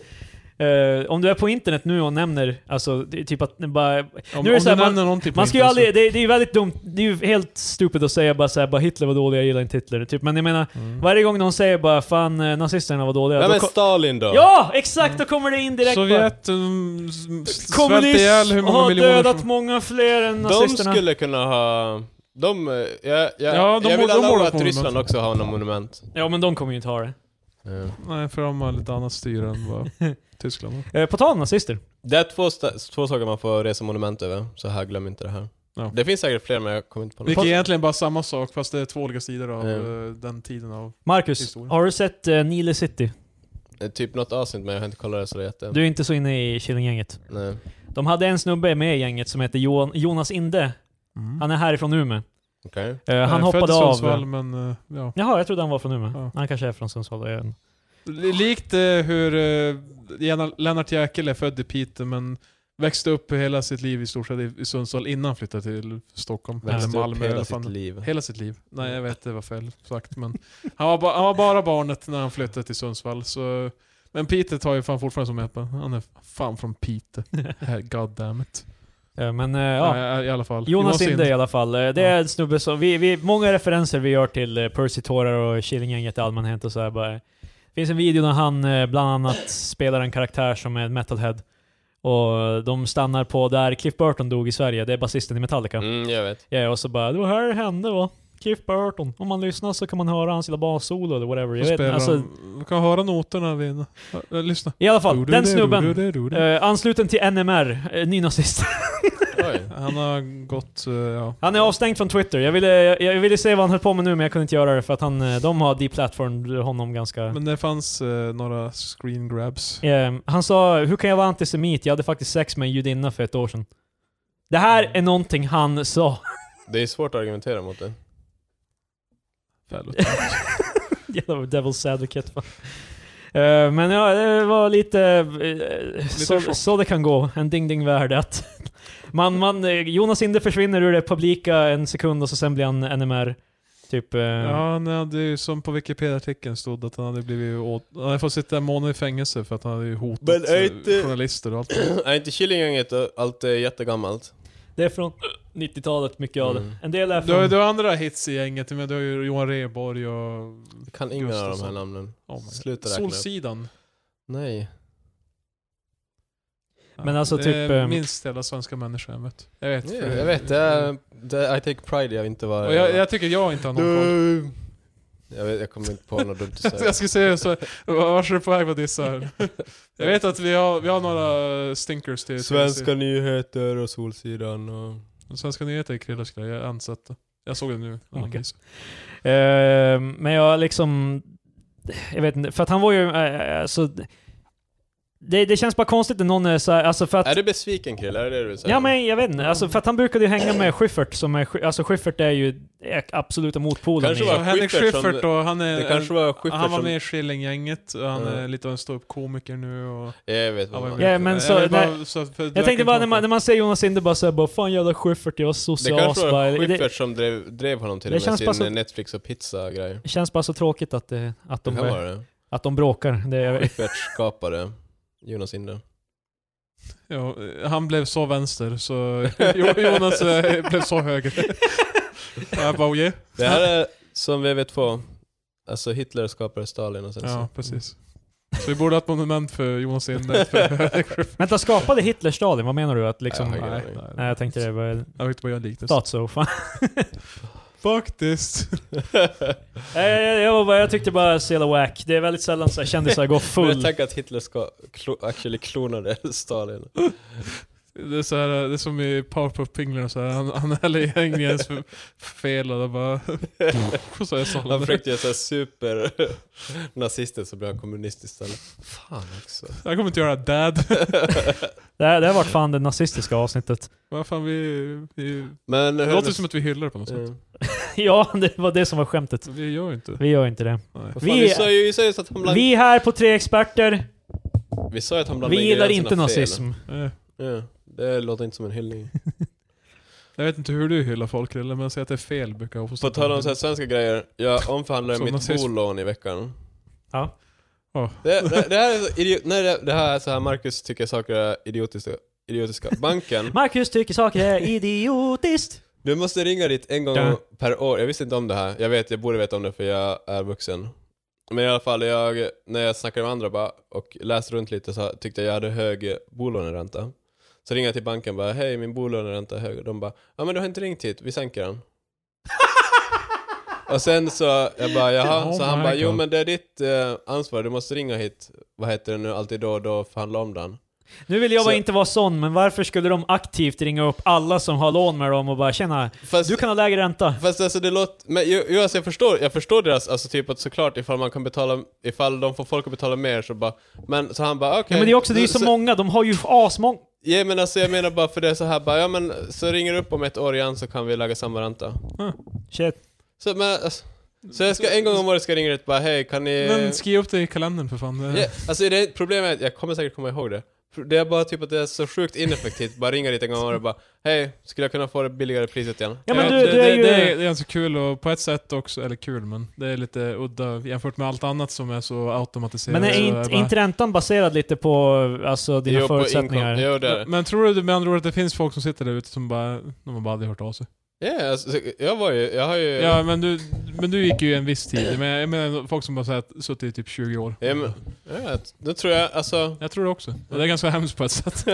[SPEAKER 2] eh, om du är på internet nu och nämner, alltså, det är typ att bara...
[SPEAKER 1] Om,
[SPEAKER 2] Nu är det
[SPEAKER 1] om
[SPEAKER 2] så
[SPEAKER 1] du
[SPEAKER 2] här, man-
[SPEAKER 1] nämner någonting på
[SPEAKER 2] Man ska ju
[SPEAKER 1] internet
[SPEAKER 2] aldrig, det, det är ju väldigt dumt, det är ju helt stupid att säga bara såhär, bara Hitler var dålig, jag gillar inte Hitler. Typ. Men jag menar,
[SPEAKER 1] så- Mm.
[SPEAKER 2] varje gång någon säger bara fan eh, nazisterna var dåliga.
[SPEAKER 3] Nej
[SPEAKER 2] då
[SPEAKER 3] men
[SPEAKER 2] ko-
[SPEAKER 3] Stalin då?
[SPEAKER 2] ja, exakt! Då kommer det in direkt bara.
[SPEAKER 1] Sovjet um, s- svält
[SPEAKER 2] Kommunism
[SPEAKER 1] ihjäl hur många
[SPEAKER 2] har
[SPEAKER 1] miljoner
[SPEAKER 2] dödat
[SPEAKER 1] som...
[SPEAKER 2] många fler än
[SPEAKER 3] De
[SPEAKER 2] nazisterna.
[SPEAKER 3] skulle kunna ha... De... eh, Jag, jag,
[SPEAKER 1] Ja, de
[SPEAKER 3] jag
[SPEAKER 1] borde-
[SPEAKER 3] vill
[SPEAKER 1] de borde
[SPEAKER 3] alla
[SPEAKER 1] ha
[SPEAKER 3] att
[SPEAKER 1] ett
[SPEAKER 3] Ryssland
[SPEAKER 1] monument.
[SPEAKER 3] också har något monument. Eh,
[SPEAKER 2] Ja men de kommer ju inte ha det.
[SPEAKER 1] Nej, för de har lite annat styre än vad Tyskland har.
[SPEAKER 2] Eh, på tal om nazister.
[SPEAKER 3] Det är två, sta- två saker man får resa monument över, så här glöm inte det här.
[SPEAKER 1] Ja.
[SPEAKER 3] Det finns säkert fler men jag kommer inte på något.
[SPEAKER 1] Vilket är egentligen bara samma sak fast det är två olika sidor av
[SPEAKER 3] Mm.
[SPEAKER 1] eh, den tiden av...
[SPEAKER 2] Marcus,
[SPEAKER 1] Historia.
[SPEAKER 2] har du sett eh, Nile City?
[SPEAKER 3] Eh, Typ något avsnitt men jag har inte kollat det så jätte...
[SPEAKER 2] Du är inte så inne i Killinggänget.
[SPEAKER 3] Nej.
[SPEAKER 2] De hade en snubbe med i gänget som hette Johan, Jonas Inde.
[SPEAKER 3] Mm.
[SPEAKER 2] Han är härifrån Umeå.
[SPEAKER 3] Okej.
[SPEAKER 2] Eh, han
[SPEAKER 1] Eh,
[SPEAKER 2] hoppade
[SPEAKER 1] född i
[SPEAKER 2] av.
[SPEAKER 1] Sundsvall, men eh, ja.
[SPEAKER 2] Jaha, jag trodde han var från Umeå.
[SPEAKER 1] Ja.
[SPEAKER 2] Han kanske är från Sundsvall. jag vet inte.
[SPEAKER 1] L- Likt eh, hur eh, Lena- Lennart Jäkel är född i Piteå men växte upp hela sitt liv i stort sett i i Sundsvall innan han flyttade till Stockholm.
[SPEAKER 3] Växte
[SPEAKER 1] eller
[SPEAKER 3] upp
[SPEAKER 1] Malmö.
[SPEAKER 3] hela
[SPEAKER 1] Hela,
[SPEAKER 3] sitt
[SPEAKER 1] fan.
[SPEAKER 3] liv.
[SPEAKER 2] Typ.
[SPEAKER 1] hela sitt liv. Nej, jag vet det var fel sagt. Men han, var ba- han var bara barnet när han flyttade till Sundsvall. Så, men Piteå tar ju fan fortfarande som Ebba. Han är fan från Piteå. God damn it.
[SPEAKER 2] Eh, Men eh, ja.
[SPEAKER 1] Ja. I alla fall.
[SPEAKER 2] Jonas Inde i
[SPEAKER 1] Ind.
[SPEAKER 2] alla fall. Eh, Det är en snubbe som... Vi, vi, många referenser vi gör till eh, Percy Tårar och Killinggänget i allmänhet och så här bara. Det finns en video där han eh, bland annat spelar en karaktär som är en metalhead. Och de stannar på där Cliff Burton dog i Sverige. Det är basisten i Metallica.
[SPEAKER 3] Mm, jag vet.
[SPEAKER 2] Ja, och så bara det var här det hände va. Cliff Burton. Om man lyssnar så kan man höra hans lilla bassolo eller whatever. Jag
[SPEAKER 1] Jag
[SPEAKER 2] vet, inte, alltså,
[SPEAKER 1] kan höra noterna vid... eh, Lyssna.
[SPEAKER 2] I alla fall, den
[SPEAKER 1] Du,
[SPEAKER 2] snubben.
[SPEAKER 1] du, du, du.
[SPEAKER 2] Eh, ansluten till NMR, eh, nynazist.
[SPEAKER 3] Oj.
[SPEAKER 1] Han har gått... eh, Ja.
[SPEAKER 2] Han är avstängd från Twitter. Jag ville, jag, jag ville se vad han höll på med nu men jag kunde inte göra det för att han, eh, de har deplatformat honom ganska...
[SPEAKER 1] Men det fanns eh, några screen grabs.
[SPEAKER 2] Ehm, han sa “Hur kan jag vara antisemit? Jag hade faktiskt sex med en judinna för ett år sedan”. Det här är någonting han sa.
[SPEAKER 3] Det är svårt att argumentera mot det.
[SPEAKER 1] Förlåt.
[SPEAKER 2] Jävla devil's advocate. va. Ehm, men ja, det var lite... eh, så,
[SPEAKER 1] chock.
[SPEAKER 2] så det kan gå. En ding ding värld att man, man, eh, Jonas Inde försvinner ur det publika en sekund och så sen blir han NMR. Typ, eh,
[SPEAKER 1] Ja, nej, det är ju som på Wikipedia-artikeln stod att han hade blivit åt... Han hade fått sitta en månad i fängelse för att han hade ju hotat
[SPEAKER 3] Men är
[SPEAKER 1] eh,
[SPEAKER 3] inte-
[SPEAKER 1] journalister och allt.
[SPEAKER 3] är inte Killinggänget och allt är jättegammalt?
[SPEAKER 2] det är från 90-talet, mycket av
[SPEAKER 3] Mm.
[SPEAKER 2] det. En del är
[SPEAKER 1] Du har ju
[SPEAKER 2] från...
[SPEAKER 1] du har andra hits i gänget, men du har ju Johan Rheborg och...
[SPEAKER 3] Jag kan inga av de här
[SPEAKER 1] Gustafsson.
[SPEAKER 3] namnen.
[SPEAKER 1] Oh my God.
[SPEAKER 3] Sluta räkna upp.
[SPEAKER 1] Solsidan.
[SPEAKER 3] Nej.
[SPEAKER 2] Men alltså
[SPEAKER 1] det
[SPEAKER 2] typ,
[SPEAKER 1] är
[SPEAKER 2] ehm,
[SPEAKER 1] minst jävla svenska människor jag mött. Jag vet.
[SPEAKER 3] Yeah,
[SPEAKER 1] för-
[SPEAKER 3] jag vet, det är, det är, I take pride jag inte var...
[SPEAKER 1] Och jag, jag tycker jag inte har någon koll.
[SPEAKER 3] Du- jag, vet, jag kommer inte på något dumt
[SPEAKER 2] Alltså,
[SPEAKER 3] att säga.
[SPEAKER 1] Jag skulle säga så, vars är du på väg med dissa här? Jag vet att vi har, vi har några stinkers till
[SPEAKER 3] Svenska nyheter och Solsidan och...
[SPEAKER 1] till- svenska nyheter i Krillas grej, jag har ansett det. Jag såg det nu. när han
[SPEAKER 2] Okej.
[SPEAKER 1] visade.
[SPEAKER 2] Eh, men jag liksom... Jag vet inte, för att han var ju... Eh, alltså, det, det känns bara konstigt när någon är så här, alltså för att...
[SPEAKER 3] Är du besviken Krille? Är det det du vill säga?
[SPEAKER 2] Ja men jag vet inte, alltså för att han brukade ju hänga med Schyffert som är, Schy- alltså Schyffert är ju absoluta motpolen
[SPEAKER 3] Kanske
[SPEAKER 2] i-
[SPEAKER 3] var-
[SPEAKER 1] Och Henrik
[SPEAKER 3] Schyffert som-
[SPEAKER 1] Schyffert då, han är...
[SPEAKER 3] Det kanske
[SPEAKER 2] eh,
[SPEAKER 3] var
[SPEAKER 1] han
[SPEAKER 3] Schyffert
[SPEAKER 1] var
[SPEAKER 3] som...
[SPEAKER 1] med i Skillinggänget och han
[SPEAKER 3] Ja.
[SPEAKER 1] är lite av en ståuppkomiker nu och...
[SPEAKER 3] Jag vet vad
[SPEAKER 1] Han var
[SPEAKER 3] man
[SPEAKER 1] med-
[SPEAKER 2] Ja, men så-
[SPEAKER 1] Eller bara
[SPEAKER 2] nej.
[SPEAKER 1] så att- för-
[SPEAKER 2] Jag tänkte bara när man, när man ser Jonas Inde bara såhär bara Fan jävla Schyffert, jag var
[SPEAKER 3] Det
[SPEAKER 2] social
[SPEAKER 3] kanske
[SPEAKER 2] asball."
[SPEAKER 3] var
[SPEAKER 2] Det-
[SPEAKER 3] Schyffert som drev, drev honom till
[SPEAKER 2] Det
[SPEAKER 3] det med
[SPEAKER 2] känns
[SPEAKER 3] sin
[SPEAKER 2] bara så-
[SPEAKER 3] Netflix och pizza-grej.
[SPEAKER 2] Det känns bara så tråkigt att, det, att,
[SPEAKER 3] Det
[SPEAKER 2] de,
[SPEAKER 3] kan
[SPEAKER 2] eh,
[SPEAKER 3] vara det.
[SPEAKER 2] att de bråkar. Det, jag, vet-
[SPEAKER 3] Schyffert skapade Jonas Inde.
[SPEAKER 1] Ja, han blev så vänster så Jo- Jonas eh, blev så höger. Och jag bara oh yeah.
[SPEAKER 3] Det här är som VV2. Alltså Hitler skapade Stalin och sen så...
[SPEAKER 1] Ja, precis. Så vi borde ha ett monument för Jonas Inde. För Henrik Schyffert.
[SPEAKER 2] vänta, skapade Hitler Stalin? Vad menar du? Att liksom...
[SPEAKER 3] Ja, jag har ingen
[SPEAKER 1] nej,
[SPEAKER 3] aning.
[SPEAKER 1] nej.
[SPEAKER 2] nej, jag tänkte det var...
[SPEAKER 1] Jag tyckte bara jag liknelse.
[SPEAKER 2] Thought so. Fan.
[SPEAKER 1] Faktiskt.
[SPEAKER 2] Eh, jag, jag, var bara, jag tyckte bara så jävla wack. Det är väldigt sällan så här kändisar går
[SPEAKER 3] Men jag
[SPEAKER 2] full.
[SPEAKER 3] tänker att Hitler ska klo, actually klonade Stalin.
[SPEAKER 1] Det är, så här, det är som i Powerpuff Pingler, så här. han, han häller i hängningens för- fel och det bara... Och så är
[SPEAKER 3] Han
[SPEAKER 1] sållade.
[SPEAKER 3] försökter göra såhär super nazister så blev han kommunist istället. Fan också.
[SPEAKER 1] Jag kommer inte göra det här, dad.
[SPEAKER 2] Det, här- det här vart fan det nazistiska avsnittet.
[SPEAKER 1] Vad fan vi... vi
[SPEAKER 3] Men eh,
[SPEAKER 1] det låter som att vi hyllar på något sätt.
[SPEAKER 3] Mm.
[SPEAKER 2] ja, det var det som var skämtet.
[SPEAKER 1] Vi gör ju inte det.
[SPEAKER 2] Vi gör inte det.
[SPEAKER 1] Nej.
[SPEAKER 3] Vad
[SPEAKER 2] Vi-
[SPEAKER 3] fan, vi, sa ju, vi sa ju att han blandade,
[SPEAKER 2] Vi här på Tre Experter,
[SPEAKER 3] vi sa ju att han blandade
[SPEAKER 2] vi gillar
[SPEAKER 3] ingredienserna
[SPEAKER 2] inte
[SPEAKER 3] fel.
[SPEAKER 2] nazism.
[SPEAKER 1] Eh,
[SPEAKER 3] Ja, det låter inte som en hyllning.
[SPEAKER 1] Jag vet inte hur du hyllar folk eller men jag säger att det är fel brukar jag
[SPEAKER 3] På tal om så här svenska grejer, jag omförhandlade
[SPEAKER 1] Som
[SPEAKER 3] mitt
[SPEAKER 1] nazism.
[SPEAKER 3] bolån i veckan.
[SPEAKER 2] Ja.
[SPEAKER 1] Ja.
[SPEAKER 3] Det, det, det här är så idiot, nej, det, det här är så här Marcus tycker saker är idiotiska. idiotiska. Banken,
[SPEAKER 2] Marcus tycker saker är idiotiskt.
[SPEAKER 3] du måste ringa dit en gång
[SPEAKER 1] Ja.
[SPEAKER 3] per år. Jag visste inte om det här. Jag vet, jag borde veta om det för jag är vuxen. Men i alla fall, jag, när jag snackade med andra bara, och läste runt lite så tyckte jag jag hade hög bolåneränta. Så ringer jag till banken bara, hej min bolåneränta är hög. De bara, ja men du har inte ringt hit, vi sänker den. Och sen så, jag bara jaha,
[SPEAKER 1] Oh
[SPEAKER 3] så han
[SPEAKER 1] my
[SPEAKER 3] bara jo
[SPEAKER 1] God.
[SPEAKER 3] men det är ditt eh, ansvar, du måste ringa hit, vad heter det nu, alltid då och då och förhandla om den.
[SPEAKER 2] Nu vill jag bara
[SPEAKER 3] Så-
[SPEAKER 2] inte vara sån, men varför skulle de aktivt ringa upp alla som har lån med dem och bara känna
[SPEAKER 3] Fast,
[SPEAKER 2] du kan ha lägre ränta?
[SPEAKER 3] fast alltså det låter, men ju, ju, alltså, jag, förstår, jag förstår deras, alltså typ att såklart ifall man kan betala, ifall de får folk att betala mer så bara, men så han bara okej.
[SPEAKER 2] Ja, men det är också, det är ju
[SPEAKER 3] Så-
[SPEAKER 2] så många, de har ju asmånga.
[SPEAKER 3] Ja men alltså jag menar bara för det är så här bara, ja men så ringer du upp om ett år igen så kan vi lägga samma ränta.
[SPEAKER 2] Shit.
[SPEAKER 3] Så, men, alltså, så jag ska en gång om året ska jag ringa dit bara hej kan ni...
[SPEAKER 1] Men skriv upp det i kalendern för fan. Det-
[SPEAKER 3] Ja, alltså det problemet är att jag kommer säkert komma ihåg det. Det är bara typ att det är så sjukt ineffektivt. Bara ringa dit en gång och bara Hej, skulle jag kunna få det billigare priset igen?
[SPEAKER 2] Ja, men
[SPEAKER 1] Ja,
[SPEAKER 2] du-
[SPEAKER 1] det,
[SPEAKER 2] du är
[SPEAKER 1] det,
[SPEAKER 2] ju-
[SPEAKER 1] det, är, det är ganska kul och på ett sätt också, eller kul men det är lite udda jämfört med allt annat som är så automatiserat.
[SPEAKER 2] Men är
[SPEAKER 1] så
[SPEAKER 2] inte,
[SPEAKER 1] bara-
[SPEAKER 2] inte räntan baserad lite på alltså, dina
[SPEAKER 3] Jo, på
[SPEAKER 2] förutsättningar?
[SPEAKER 3] inkom- Jo, det är det.
[SPEAKER 1] Men tror du med andra ord att det finns folk som sitter där ute som bara, de har bara aldrig hört av sig?
[SPEAKER 3] Ja, alltså, jag var ju, jag har ju...
[SPEAKER 1] Ja men du, men du gick ju en viss tid, men jag menar folk som bara så här, suttit i typ 20 år.
[SPEAKER 3] Ja, men, ja, då tror jag, alltså...
[SPEAKER 1] Jag tror det också. Det är ganska hemskt på ett sätt.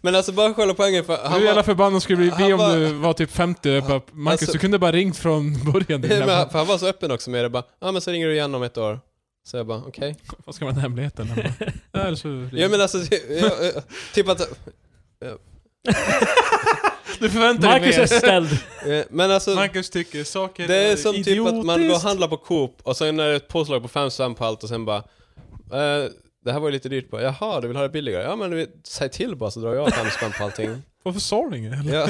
[SPEAKER 3] men alltså bara själva poängen för...
[SPEAKER 1] Hur jävla
[SPEAKER 3] var,
[SPEAKER 1] förbannad skulle du
[SPEAKER 3] han
[SPEAKER 1] bli om
[SPEAKER 3] var-
[SPEAKER 1] du var typ 50 och bara, Marcus
[SPEAKER 3] Alltså-
[SPEAKER 1] du kunde bara ringt från början. din
[SPEAKER 3] Ja, men,
[SPEAKER 1] jävla-
[SPEAKER 3] för han var så öppen också med det bara, ja ah, men så ringer du igen om ett år. Så jag bara, okej.
[SPEAKER 1] Vad ska man hemligheten? Han bara, "Ja, eller så-
[SPEAKER 3] Ja men alltså, jag, jag, typ att...
[SPEAKER 1] Du förväntar dig
[SPEAKER 2] Marcus är
[SPEAKER 1] mer.
[SPEAKER 2] ställd.
[SPEAKER 3] ja, Men alltså...
[SPEAKER 1] Marcus tycker saker
[SPEAKER 3] Det är som typ att man går och
[SPEAKER 1] idiotiskt.
[SPEAKER 3] handlar på Coop och sen är det ett påslag på fem spänn på allt och sen bara eh, Det här var ju lite dyrt på. Jaha, du vill ha det billigare? Ja men vi- säg till bara så drar jag fem spänn på allting.
[SPEAKER 1] Varför sa du inget?
[SPEAKER 3] Ja.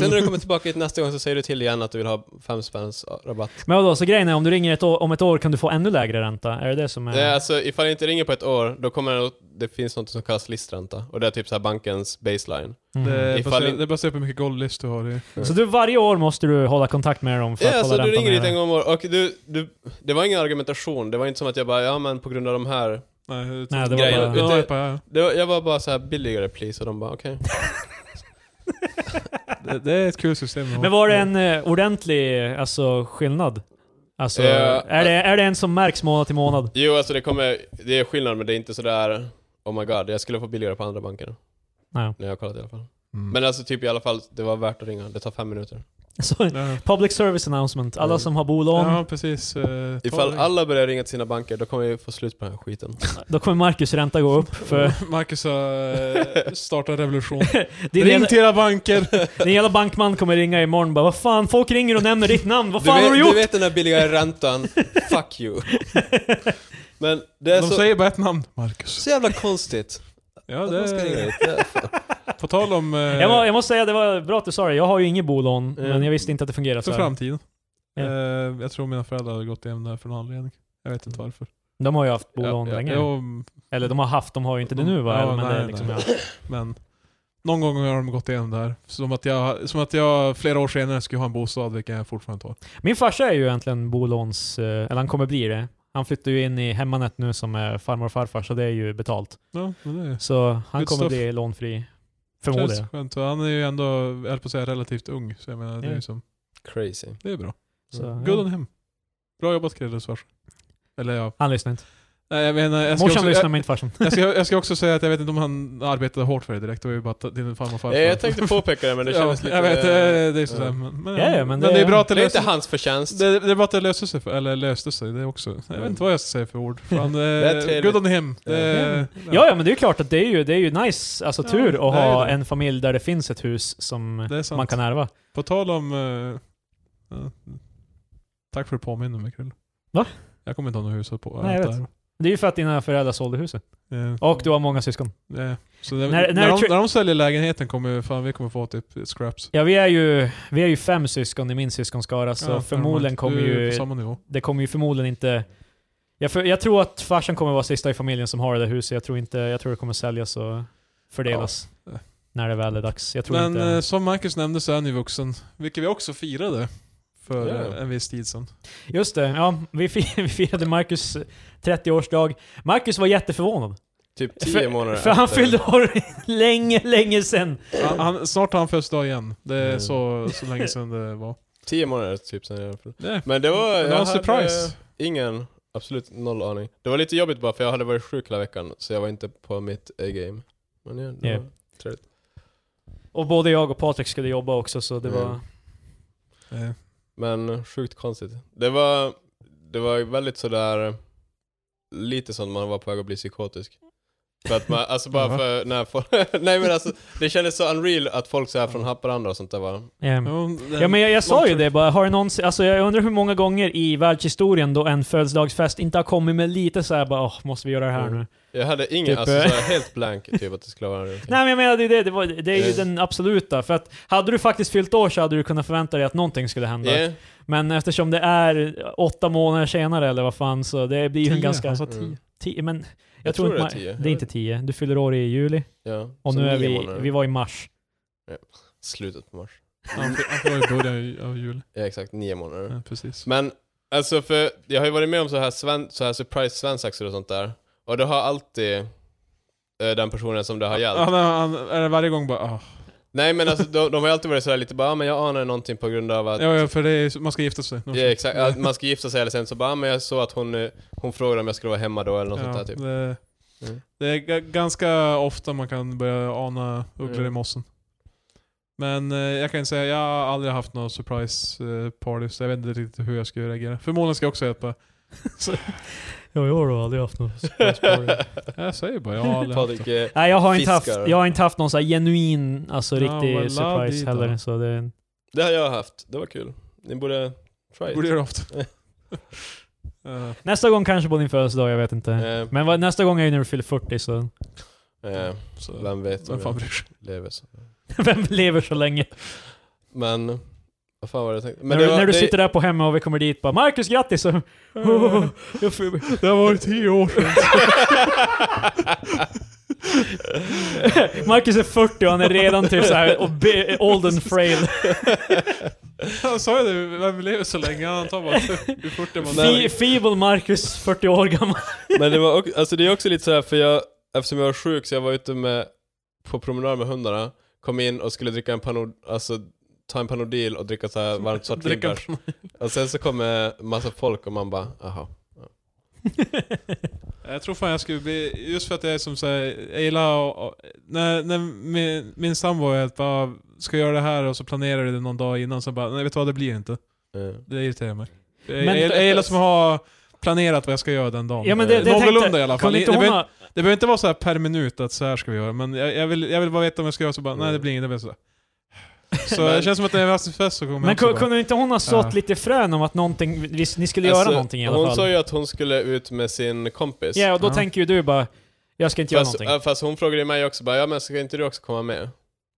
[SPEAKER 3] Sen när du kommer tillbaka hit nästa gång så säger du till igen att du vill ha fem spänns rabatt.
[SPEAKER 2] Men vadå, så grejen är om du ringer ett år, om ett år kan du få ännu lägre ränta? Är det det som är...
[SPEAKER 3] Nej, alltså ifall jag inte ringer på ett år, då kommer det, det finns något som kallas listränta. Och det är typ så här bankens baseline.
[SPEAKER 2] Mhm.
[SPEAKER 1] Det är
[SPEAKER 3] Ifall
[SPEAKER 1] baserat-
[SPEAKER 3] in-
[SPEAKER 1] det är baserat på hur mycket goldlist du har i.
[SPEAKER 2] Så du, varje år måste du hålla kontakt med dem för
[SPEAKER 3] Ja,
[SPEAKER 2] att
[SPEAKER 3] alltså
[SPEAKER 2] hålla
[SPEAKER 3] du
[SPEAKER 2] räntan
[SPEAKER 3] ringer dit
[SPEAKER 2] nere?
[SPEAKER 3] en gång om året och du, du, det var ingen argumentation. Det var inte som att jag bara, ja men på grund av de här.
[SPEAKER 1] Nej, det
[SPEAKER 2] Nej, det var
[SPEAKER 3] Grejen.
[SPEAKER 2] bara...
[SPEAKER 1] Ja,
[SPEAKER 3] Vet du-
[SPEAKER 1] jag bara, ja.
[SPEAKER 3] Det var, jag var bara så här billigare please och de bara okej.
[SPEAKER 1] det, det är ett kul system.
[SPEAKER 2] Men var det
[SPEAKER 3] Mm.
[SPEAKER 2] en eh, ordentlig alltså, skillnad? Alltså,
[SPEAKER 3] Ja,
[SPEAKER 2] är, det, är det en som märks månad till månad?
[SPEAKER 3] Jo alltså det kommer, det är skillnad men det är inte sådär oh my god, jag skulle få billigare på andra banker.
[SPEAKER 2] Nej.
[SPEAKER 3] När jag har kollat i alla fall.
[SPEAKER 1] Mm.
[SPEAKER 3] Men alltså typ i alla fall, det var värt att ringa. Det tar fem minuter.
[SPEAKER 2] Så,
[SPEAKER 1] ja.
[SPEAKER 2] public service announcement. Alla
[SPEAKER 3] Mm.
[SPEAKER 2] som har bolån,
[SPEAKER 1] ja, precis. eh,
[SPEAKER 3] Ifall
[SPEAKER 1] ta-
[SPEAKER 3] alla börjar ringa till sina banker, då kommer vi få slut på den här skiten.
[SPEAKER 2] då kommer Marcus ränta gå upp. För
[SPEAKER 1] Marcus har eh, startat en revolution.
[SPEAKER 2] din,
[SPEAKER 1] Ring
[SPEAKER 2] jävla,
[SPEAKER 1] till era banker!
[SPEAKER 2] din jävla bankman kommer ringa imorgon bara Vad fan, folk ringer och nämner ditt namn. Vad
[SPEAKER 3] Du
[SPEAKER 2] fan
[SPEAKER 3] vet,
[SPEAKER 2] har du gjort?
[SPEAKER 3] du vet den där billigare räntan, fuck you. Men det är
[SPEAKER 1] De
[SPEAKER 3] så,
[SPEAKER 1] säger bara ett namn. Marcus.
[SPEAKER 3] så jävla konstigt.
[SPEAKER 1] Ja,
[SPEAKER 3] att man ska ringa
[SPEAKER 1] det,
[SPEAKER 3] dit. Det är
[SPEAKER 1] på tal om eh,
[SPEAKER 2] Jag, må, jag måste säga, det var bra att du sa det. Jag har ju inget bolån,
[SPEAKER 3] Mm.
[SPEAKER 2] men jag visste inte att det fungerade så
[SPEAKER 1] för
[SPEAKER 2] här.
[SPEAKER 1] framtiden.
[SPEAKER 2] Ja.
[SPEAKER 1] Eh, jag tror mina föräldrar har gått igenom det här för någon anledning. Jag vet
[SPEAKER 2] Mm.
[SPEAKER 1] inte varför.
[SPEAKER 2] De har ju haft bolån
[SPEAKER 3] Ja, ja,
[SPEAKER 2] länge.
[SPEAKER 1] Jo,
[SPEAKER 2] Eller de har haft, de har ju inte det nu va?
[SPEAKER 1] Ja,
[SPEAKER 2] Eller, men det är
[SPEAKER 1] nej,
[SPEAKER 2] liksom,
[SPEAKER 1] nej.
[SPEAKER 2] ja.
[SPEAKER 1] men någon gång har de gått igenom det här. Som att jag, som att jag flera år senare skulle ha en bostad, vilken jag fortfarande inte har.
[SPEAKER 2] Min farsa är ju egentligen bolåns... eh, Eller han kommer bli det. Han flyttar ju in i Hemmanet nu som är farmor och farfar, så det är ju betalt.
[SPEAKER 1] Ja, men det är
[SPEAKER 2] Så han
[SPEAKER 1] Good
[SPEAKER 2] kommer
[SPEAKER 1] stuff.
[SPEAKER 2] bli lånfri.
[SPEAKER 1] känns
[SPEAKER 2] Förmodligen.
[SPEAKER 1] skönt. Och Han är ju ändå, jag höll på att säga, relativt ung. Så jag menar, det är
[SPEAKER 2] Ja.
[SPEAKER 1] ju som,
[SPEAKER 3] crazy.
[SPEAKER 1] det är bra.
[SPEAKER 2] Så,
[SPEAKER 1] Good
[SPEAKER 2] ja.
[SPEAKER 1] on him. Bra jobbat Krille Svars. Eller ja,
[SPEAKER 2] Han lyssnar inte.
[SPEAKER 1] nej jag menar, jag ska,
[SPEAKER 2] Morsan
[SPEAKER 1] också,
[SPEAKER 2] lyssnar
[SPEAKER 1] jag,
[SPEAKER 2] men inte farsan.
[SPEAKER 1] jag, ska, jag ska också säga att jag vet inte om han arbetade hårt för det direkt. Det var ju bara att din farmor och farfar.
[SPEAKER 3] Ja, Eh, jag tänkte påpeka det men det kändes
[SPEAKER 1] ja,
[SPEAKER 3] lite...
[SPEAKER 1] Jag vet, eh, det är så
[SPEAKER 3] ja.
[SPEAKER 1] sådär. Men, men,
[SPEAKER 2] Ja, ja, men
[SPEAKER 1] men
[SPEAKER 2] det-
[SPEAKER 1] det, är bra att det
[SPEAKER 3] Det är inte
[SPEAKER 1] löser
[SPEAKER 3] hans förtjänst.
[SPEAKER 1] det, det är bra att det löste sig, för, eller löste sig, det också. Jag vet inte vad jag ska säga för ord. Fan,
[SPEAKER 3] är
[SPEAKER 1] eh,
[SPEAKER 3] trevligt.
[SPEAKER 1] good on him. Det,
[SPEAKER 2] Ja. Ja, ja, men det är ju klart att det är ju, det är ju nice, alltså
[SPEAKER 1] Ja,
[SPEAKER 2] tur
[SPEAKER 1] det
[SPEAKER 2] att
[SPEAKER 1] är
[SPEAKER 2] ha
[SPEAKER 1] det.
[SPEAKER 2] en familj där det finns ett hus som
[SPEAKER 1] det är sant.
[SPEAKER 2] man kan ärva.
[SPEAKER 1] På tal om... eh, ja. tack för att du påminner mig Krull.
[SPEAKER 2] Va?
[SPEAKER 1] Jag kommer inte ha något hus att på.
[SPEAKER 2] Nej, jag vet. Det är ju för att dina föräldrar sålde huset.
[SPEAKER 1] Eh,
[SPEAKER 2] Och du har många syskon.
[SPEAKER 1] eh, så det,
[SPEAKER 2] När- när
[SPEAKER 1] när,
[SPEAKER 2] det
[SPEAKER 1] de,
[SPEAKER 2] tr-
[SPEAKER 1] när de säljer lägenheten kommer fan, vi kommer få typ scraps.
[SPEAKER 2] Ja, vi är ju, vi är ju fem syskon i min syskonskara, så
[SPEAKER 1] Ja,
[SPEAKER 2] förmodligen
[SPEAKER 1] normalt.
[SPEAKER 2] kommer
[SPEAKER 1] Du är
[SPEAKER 2] ju...
[SPEAKER 1] På samma nivå.
[SPEAKER 2] Det kommer ju förmodligen inte... Jag, för, jag tror att farsan kommer vara sista i familjen som har det där huset. Jag tror, inte, jag tror det kommer säljas och fördelas
[SPEAKER 1] Ja.
[SPEAKER 2] när det väl är dags. Jag tror
[SPEAKER 1] Men
[SPEAKER 2] inte...
[SPEAKER 1] eh, som Marcus nämnde så är han ju vuxen. Vilket vi också firade för
[SPEAKER 3] Ja.
[SPEAKER 1] eh, en viss tid sedan.
[SPEAKER 2] Just det, ja, vi, fi- vi firade Marcus 30-årsdag. Marcus var jätteförvånad.
[SPEAKER 3] Typ
[SPEAKER 2] För-
[SPEAKER 3] tio månader
[SPEAKER 2] För han
[SPEAKER 3] efter.
[SPEAKER 2] fyllde år länge, länge sedan.
[SPEAKER 1] Han, han, snart har han födelsedag igen. Det är
[SPEAKER 3] Mm.
[SPEAKER 1] så, så länge sedan det var.
[SPEAKER 3] Tio månader typ sen i alla fall.
[SPEAKER 1] Det,
[SPEAKER 3] Men det var...
[SPEAKER 1] det var en
[SPEAKER 3] jag hade
[SPEAKER 1] surprise.
[SPEAKER 3] Ingen, absolut noll aning. Det var lite jobbigt bara för jag hade varit sjuk hela veckan, så jag var inte på mitt A-game. Men ja, det
[SPEAKER 2] Ja.
[SPEAKER 3] var trevligt.
[SPEAKER 2] Och både jag och Patrik skulle jobba också så det
[SPEAKER 3] Mm.
[SPEAKER 2] var...
[SPEAKER 1] Eh,
[SPEAKER 3] Men sjukt konstigt. Det var, det var väldigt sådär, lite sånt man var på väg att bli psykotisk. För att man, alltså bara
[SPEAKER 1] Ja.
[SPEAKER 3] för, när folk, nej men alltså, det kändes så unreal att folk så här från Haparanda och sånt där var.
[SPEAKER 2] ehm,
[SPEAKER 1] ja, den-
[SPEAKER 2] Ja men jag, jag sa ju det bara, har det någonsin, alltså jag undrar hur många gånger i världshistorien då en födelsedagsfest inte har kommit med lite så här bara åh, måste vi göra det här
[SPEAKER 3] Mm.
[SPEAKER 2] nu?
[SPEAKER 3] Jag hade ingen,
[SPEAKER 2] Typ,
[SPEAKER 3] alltså
[SPEAKER 2] eh.
[SPEAKER 3] så här, helt blank typ att det skulle vara en
[SPEAKER 2] Nej men jag menar det, är det, det, var, det är ju
[SPEAKER 3] Eh.
[SPEAKER 2] den absoluta, för att hade du faktiskt fyllt år så hade du kunnat förvänta dig att någonting skulle hända.
[SPEAKER 3] yeah.
[SPEAKER 2] Men eftersom det är åtta månader senare eller vad fan så det blir ju en
[SPEAKER 1] tio,
[SPEAKER 2] ganska...
[SPEAKER 1] Han sa
[SPEAKER 3] Mm.
[SPEAKER 1] tio.
[SPEAKER 2] Tio, men jag,
[SPEAKER 3] Jag
[SPEAKER 2] tror
[SPEAKER 3] tror
[SPEAKER 2] inte
[SPEAKER 3] det
[SPEAKER 2] ma-
[SPEAKER 3] är tio.
[SPEAKER 2] Det är inte tio, du fyller år i juli
[SPEAKER 3] Ja,
[SPEAKER 2] och
[SPEAKER 3] så
[SPEAKER 2] nu är
[SPEAKER 3] nio
[SPEAKER 2] vi,
[SPEAKER 3] månader.
[SPEAKER 2] vi var i mars.
[SPEAKER 3] Slutet på mars.
[SPEAKER 1] Han han var i början av jul.
[SPEAKER 3] Ja exakt, nio månader.
[SPEAKER 1] Ja, precis.
[SPEAKER 3] Men alltså för jag har ju varit med om så här, sven, så här surprise svensexor och sånt där. Och det har alltid eh, den personen som det har hjälpt.
[SPEAKER 1] Han, han, är det varje gång bara ah.
[SPEAKER 3] Nej men alltså de, de har ju alltid varit sådär lite bara, ah, men jag anar någonting på grund av att
[SPEAKER 1] Ja, ja, för det är, så- man ska gifta sig.
[SPEAKER 3] Ja, exakt, att man ska gifta sig eller sen så bara, ah, men jag såg att hon, eh, hon frågade om jag skulle vara hemma då eller något sånt där typ.
[SPEAKER 1] det,
[SPEAKER 3] Mm.
[SPEAKER 1] det är ga- ganska ofta man kan börja ana ugglor i
[SPEAKER 3] Mm.
[SPEAKER 1] mossen. Men eh, jag kan ju säga, jag har aldrig haft några surprise eh, party, så jag vet inte riktigt hur jag skulle reagera. Förmodligen ska jag också säga att bara,
[SPEAKER 2] Ja, jag har aldrig haft något
[SPEAKER 1] jag säger bara, jag har aldrig haft det.
[SPEAKER 3] Patrik, eh,
[SPEAKER 2] Nej jag har, inte haft,
[SPEAKER 3] Fiskar.
[SPEAKER 2] jag har inte haft någon så här genuin, alltså
[SPEAKER 1] Ja,
[SPEAKER 2] riktig
[SPEAKER 1] vad la
[SPEAKER 2] surprise
[SPEAKER 1] dit
[SPEAKER 2] heller.
[SPEAKER 1] då?
[SPEAKER 2] Så det,
[SPEAKER 3] det har jag haft, det var kul. Ni borde try it.
[SPEAKER 1] Borde göra ofta. Eh,
[SPEAKER 2] nästa gång kanske på din födelsedag, jag vet inte.
[SPEAKER 3] Eh,
[SPEAKER 2] Men vad, nästa gång är ju när du fyller 40 så...
[SPEAKER 3] eh,
[SPEAKER 1] så,
[SPEAKER 3] vem vet om
[SPEAKER 1] vem fan
[SPEAKER 3] jag
[SPEAKER 1] bryr sig?
[SPEAKER 3] lever så.
[SPEAKER 2] Vem lever så länge?
[SPEAKER 3] Men, vad fan var det jag tänkte? Men
[SPEAKER 2] när,
[SPEAKER 3] det
[SPEAKER 2] du-
[SPEAKER 3] var,
[SPEAKER 2] när du
[SPEAKER 3] det,
[SPEAKER 2] sitter där på hemma och vi kommer dit bara Marcus, grattis! Och, oh, jag får-
[SPEAKER 1] Det har varit tio år sedan.
[SPEAKER 2] Marcus är 40 och han är redan typ såhär och be- old and frail.
[SPEAKER 1] Han sa ju det, vem lever så länge? Han tar bara hur fort är man
[SPEAKER 2] Fe-
[SPEAKER 1] där?
[SPEAKER 2] feeble Marcus, 40 år gammal.
[SPEAKER 3] Men det var också, alltså det är också lite så här för jag, eftersom jag var sjuk så jag var ute med, på promenad med hundarna, kom in och skulle dricka en panod, alltså ta en panodil och dricka så här varmt svart
[SPEAKER 1] Dricka
[SPEAKER 3] vinbärs. Och sen så kommer massa folk och man bara, aha.
[SPEAKER 1] Jag tror fan jag skulle bli, just för att jag är som såhär, jag gillar och, och, när, när min, min sambo är helt bara, ska jag göra det här och så planerar du det någon dag innan, så bara, nej vet du vad det blir inte.
[SPEAKER 3] eh.
[SPEAKER 1] Det irriterar mig. Jag,
[SPEAKER 2] Men-
[SPEAKER 1] jag, jag gillar som att ha planerat vad jag ska göra den dagen.
[SPEAKER 2] Ja, men det,
[SPEAKER 1] Eh,
[SPEAKER 2] det
[SPEAKER 1] Någorlunda
[SPEAKER 2] tänkte-
[SPEAKER 1] i alla fall.
[SPEAKER 2] kunde
[SPEAKER 1] Det,
[SPEAKER 2] inte
[SPEAKER 1] det,
[SPEAKER 2] hon
[SPEAKER 1] behöver,
[SPEAKER 2] ha-
[SPEAKER 1] det behöver inte vara så här per minut att så här ska vi göra, men jag, jag, vill, jag vill bara veta om jag ska göra så bara, nej det blir inget, det blir så. Så
[SPEAKER 3] Men-
[SPEAKER 1] det känns som att när jag har haft en fest så kommer
[SPEAKER 2] Men
[SPEAKER 1] jag också
[SPEAKER 2] ku-
[SPEAKER 1] bara,
[SPEAKER 2] kunde inte hon ha sått
[SPEAKER 1] Ja.
[SPEAKER 2] lite frön om att någonting, vi- ni skulle göra
[SPEAKER 3] Alltså,
[SPEAKER 2] någonting i alla
[SPEAKER 3] Hon
[SPEAKER 2] fall?
[SPEAKER 3] sa ju att hon skulle ut med sin kompis.
[SPEAKER 2] Ja, och då
[SPEAKER 1] Ja.
[SPEAKER 2] tänker ju du bara, jag ska inte göra
[SPEAKER 3] fast,
[SPEAKER 2] någonting.
[SPEAKER 3] eh, fast hon frågade mig också bara, ja men ska inte du också komma med?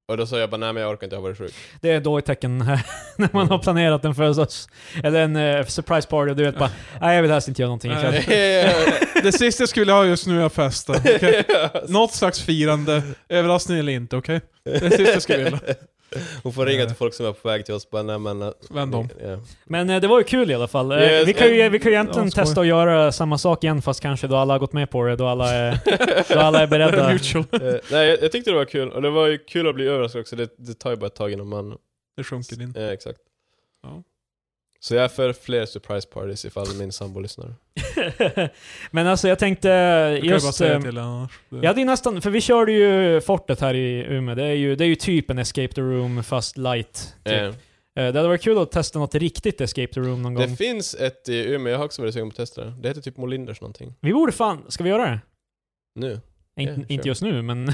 [SPEAKER 3] Och då sa jag bara, nej men jag orkar inte, jag har varit sjuk.
[SPEAKER 2] Det är ett dåligt tecken här, när man
[SPEAKER 1] Mm.
[SPEAKER 2] har planerat en födelsedags... Eller en eh, surprise party och du vet bara, nej jag vill helst inte göra någonting ikväll.
[SPEAKER 1] Nej. Det sista jag skulle ha just nu är att festa. okej? Något slags firande, överraskning eller inte, okej? Det sista jag skulle vilja.
[SPEAKER 3] Hon får ringa till folk som är på väg till oss bara, nej men... eh,
[SPEAKER 1] Vänd om.
[SPEAKER 3] Ja.
[SPEAKER 2] Men eh, det var ju kul i alla fall. Eh,
[SPEAKER 3] Yes,
[SPEAKER 2] vi, kan ju,
[SPEAKER 3] eh,
[SPEAKER 2] vi kan ju egentligen
[SPEAKER 1] ja, skoj.
[SPEAKER 2] testa att göra samma sak igen fast kanske då alla har gått med på det, då alla är, då alla är beredda.
[SPEAKER 1] Mutual.
[SPEAKER 3] Eh, nej, jag, jag tyckte det var kul, och det var ju kul att bli överraskad också, det, det tar ju bara ett tag innan man...
[SPEAKER 1] Det sjunker in.
[SPEAKER 3] Eh, exakt.
[SPEAKER 1] Ja.
[SPEAKER 3] Så jag är för fler surprise parties ifall min sambo lyssnar.
[SPEAKER 2] Men alltså jag tänkte
[SPEAKER 1] Jag kan ju bara
[SPEAKER 2] just...
[SPEAKER 1] säga
[SPEAKER 2] eh,
[SPEAKER 1] till annars. Det-
[SPEAKER 2] Jag hade ju nästan, för vi körde ju fortet här i Umeå, det är ju, det är ju typ en escape the room fast light. Typ.
[SPEAKER 3] Eh,
[SPEAKER 2] Eh, Det hade varit kul att testa något riktigt escape the room någon gång.
[SPEAKER 3] det finns ett i Umeå, jag har också varit sugen på att testa det. Det heter typ Molinders någonting.
[SPEAKER 2] Vi borde fan, ska vi göra det?
[SPEAKER 3] Nu.
[SPEAKER 2] Inte-
[SPEAKER 3] sure.
[SPEAKER 2] Inte just nu, men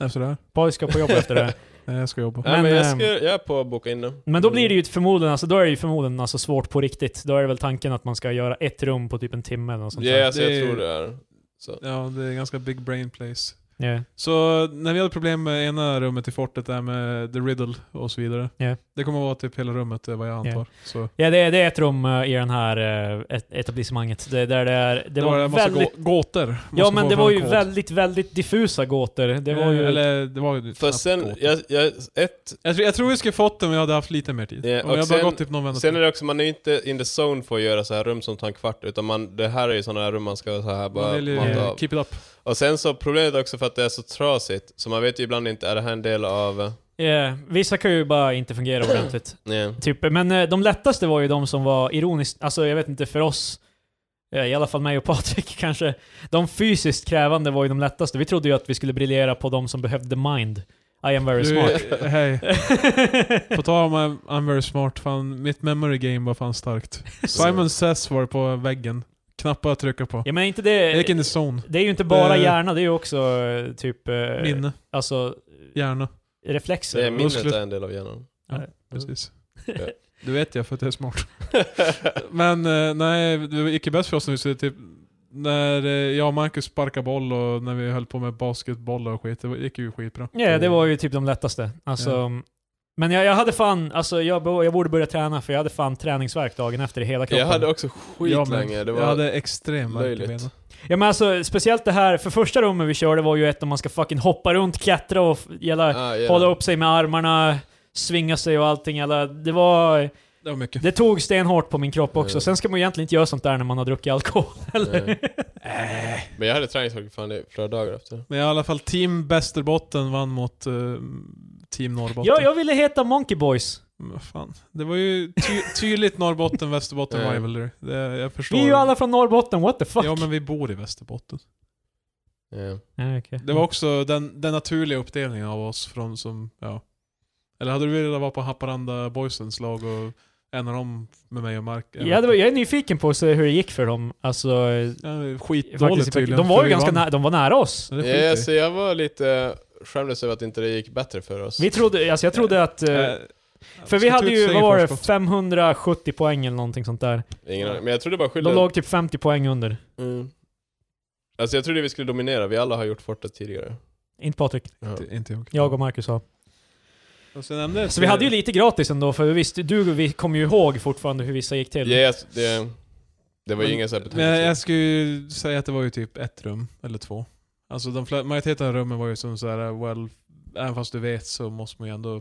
[SPEAKER 1] Efter det här.
[SPEAKER 2] Paul ska på jobb efter det.
[SPEAKER 1] Nej, jag ska jobba.
[SPEAKER 3] Nej, men,
[SPEAKER 2] Men,
[SPEAKER 3] jag,
[SPEAKER 2] ehm,
[SPEAKER 3] ska, jag är på att boka in det.
[SPEAKER 2] Men då blir det ju förmodligen, alltså, då är det ju förmodligen alltså, svårt på riktigt. Då är det väl tanken att man ska göra ett rum på typ en timme eller något sånt
[SPEAKER 3] Ja,
[SPEAKER 2] där.
[SPEAKER 3] alltså,
[SPEAKER 1] Det är
[SPEAKER 3] jag
[SPEAKER 1] ju-
[SPEAKER 3] tror det är. Så.
[SPEAKER 1] Ja, det är ganska big brain place.
[SPEAKER 2] Ja.
[SPEAKER 1] Så när vi hade problem med ena rummet i fortet där med the riddle och så vidare.
[SPEAKER 2] Ja.
[SPEAKER 1] Det kommer vara typ hela rummet, det är vad jag antar.
[SPEAKER 2] Ja.
[SPEAKER 1] Så
[SPEAKER 2] Ja, det, är- det är ett rum eh, i den här eh, et- etablissemanget. Det, där det, är, det,
[SPEAKER 1] det
[SPEAKER 2] var
[SPEAKER 1] var en massa
[SPEAKER 2] väldigt...
[SPEAKER 1] gå- gåtor. Måste
[SPEAKER 2] Ja men
[SPEAKER 1] få
[SPEAKER 2] det
[SPEAKER 1] fram
[SPEAKER 2] var ju
[SPEAKER 1] kod.
[SPEAKER 2] väldigt, väldigt diffusa gåtor. Det var ju...
[SPEAKER 1] Eller, det var ju
[SPEAKER 3] För
[SPEAKER 1] knappt
[SPEAKER 3] sen,
[SPEAKER 1] gåtor. jag,
[SPEAKER 3] jag, jag, ett,
[SPEAKER 1] tror, jag tror vi skulle fått det om jag hade haft lite mer tid.
[SPEAKER 3] Ja,
[SPEAKER 1] om
[SPEAKER 3] och
[SPEAKER 1] jag hade bara
[SPEAKER 3] sen-
[SPEAKER 1] gått typ någon vända
[SPEAKER 3] sen är
[SPEAKER 1] till.
[SPEAKER 3] det också, man är ju inte in the zone för att göra så här rum som tar en kvart, utan man, det här är ju sådana här rum man ska så här
[SPEAKER 1] Man
[SPEAKER 3] bara
[SPEAKER 1] vill ju
[SPEAKER 3] mata
[SPEAKER 2] eh,
[SPEAKER 1] eh,
[SPEAKER 3] av.
[SPEAKER 1] keep it up.
[SPEAKER 3] Och sen så problemet är också för att det är så trasigt, så man vet ju ibland inte, är det här en del av... eh,
[SPEAKER 2] Ja, vissa kan ju bara inte fungera ordentligt.
[SPEAKER 3] Nej.
[SPEAKER 2] Typ. Men eh, de lättaste var ju de som var ironiskt, alltså jag vet inte för oss, eh, i alla fall mig och Patrik kanske, de fysiskt krävande var ju de lättaste. Vi trodde ju att vi skulle briljera på de som behövde mind. I am very
[SPEAKER 1] Du,
[SPEAKER 2] smart.
[SPEAKER 1] eh, Hej. På tal om I'm, I'm very smart, fan, mitt memory game var fan starkt. Simon Says var på väggen. Knappar att trycka på.
[SPEAKER 2] ja men inte
[SPEAKER 1] Jag gick in i
[SPEAKER 2] det...
[SPEAKER 1] zone.
[SPEAKER 2] Det är ju inte bara
[SPEAKER 1] Eh,
[SPEAKER 2] hjärna, det är ju också eh, typ... eh,
[SPEAKER 1] Minne,
[SPEAKER 2] Alltså
[SPEAKER 1] hjärna.
[SPEAKER 2] reflexer.
[SPEAKER 3] Det är minnet
[SPEAKER 1] Muskler.
[SPEAKER 3] är en del av hjärnan.
[SPEAKER 1] Precis.
[SPEAKER 2] Eh.
[SPEAKER 1] Du vet jag för att jag är smart. Men eh, nej, det gick ju bäst för oss när vi skulle typ när eh, jag och Marcus sparkade boll och när vi höll på med basketboll och skit, det var- gick ju skitbra.
[SPEAKER 2] Ja, det var ju typ de lättaste. Alltså, Men jag, jag hade fan, alltså jag, bo- jag borde börja träna för jag hade fan träningsvärk dagen efter i hela kroppen.
[SPEAKER 3] jag hade också
[SPEAKER 1] Jag med.
[SPEAKER 3] skitlänge, det var...
[SPEAKER 1] Jag hade extrem värk i
[SPEAKER 3] löjligt.
[SPEAKER 1] benen.
[SPEAKER 2] Ja men alltså speciellt det här, för första rummet vi körde var ju ett där man ska fucking hoppa runt, klättra och f- jävla,
[SPEAKER 3] Ah, yeah.
[SPEAKER 2] hålla upp sig med armarna, svinga sig och allting. Jävla, det var...
[SPEAKER 1] Det var mycket.
[SPEAKER 2] Det tog stenhårt på min kropp också.
[SPEAKER 3] Ja.
[SPEAKER 2] Sen ska man ju egentligen inte göra sånt där när man har druckit alkohol.
[SPEAKER 3] Nej.
[SPEAKER 1] Äh.
[SPEAKER 3] Men jag hade träningsvärk fan i flera dagar efter.
[SPEAKER 1] Men i alla fall, Team Västerbotten vann mot eh, Team Norrbotten.
[SPEAKER 2] Ja, jag ville heta Monkey Boys.
[SPEAKER 1] Men fan. Det var ju ty tydligt Norrbotten-Västerbotten
[SPEAKER 3] Ja.
[SPEAKER 1] rivalry. Det, jag förstår.
[SPEAKER 2] Vi är ju alla från Norrbotten, what the fuck?
[SPEAKER 1] Ja men vi bor i Västerbotten.
[SPEAKER 3] Yeah.
[SPEAKER 2] Ja, okej.
[SPEAKER 1] Det var också den, den naturliga uppdelningen av oss från som, ja. Eller hade du velat vara på Haparanda Boysens lag och en av dem med mig och Mark?
[SPEAKER 2] Ja, det var, jag är nyfiken på att se hur det gick för dem. Alltså,
[SPEAKER 1] Ja,
[SPEAKER 2] faktiskt, i
[SPEAKER 1] skitdåligt
[SPEAKER 2] praktiken.
[SPEAKER 1] tydligen.
[SPEAKER 2] de
[SPEAKER 1] för
[SPEAKER 2] var ju
[SPEAKER 1] vi
[SPEAKER 2] ganska
[SPEAKER 1] vann.
[SPEAKER 2] nära, de var nära oss.
[SPEAKER 1] Men det skiter
[SPEAKER 3] Ja,
[SPEAKER 1] vi i.
[SPEAKER 3] så jag var lite eh, skämdes över att inte det gick bättre för oss.
[SPEAKER 2] Vi trodde, alltså jag trodde att... eh,
[SPEAKER 1] Eh,
[SPEAKER 2] för vi
[SPEAKER 1] ska ta
[SPEAKER 2] hade
[SPEAKER 1] ut
[SPEAKER 2] ju,
[SPEAKER 1] segern
[SPEAKER 2] vad var det,
[SPEAKER 1] först också.
[SPEAKER 2] 570 poäng eller någonting sånt där.
[SPEAKER 3] Ingen aning. Men jag trodde bara
[SPEAKER 2] De
[SPEAKER 3] skillnaden...
[SPEAKER 2] låg typ 50 poäng under.
[SPEAKER 3] Mm. Alltså jag trodde vi skulle dominera, vi alla har gjort fortet tidigare.
[SPEAKER 2] Inte Patrik,
[SPEAKER 3] Ja.
[SPEAKER 1] Inte, inte jag.
[SPEAKER 2] jag och Marcus har.
[SPEAKER 1] Och sen nämnde
[SPEAKER 2] Så vi hade ju lite gratis ändå, för vi visste, du vi kom ju ihåg fortfarande hur vissa gick till.
[SPEAKER 3] Ja, yes, det, det var ju
[SPEAKER 1] Men-
[SPEAKER 3] inga särskilt
[SPEAKER 1] Men jag, jag skulle ju säga att det var ju typ ett rum, eller två. Alltså de fler, majoriteten av rummen var ju som så här, well, även fast du vet så måste man ju ändå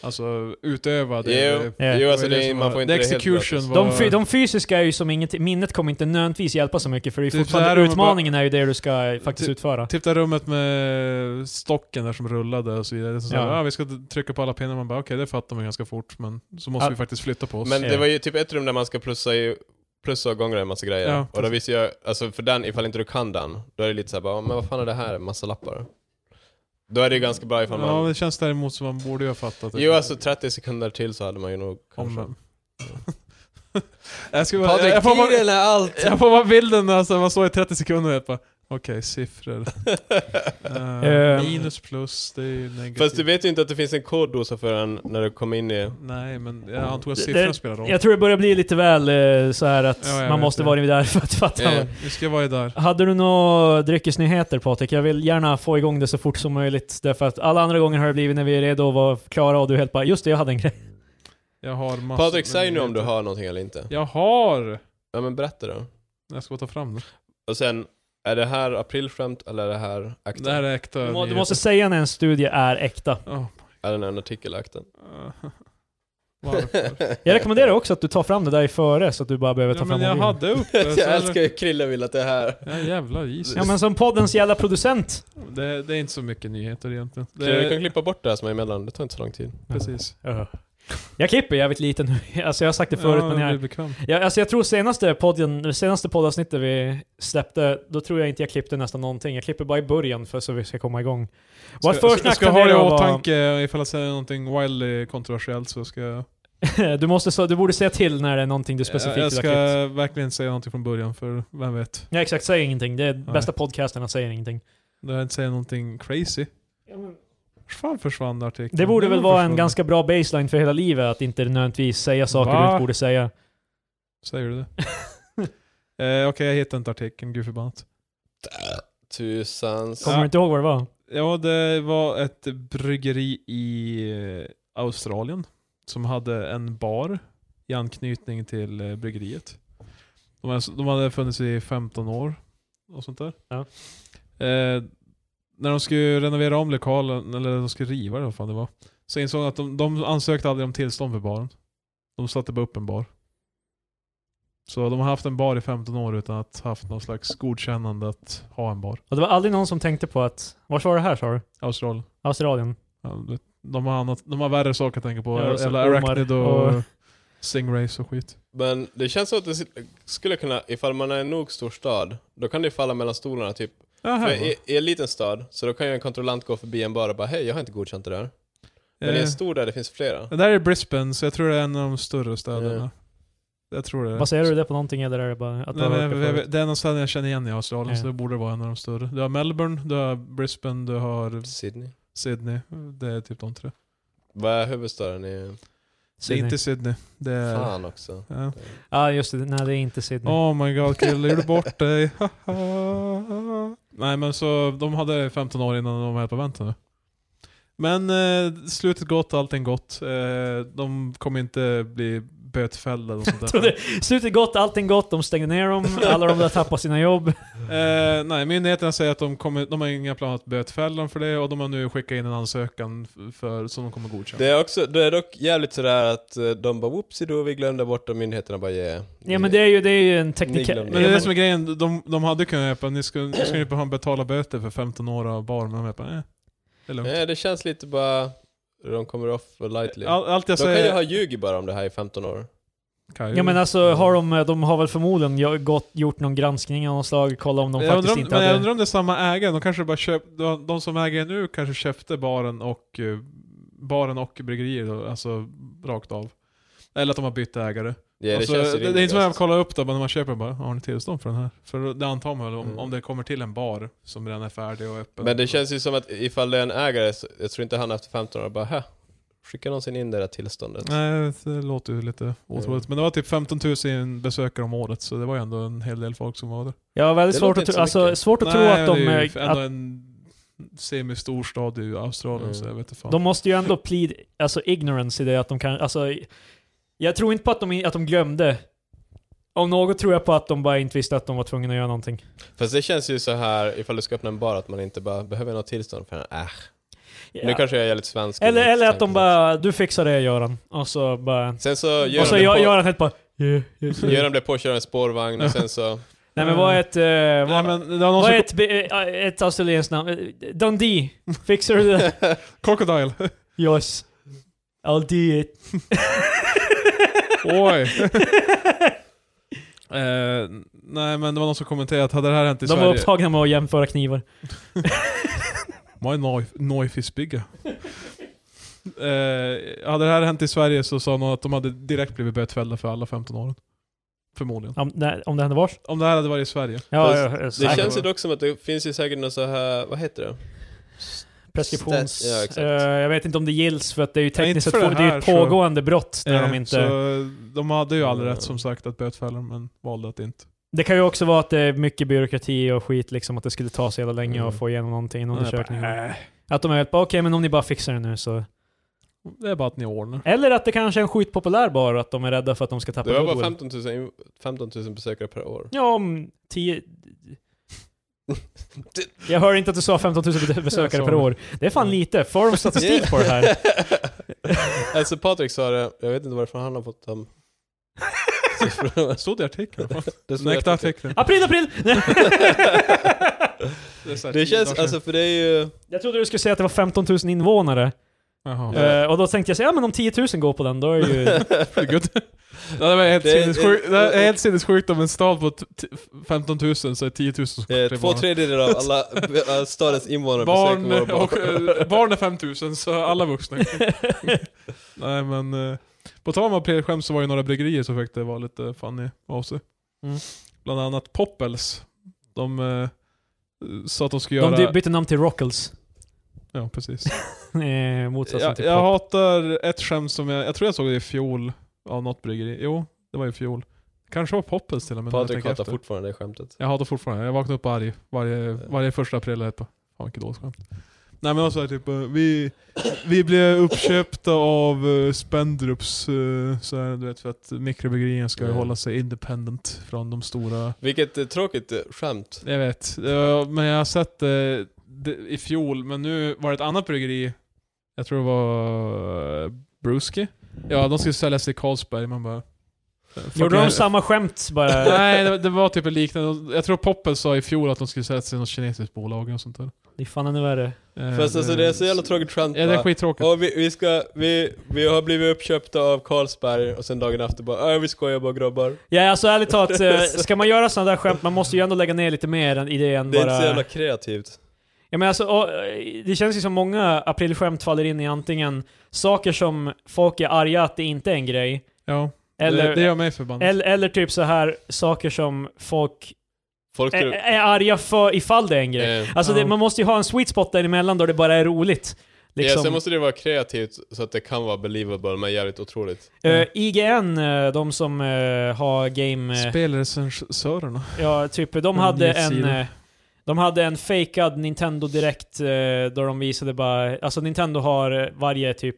[SPEAKER 1] alltså, utöva det.
[SPEAKER 3] Jo,
[SPEAKER 2] Ja.
[SPEAKER 3] jo alltså
[SPEAKER 1] Det var ju
[SPEAKER 3] det,
[SPEAKER 1] det
[SPEAKER 3] man
[SPEAKER 1] som
[SPEAKER 3] får
[SPEAKER 1] var-
[SPEAKER 3] inte
[SPEAKER 1] the
[SPEAKER 3] det helt
[SPEAKER 1] execution
[SPEAKER 3] gratis.
[SPEAKER 1] var-
[SPEAKER 2] De, fy, de fysiska är ju som inget minnet kommer inte nödvändigtvis hjälpa så mycket för det är
[SPEAKER 1] Typ
[SPEAKER 2] fortfarande,
[SPEAKER 1] så här om man
[SPEAKER 2] utmaningen är ju det du ska faktiskt
[SPEAKER 1] Typ-
[SPEAKER 2] utföra.
[SPEAKER 1] Typ det rummet med stocken där som rullade och så vidare. Det är som så här,
[SPEAKER 2] Ja.
[SPEAKER 1] ah, vi ska trycka på alla pinnar. Man bara okej, det fattar man ganska fort. Men så måste
[SPEAKER 2] Ja.
[SPEAKER 1] vi faktiskt flytta på oss.
[SPEAKER 3] Men
[SPEAKER 2] Ja.
[SPEAKER 3] det var ju typ ett rum där man ska plussa, i, plussa och gångra en massa grejer.
[SPEAKER 1] Ja,
[SPEAKER 3] och då visste jag, alltså för den, ifall inte du kan den, då är det lite såhär bara, men vad fan är det här? Massa lappar. Då är det ju ganska bra ifall
[SPEAKER 1] ja,
[SPEAKER 3] man...
[SPEAKER 1] det känns däremot som man borde ju ha fattat det.
[SPEAKER 3] Jo alltså 30 sekunder till så hade man ju nog
[SPEAKER 1] Om-
[SPEAKER 3] kanske...
[SPEAKER 1] jag, skulle bara,
[SPEAKER 3] Patrik,
[SPEAKER 1] jag, får bara,
[SPEAKER 3] tiden är allt!
[SPEAKER 1] jag får bara bilden alltså, man står i 30 sekunder och jag bara okej, siffror. Eh,
[SPEAKER 2] Eh.
[SPEAKER 1] minus plus, det är ju negativt.
[SPEAKER 3] Ehm. Fast du vet ju inte att det finns en koddosa för den när du kommer in i...
[SPEAKER 1] Nej, men jag antog att
[SPEAKER 2] Det-
[SPEAKER 1] siffrorna
[SPEAKER 2] det-
[SPEAKER 1] spelar roll.
[SPEAKER 2] Jag tror det börjar bli lite väl eh, så här att
[SPEAKER 1] Ja, jag
[SPEAKER 2] man
[SPEAKER 1] vet
[SPEAKER 2] måste
[SPEAKER 1] det.
[SPEAKER 2] vara där för att fatta.
[SPEAKER 3] Eh.
[SPEAKER 1] Vi ska vara där.
[SPEAKER 2] Hade du några dryckesnyheter Patrik? Jag vill gärna få igång det så fort som möjligt. Därför att alla andra gånger har det blivit när vi är redo och var klara och du helt bara just det, jag hade en grej.
[SPEAKER 1] Jag har massor
[SPEAKER 3] Patrik,
[SPEAKER 1] med
[SPEAKER 3] säg nu om du
[SPEAKER 1] nyheter.
[SPEAKER 3] har någonting eller inte.
[SPEAKER 1] Jag har!
[SPEAKER 3] Ja men berätta då.
[SPEAKER 1] Jag ska ta fram det.
[SPEAKER 3] Och sen, är det här aprilskämt eller är det här akten?
[SPEAKER 1] Det här är äkta
[SPEAKER 2] Du, må, du
[SPEAKER 1] nyheter.
[SPEAKER 2] måste säga när en studie är äkta.
[SPEAKER 1] Ja.
[SPEAKER 3] Är det en artikelakten?
[SPEAKER 1] Eh, Varför?
[SPEAKER 2] Jag rekommenderar också att du tar fram det där i före så att du bara behöver ta
[SPEAKER 1] ja,
[SPEAKER 2] fram
[SPEAKER 1] men jag
[SPEAKER 2] mobilen.
[SPEAKER 1] hade uppe... så
[SPEAKER 3] jag
[SPEAKER 1] är
[SPEAKER 3] älskar
[SPEAKER 1] det-
[SPEAKER 3] ju Krille vill att det är här.
[SPEAKER 1] Ja jävlar, Jesus.
[SPEAKER 2] Ja men som poddens jävla producent.
[SPEAKER 1] Det, det är inte så mycket nyheter egentligen. Det
[SPEAKER 3] Krille, vi kan
[SPEAKER 1] är,
[SPEAKER 3] klippa bort det här som är emellan, det tar inte så lång tid.
[SPEAKER 1] precis.
[SPEAKER 2] Ja. Jag klipper jävligt lite nu. Alltså jag har sagt det förut
[SPEAKER 1] ja,
[SPEAKER 2] men
[SPEAKER 1] blir
[SPEAKER 2] jag,
[SPEAKER 1] bekväm.
[SPEAKER 2] jag, alltså jag tror senaste podden, senaste poddavsnittet vi släppte, då tror jag inte jag klippte nästan någonting. Jag klipper bara i början för så vi ska komma igång. Vårt
[SPEAKER 1] Ska, ska,
[SPEAKER 2] försnack
[SPEAKER 1] ska ha det i
[SPEAKER 2] tenderar att vara-
[SPEAKER 1] åtanke ifall jag säger någonting wildly kontroversiellt så ska jag...
[SPEAKER 2] du, måste, så, du borde säga till när det är någonting du
[SPEAKER 1] Jag,
[SPEAKER 2] specifikt
[SPEAKER 1] jag
[SPEAKER 2] vill ha klippt.
[SPEAKER 1] ska verkligen säga någonting från början för vem vet.
[SPEAKER 2] Ja exakt, säg ingenting. Det är bästa podcasten att säga ingenting.
[SPEAKER 1] Då jag inte säger någonting crazy. Fan försvann artikeln.
[SPEAKER 2] Det borde
[SPEAKER 1] Den
[SPEAKER 2] väl
[SPEAKER 1] var
[SPEAKER 2] vara en
[SPEAKER 1] försvunnen.
[SPEAKER 2] ganska bra baseline för hela livet, att inte nödvändigtvis säga saker du
[SPEAKER 1] Va?
[SPEAKER 2] inte borde säga.
[SPEAKER 1] Säger du det? eh, Okej, jag hittar inte artikeln, gud förbannat.
[SPEAKER 3] Tusans.
[SPEAKER 2] Kommer
[SPEAKER 1] Ja.
[SPEAKER 2] du inte ihåg vad det var?
[SPEAKER 1] Ja, det var ett bryggeri i eh, Australien som hade en bar i anknytning till eh, bryggeriet. De, hade- de hade funnits i 15 år och sånt där.
[SPEAKER 2] Ja.
[SPEAKER 1] Eh, när de skulle renovera om lokalen, eller de skulle riva det, vad fan det var, så insåg de att de, de ansökte aldrig om tillstånd för baren. De satte bara upp en bar. Så de har haft en bar i 15 år utan att haft någon slags godkännande att ha en bar.
[SPEAKER 2] Och det var aldrig någon som tänkte på att, vart var det här sa du?
[SPEAKER 1] Australien.
[SPEAKER 2] Australien?
[SPEAKER 1] Ja, det- de, har annat, de har värre saker att tänka på.
[SPEAKER 2] Ja, och så
[SPEAKER 1] Eller
[SPEAKER 2] ormar
[SPEAKER 1] Arachnid och,
[SPEAKER 2] och-
[SPEAKER 1] Stingrays och skit.
[SPEAKER 3] Men det känns som att det skulle kunna, ifall man är en nog stor stad, då kan det falla mellan stolarna typ. För i, i en liten stad, så då kan ju en kontrollant gå förbi en bar och bara hej, jag har inte godkänt det där. Men i
[SPEAKER 1] Eh,
[SPEAKER 3] en stor där det finns flera.
[SPEAKER 1] det där är Brisbane, så jag tror det är en av de större städerna.
[SPEAKER 3] Ja.
[SPEAKER 1] Jag tror det.
[SPEAKER 2] Baserar du det på någonting eller är det bara att du
[SPEAKER 1] Nej,
[SPEAKER 2] har
[SPEAKER 1] men,
[SPEAKER 2] hört det
[SPEAKER 1] jag- jag-
[SPEAKER 2] förut?
[SPEAKER 1] det är någon stad jag känner igen i Australien,
[SPEAKER 2] Ja.
[SPEAKER 1] så det borde vara en av de större. Du har Melbourne, du har Brisbane, du har
[SPEAKER 3] Sydney.
[SPEAKER 1] Sydney. Det är typ de tre.
[SPEAKER 3] Vad är huvudstaden i...
[SPEAKER 1] Det är
[SPEAKER 2] Sydney.
[SPEAKER 1] inte Sydney. Det är...
[SPEAKER 3] Fan också.
[SPEAKER 1] Ja.
[SPEAKER 2] Ja just det, nej det är inte Sydney.
[SPEAKER 1] Oh my god kille, gjorde bort dig. Nej men så, de hade 15 år innan de var här på väntan nu. Men eh, slutet gott, allting gott. Eh, de kommer inte bli bötfällda och sånt
[SPEAKER 2] Så
[SPEAKER 1] där.
[SPEAKER 2] det, slutet gott, allting gott, de stängde ner dem, alla de där tappade sina jobb.
[SPEAKER 1] eh, nej, myndigheterna säger att de, kommer, de har inga planer att bötfälla dem för det och de har nu skickat in en ansökan f- för, som de kommer godkänna.
[SPEAKER 3] Det är också, det är dock jävligt sådär att eh, de bara whoopsie då, vi glömde bort och myndigheterna bara yeah.
[SPEAKER 2] Ja men det är ju, det är ju en
[SPEAKER 3] Ni
[SPEAKER 2] teknik...
[SPEAKER 3] glömde.
[SPEAKER 1] Men det är
[SPEAKER 2] Ja,
[SPEAKER 1] det som är grejen, de, de hade kunnat hjälpa, ni ska, ni ska ju bara betala böter för 15 år av bar, men de bara, eh, det är lugnt.
[SPEAKER 3] Nej, Eh, det känns lite bara, de kommer off lightly.
[SPEAKER 1] All, allt jag
[SPEAKER 3] de kan ju ha
[SPEAKER 1] säger...
[SPEAKER 3] ljugit bara om det här i 15 år.
[SPEAKER 1] Kan ju-
[SPEAKER 2] Ja men alltså har de, de har väl förmodligen jag- gått, gjort någon granskning av något slag, kolla om de
[SPEAKER 1] jag
[SPEAKER 2] faktiskt
[SPEAKER 1] undrar, om-
[SPEAKER 2] inte
[SPEAKER 1] men jag
[SPEAKER 2] hade...
[SPEAKER 1] undrar om det är samma ägare, de kanske bara köp, de, de som äger nu kanske köpte baren och, eh, baren och bryggerier, då, alltså rakt av. Eller att de har bytt ägare.
[SPEAKER 3] Ja, det,
[SPEAKER 1] alltså,
[SPEAKER 3] känns ju
[SPEAKER 1] det, det är inte som att jag
[SPEAKER 3] rimligast.
[SPEAKER 1] kollar upp det, men när man köper bara, har ni tillstånd för den här? För det antar man väl om,
[SPEAKER 3] Mm.
[SPEAKER 1] om det kommer till en bar som redan är färdig och öppen.
[SPEAKER 3] Men det känns ju som att ifall det är en ägare, så, jag tror inte han efter 15 år bara "Hä, skicka någonsin in det där tillståndet.
[SPEAKER 1] Nej, det låter ju lite otroligt.
[SPEAKER 3] Mm.
[SPEAKER 1] Men det var typ 15 000 besökare om året, så det var ju ändå en hel del folk som var där.
[SPEAKER 2] Jag har väldigt
[SPEAKER 3] Det
[SPEAKER 2] svårt
[SPEAKER 3] låter
[SPEAKER 2] att,
[SPEAKER 3] inte
[SPEAKER 2] tro,
[SPEAKER 3] så
[SPEAKER 2] alltså,
[SPEAKER 3] mycket.
[SPEAKER 2] svårt att tro
[SPEAKER 1] Nej,
[SPEAKER 2] att de...
[SPEAKER 1] det är ju
[SPEAKER 2] eh,
[SPEAKER 1] ändå
[SPEAKER 2] Att,
[SPEAKER 1] en semistor stad i Australien
[SPEAKER 3] Mm.
[SPEAKER 1] så jag vet inte fan.
[SPEAKER 2] De måste ju ändå plead alltså ignorance i det att de kan, alltså, jag tror inte på att de, att de glömde. Om något tror jag på att de bara inte visste att de var tvungna att göra någonting.
[SPEAKER 3] Fast det känns ju så här ifall du ska öppna en bar att man inte bara behöver något tillstånd för den. Äh.
[SPEAKER 2] Ja.
[SPEAKER 3] Nu kanske jag är lite svensk. i
[SPEAKER 2] eller,
[SPEAKER 3] mitt
[SPEAKER 2] eller att de
[SPEAKER 3] tankesätt.
[SPEAKER 2] bara, du fixar det Göran. Och så bara...
[SPEAKER 3] Sen så gör
[SPEAKER 2] Och
[SPEAKER 1] Alltså,
[SPEAKER 2] så
[SPEAKER 3] de det
[SPEAKER 2] gör-
[SPEAKER 3] på-
[SPEAKER 2] Göran helt bara... Yeah, yeah.
[SPEAKER 3] Göran blev påkörd av en spårvagn och sen så...
[SPEAKER 2] Nej men vad är ett... eh,
[SPEAKER 1] Nej,
[SPEAKER 2] vad,
[SPEAKER 1] men det var någon
[SPEAKER 2] vad
[SPEAKER 1] som...
[SPEAKER 2] är ett, be- eh, ett australienskt namn? Eh, Dundee. Fixar du det?
[SPEAKER 1] Crocodile!
[SPEAKER 2] Yes. I'll do it.
[SPEAKER 1] Oj! Eh, nej men det var någon som kommenterade att hade det här hänt i
[SPEAKER 2] De
[SPEAKER 1] Sverige...
[SPEAKER 2] var upptagna med att jämföra knivar.
[SPEAKER 1] My knife, knife is bigger. Eh, hade det här hänt i Sverige så sa någon att de hade direkt blivit bötfällda för alla 15 åren. Förmodligen.
[SPEAKER 2] Om, nej, om det hände vars?
[SPEAKER 1] Om det här hade varit i Sverige.
[SPEAKER 2] Ja,
[SPEAKER 3] Fast
[SPEAKER 2] ja, ja,
[SPEAKER 3] Det
[SPEAKER 2] säkert.
[SPEAKER 3] känns ju dock som att det finns ju säkert någon så här, vad heter det?
[SPEAKER 2] preskriptions...
[SPEAKER 3] Stat- ja, exakt.
[SPEAKER 2] eh, jag vet inte om det gills för att det är ju tekniskt
[SPEAKER 1] inte för
[SPEAKER 2] sett
[SPEAKER 1] det
[SPEAKER 2] det är ju
[SPEAKER 1] här,
[SPEAKER 2] ett
[SPEAKER 1] så-
[SPEAKER 2] pågående brott när de
[SPEAKER 1] Eh,
[SPEAKER 2] inte...
[SPEAKER 1] Så de hade ju all rätt som sagt att bötfälla dem, men valde att inte.
[SPEAKER 2] Det kan ju också vara att det är mycket byråkrati och skit liksom, att det skulle ta så jävla länge
[SPEAKER 3] Mm.
[SPEAKER 2] att få igenom någonting, en
[SPEAKER 1] Nej,
[SPEAKER 2] undersökning.
[SPEAKER 1] bara, äh,
[SPEAKER 2] Att de är helt bara, okej men om ni bara fixar det nu så...
[SPEAKER 1] det är bara att ni ordnar.
[SPEAKER 2] Eller att det kanske är en skitpopulär bar och att de är rädda för att de ska tappa
[SPEAKER 3] Det var bara
[SPEAKER 2] goodwill.
[SPEAKER 3] 15 000, inv- 15 000 besökare per år.
[SPEAKER 2] Ja, om 10... Jag hör inte att du sa 15 000 besökare
[SPEAKER 1] Jag sa
[SPEAKER 2] per
[SPEAKER 1] det.
[SPEAKER 2] år. Det är fan lite. Får de statistik på det här?
[SPEAKER 3] alltså Patrik sa det, jag vet inte varifrån han har fått dem. Siffrorna.
[SPEAKER 1] Stod det i artikeln?
[SPEAKER 3] Det, står
[SPEAKER 1] Näkta
[SPEAKER 3] jag tycker.
[SPEAKER 1] artikeln.
[SPEAKER 2] April, april!
[SPEAKER 1] är så här
[SPEAKER 3] det
[SPEAKER 1] tio
[SPEAKER 3] känns,
[SPEAKER 1] dagar
[SPEAKER 3] alltså
[SPEAKER 1] sedan.
[SPEAKER 3] för det är ju...
[SPEAKER 2] jag trodde du skulle säga att det var 15 000 invånare.
[SPEAKER 1] Jaha.
[SPEAKER 3] Ja.
[SPEAKER 2] Eh, och då tänkte jag säga, ja men om 10 000 går på den, då är det ju...
[SPEAKER 1] Det är gött. Ja, det var helt
[SPEAKER 3] Det är-
[SPEAKER 1] sinnessjukt. Det är helt sinnessjukt om en stad på t- t- 15 000 så är 10 000 som
[SPEAKER 3] Eh,
[SPEAKER 1] kommer
[SPEAKER 3] två
[SPEAKER 1] barn.
[SPEAKER 3] tredjedelar av alla eh, stadens invånare
[SPEAKER 1] Barn,
[SPEAKER 3] besöker vår
[SPEAKER 1] och,
[SPEAKER 3] bar.
[SPEAKER 1] eh, barn är 5000 så alla vuxna. Nej men, eh, på tal om aprilskämt så var det några bryggerier som försökte vara lite funny av sig.
[SPEAKER 2] Mm.
[SPEAKER 1] Bland annat Poppels. De eh, sa att de skulle
[SPEAKER 2] De
[SPEAKER 1] göra...
[SPEAKER 2] dy- bytte namn till Rockles.
[SPEAKER 1] ja, precis.
[SPEAKER 2] Eh, motsatsen
[SPEAKER 1] jag,
[SPEAKER 2] till
[SPEAKER 1] jag
[SPEAKER 2] pop.
[SPEAKER 1] hatar ett skämt som jag, jag tror jag såg det i fjol av något bryggeri. Jo, det var i fjol. Kanske var Poppels till och med. när jag
[SPEAKER 3] Patrik
[SPEAKER 1] tänker
[SPEAKER 3] hatar
[SPEAKER 1] efter.
[SPEAKER 3] fortfarande det skämtet.
[SPEAKER 1] Jag hatar fortfarande, jag vaknar upp arg varje, varje första april. Jag är bara, Fan vilket dåligt skämt. Nej men alltså typ, eh, vi, vi blev uppköpta av eh, Spendrups, eh, så här, du vet för att mikrobryggerier ska
[SPEAKER 3] Mm.
[SPEAKER 1] hålla sig independent från de stora.
[SPEAKER 3] Vilket eh, tråkigt eh, skämt.
[SPEAKER 1] Jag vet, eh, men jag har sett eh, det i fjol, men nu var det ett annat bryggeri, jag tror det var eh, Brewski. Ja, de skulle säljas i Carlsberg, man bara... eh,
[SPEAKER 2] Gjorde
[SPEAKER 1] Fucking-
[SPEAKER 2] de samma skämt
[SPEAKER 3] Eh.
[SPEAKER 2] bara?
[SPEAKER 1] Nej, det, det var typ liknande. Jag tror Poppel sa i fjol att de skulle sälja till något kinesiskt bolag och sånt där.
[SPEAKER 2] Det är fan ännu värre.
[SPEAKER 1] Eh,
[SPEAKER 3] Fast alltså det är så jävla tråkigt skämt
[SPEAKER 1] Ja, det är
[SPEAKER 3] va?
[SPEAKER 1] skittråkigt.
[SPEAKER 3] Och vi, vi, ska, vi, vi har blivit uppköpta av Carlsberg och sen dagen efter bara "Äh, vi skojar bara grabbar.
[SPEAKER 2] Ja, alltså ärligt talat, eh, ska man göra sådana där skämt, man måste ju ändå lägga ner lite mer än- i det än
[SPEAKER 3] Det är inte
[SPEAKER 2] bara...
[SPEAKER 3] så jävla kreativt.
[SPEAKER 2] Ja, men alltså, och, eh, det känns ju som många aprilskämt faller in i antingen saker som folk är arga att det inte är en grej,
[SPEAKER 1] Ja,
[SPEAKER 2] eller,
[SPEAKER 1] det, det gör mig förbannad.
[SPEAKER 2] eller, eller typ så här saker som folk
[SPEAKER 3] Folk
[SPEAKER 2] är,
[SPEAKER 3] tror...
[SPEAKER 2] är arga för ifall det är en grej.
[SPEAKER 3] Eh,
[SPEAKER 2] Alltså
[SPEAKER 1] Ja.
[SPEAKER 2] det, man måste ju ha en sweet spot däremellan då det bara är roligt.
[SPEAKER 3] Ja,
[SPEAKER 2] Liksom.
[SPEAKER 3] sen måste det vara kreativt så att det kan vara believable men jävligt otroligt.
[SPEAKER 2] Eh, IGN, eh, de som eh, har game... eh,
[SPEAKER 1] Spelrecensörerna.
[SPEAKER 2] Ja, typ. De
[SPEAKER 1] En
[SPEAKER 2] hade en...
[SPEAKER 1] nyhetssida.
[SPEAKER 2] eh, De hade en fejkad Nintendo direkt eh, där de visade bara... Alltså Nintendo har eh, varje typ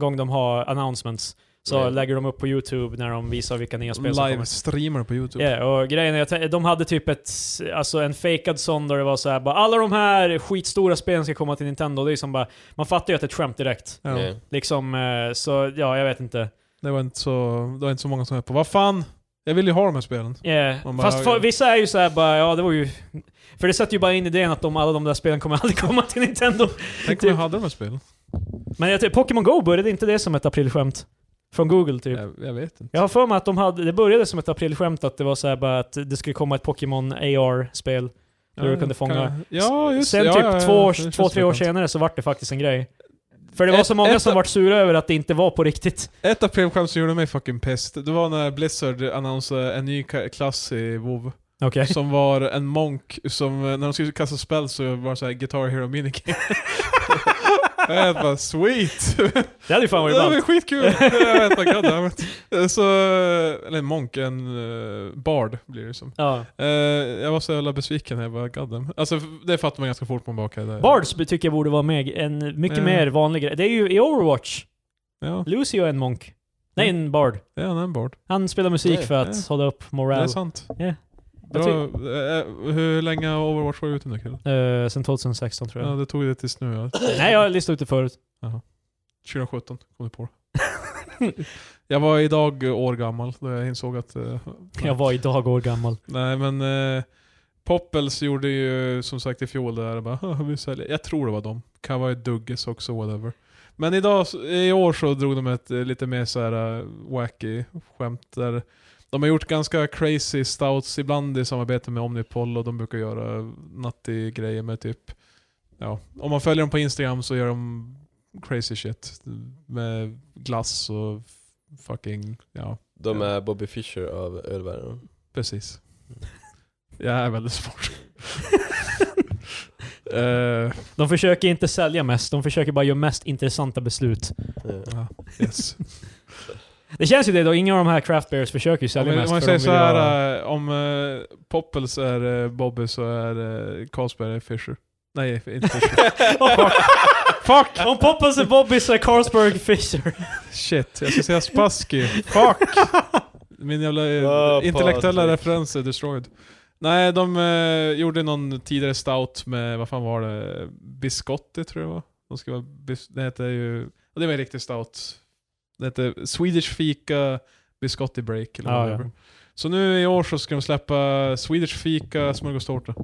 [SPEAKER 2] gång de har announcements så
[SPEAKER 3] Mm.
[SPEAKER 2] lägger de upp på YouTube när de visar vilka nya spel som kommer.
[SPEAKER 1] Livestreamer på youtube.
[SPEAKER 2] Ja, och grejen är att eh, de hade typ ett, alltså en fejkad sån där det var så här, bara alla de här skitstora spelen ska komma till Nintendo. Det är som bara, man fattar ju att det är ett skämt direkt.
[SPEAKER 1] Ja,
[SPEAKER 3] Eh,
[SPEAKER 2] Liksom, eh, så ja, jag vet inte.
[SPEAKER 1] Det, var inte så, det var inte så många som höll på. Vad fan? Jag vill ju ha de här spelen.
[SPEAKER 2] Yeah.
[SPEAKER 1] Man bara,
[SPEAKER 2] Eh, Fast för,
[SPEAKER 1] ja.
[SPEAKER 2] vissa är ju så här bara, ja det var ju... För det sätter ju bara in idén att de, alla de där spelen kommer aldrig komma till Nintendo.
[SPEAKER 1] Tänk
[SPEAKER 2] Typ-
[SPEAKER 1] om jag hade de här spelen.
[SPEAKER 2] Men jag, tycker- Pokémon Go började inte det som ett aprilskämt? Från Google typ.
[SPEAKER 1] Jag, jag vet inte.
[SPEAKER 2] Jag har för mig att de hade, det började som ett aprilskämt att det var så här bara att det skulle komma ett Pokémon AR-spel. Där du kunde fånga.
[SPEAKER 1] Kan, ja, just
[SPEAKER 2] Sen
[SPEAKER 1] det.
[SPEAKER 2] typ
[SPEAKER 1] ja, ja, ja,
[SPEAKER 2] två,
[SPEAKER 1] det
[SPEAKER 2] år,
[SPEAKER 1] känns
[SPEAKER 2] två, tre år
[SPEAKER 1] bekant.
[SPEAKER 2] senare så vart det faktiskt en grej. För det var så
[SPEAKER 1] Ett-
[SPEAKER 2] många
[SPEAKER 1] ett-
[SPEAKER 2] som vart sura över att det inte var på riktigt.
[SPEAKER 1] Ett aprilskämt som gjorde mig fucking pest, det var när Blizzard annonserade en ny ka- klass i WoW
[SPEAKER 2] Okej.
[SPEAKER 1] Som var en monk som, eh, när de skulle kasta spel så var det såhär Guitar Hero minigame. Jag bara sweet!
[SPEAKER 2] Det hade ju fan varit
[SPEAKER 1] det var
[SPEAKER 2] ballt.
[SPEAKER 1] skitkul! Jag vet inte, goddammit. Så, eller en monk, en eh, bard blir det som.
[SPEAKER 2] Ja.
[SPEAKER 1] Eh, jag var så jävla besviken när jag bara goddamn. Alltså f- det fattar man ganska fort man bakar det.
[SPEAKER 2] Bards tycker jag borde vara med. En mycket
[SPEAKER 1] Ja.
[SPEAKER 2] mer vanlig grej. Det är ju i Overwatch.
[SPEAKER 1] Ja,
[SPEAKER 2] Lucio är en monk. Nej, en bard.
[SPEAKER 1] det är en bard.
[SPEAKER 2] Han spelar musik
[SPEAKER 3] Nej,
[SPEAKER 2] för att
[SPEAKER 1] ja.
[SPEAKER 2] hålla upp
[SPEAKER 1] Det är
[SPEAKER 2] moral.
[SPEAKER 1] sant.
[SPEAKER 2] Ja.
[SPEAKER 1] Bra. Eh, hur länge har Overwatch varit ute nu Chrille?
[SPEAKER 2] Eh, sen 2016 tror
[SPEAKER 1] Ja,
[SPEAKER 2] jag.
[SPEAKER 1] det tog det tills nu ja.
[SPEAKER 2] Nej, jag har listat ut det förut.
[SPEAKER 1] 2017 kom du på det. Jag var idag år gammal då jag insåg att... eh,
[SPEAKER 2] Jag var idag år gammal.
[SPEAKER 1] Nej men... Eh, Poppels gjorde ju som sagt i fjol det där och bara "Haha, vi säljer. Jag tror det var dem. Kan vara Dugges också, whatever. Men idag, i år så drog de ett eh, lite mer så här eh, wacky skämt där de har gjort ganska crazy stouts ibland i samarbete med Omnipol och de brukar göra nattig grejer med typ Ja, om man följer dem på Instagram så gör de crazy shit med glass och fucking, ja
[SPEAKER 3] De är Bobby Fischer av ölvärlden.
[SPEAKER 1] Precis. Mm. Jag är väldigt smart. Eh,
[SPEAKER 2] De försöker inte sälja mest, de försöker bara göra mest intressanta beslut.
[SPEAKER 3] Ja.
[SPEAKER 1] yes.
[SPEAKER 2] Det känns ju det då, inga av de här craft beers försöker ju
[SPEAKER 1] om,
[SPEAKER 2] sälja
[SPEAKER 1] jag- om
[SPEAKER 2] mest.
[SPEAKER 1] jag säger
[SPEAKER 2] för de
[SPEAKER 1] så
[SPEAKER 2] vill
[SPEAKER 1] här,
[SPEAKER 2] ha-
[SPEAKER 1] eh, om eh, Poppels är uh, Bobby så är uh, Carlsberg är Fisher. Nej, inte Fisher. Fuck!
[SPEAKER 2] Om Poppels är Bobby så är Carlsberg Fisher.
[SPEAKER 1] Shit, jag ska säga Spassky. Fuck! Min jävla eh,
[SPEAKER 3] Ja,
[SPEAKER 1] intellektuella
[SPEAKER 3] Patrik.
[SPEAKER 1] referens är destroyed. Nej, de eh, gjorde någon tidigare stout med, vad fan var det? Biscotti tror jag det var. De ska vara, bis- det heter ju, och det var en riktig stout. Det heter Swedish Fika Biscotti Break eller
[SPEAKER 2] Ja,
[SPEAKER 1] whatever.
[SPEAKER 2] Ah, ja.
[SPEAKER 1] Så nu i år så ska de släppa Swedish Fika smörgåstårta.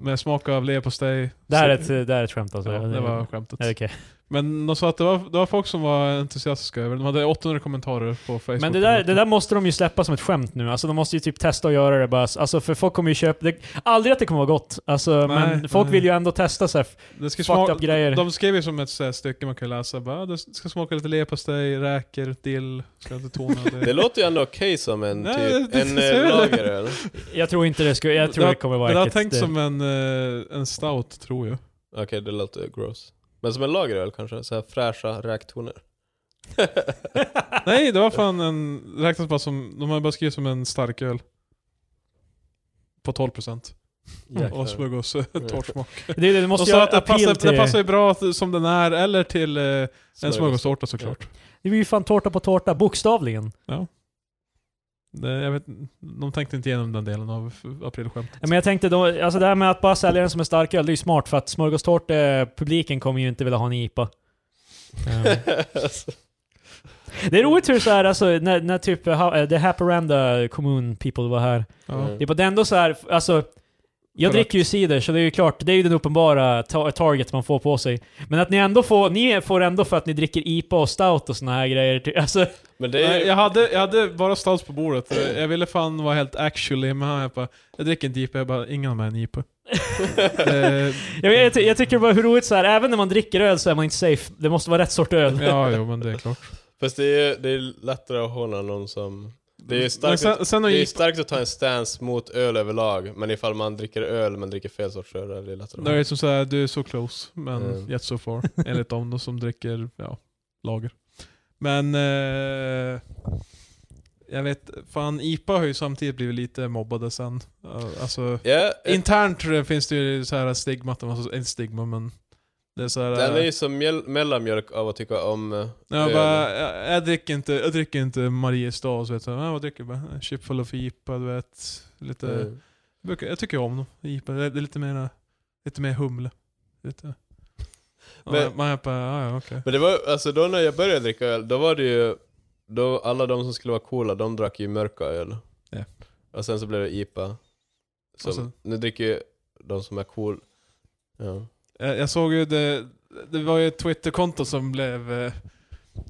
[SPEAKER 1] Med smak av leverpastej.
[SPEAKER 2] Det här är ett,
[SPEAKER 1] Så-
[SPEAKER 2] det här är ett skämt alltså.
[SPEAKER 1] Ja, det var skämtet.
[SPEAKER 2] Ja, okej.
[SPEAKER 1] Men de sa att det var, det var folk som var entusiastiska över det. De hade 800 kommentarer på Facebook.
[SPEAKER 2] Men det där, det där måste de ju släppa som ett skämt nu. Alltså de måste ju typ testa att göra det bara. Alltså för folk kommer ju köpa... Det, aldrig att det kommer vara gott. Alltså, men
[SPEAKER 1] nej.
[SPEAKER 2] folk vill ju ändå testa så här.
[SPEAKER 1] Det ska
[SPEAKER 2] fucked
[SPEAKER 1] smaka-
[SPEAKER 2] up grejer.
[SPEAKER 1] De skrev ju som ett så här stycke man kan läsa. Bara, "Ah, det ska smaka lite leverpastej, räkor, dill, ska inte tona det.
[SPEAKER 3] Det låter ju ändå okej som en,
[SPEAKER 1] Nej,
[SPEAKER 3] typ,
[SPEAKER 1] det-
[SPEAKER 3] en
[SPEAKER 1] det-
[SPEAKER 3] eh,
[SPEAKER 1] det-
[SPEAKER 3] lageröl.
[SPEAKER 2] Jag tror inte det skulle... Jag tror
[SPEAKER 1] Det
[SPEAKER 2] det,
[SPEAKER 1] har-
[SPEAKER 2] kommer vara
[SPEAKER 1] Men det har
[SPEAKER 2] äckligt.
[SPEAKER 1] tänkt
[SPEAKER 2] Det-
[SPEAKER 1] som en, eh, en stout tror jag.
[SPEAKER 3] Okej, det låter gross. Men som en lageröl kanske? Så här fräscha räktoner.
[SPEAKER 1] Nej, det var fan en... det Räknas bara som... De har bara skrivit som en starköl. På 12%.
[SPEAKER 3] Jäklar.
[SPEAKER 1] Och smörgås torrsmak.
[SPEAKER 2] Det, är det, det
[SPEAKER 1] Och
[SPEAKER 2] måste
[SPEAKER 1] så
[SPEAKER 2] göra
[SPEAKER 1] att det
[SPEAKER 2] appeal
[SPEAKER 1] passar,
[SPEAKER 2] till...
[SPEAKER 1] det passar ju bra att- som den är, eller till eh, en smörgåstårta såklart.
[SPEAKER 2] Det blir ju fan tårta på tårta, bokstavligen.
[SPEAKER 1] Det, jag vet, de tänkte inte igenom den delen av f- aprilskämtet.
[SPEAKER 2] Ja, Men jag tänkte då, alltså det här med att bara sälja den som en starköl, det är ju smart för att smörgåstårta, eh, publiken kommer ju inte vilja ha en IPA. Eh, det är roligt hur så här, alltså när, när typ ha- eh, the Haparanda kommun people var här.
[SPEAKER 1] Ja.
[SPEAKER 3] Mm.
[SPEAKER 2] Det är på det ändå så här, alltså jag
[SPEAKER 1] Korrekt.
[SPEAKER 2] dricker ju cider, så det är ju klart, det är ju den uppenbara ta- target man får på sig. Men att ni ändå får, ni får ändå för att ni dricker IPA och stout och såna här grejer. ty- Alltså,
[SPEAKER 3] Men det är
[SPEAKER 1] Nej,
[SPEAKER 3] ju...
[SPEAKER 1] jag, hade, jag hade bara stals på bordet. Eh, Jag ville fan vara helt actually, men han jag bara, jag dricker inte IPA, jag bara, ingen av mig är en IPA. eh,
[SPEAKER 2] jag, jag, ty- jag tycker bara hur roligt så här, även när man dricker öl så är man inte safe. Det måste vara rätt sort öl.
[SPEAKER 1] ja, jo men det är klart.
[SPEAKER 3] Fast det är ju det är lättare att håna någon som... Det är ju
[SPEAKER 1] Men
[SPEAKER 3] starkt,
[SPEAKER 1] sen, sen har
[SPEAKER 3] det är ju
[SPEAKER 1] IPA,
[SPEAKER 3] starkt att ta en stance mot öl överlag, men ifall man dricker öl men dricker fel sorts öl, det är lättare
[SPEAKER 1] det är som såhär, du är så close, men
[SPEAKER 3] Mm.
[SPEAKER 1] yet so far. Enligt dem då, som dricker, ja, lager. Men, eh, jag vet, fan IPA har ju samtidigt blivit lite mobbade sen. Eh, Alltså,
[SPEAKER 3] Ja, ett-
[SPEAKER 1] Internt tror jag finns det ju så här stigmat, alltså inte stigma men det är så här,
[SPEAKER 3] den är ju som mjöl, mellanmjölk av att tycka om eh,
[SPEAKER 1] jag, Eh. bara, jag, jag dricker inte, jag dricker inte Mariestad så vet jag, "Ah, vad dricker jag? Bara, Chip full of IPA, du vet. Lite,
[SPEAKER 3] Mm.
[SPEAKER 1] jag, brukar, jag tycker om dem, IPA. Det är det är lite mer, lite mer humle. Lite. Och
[SPEAKER 3] Men-
[SPEAKER 1] man- man är bara, ah, ja okej.
[SPEAKER 3] Men det var alltså då när jag började dricka öl, då var det ju... Då, alla de som skulle vara coola, de drack ju mörka öl.
[SPEAKER 1] Ja.
[SPEAKER 3] Och sen så blev det IPA. Så
[SPEAKER 1] Och sen-
[SPEAKER 3] nu dricker ju de som är cool. Ja.
[SPEAKER 1] Jag, jag såg ju det, det var ju ett Twitterkonto som blev, eh,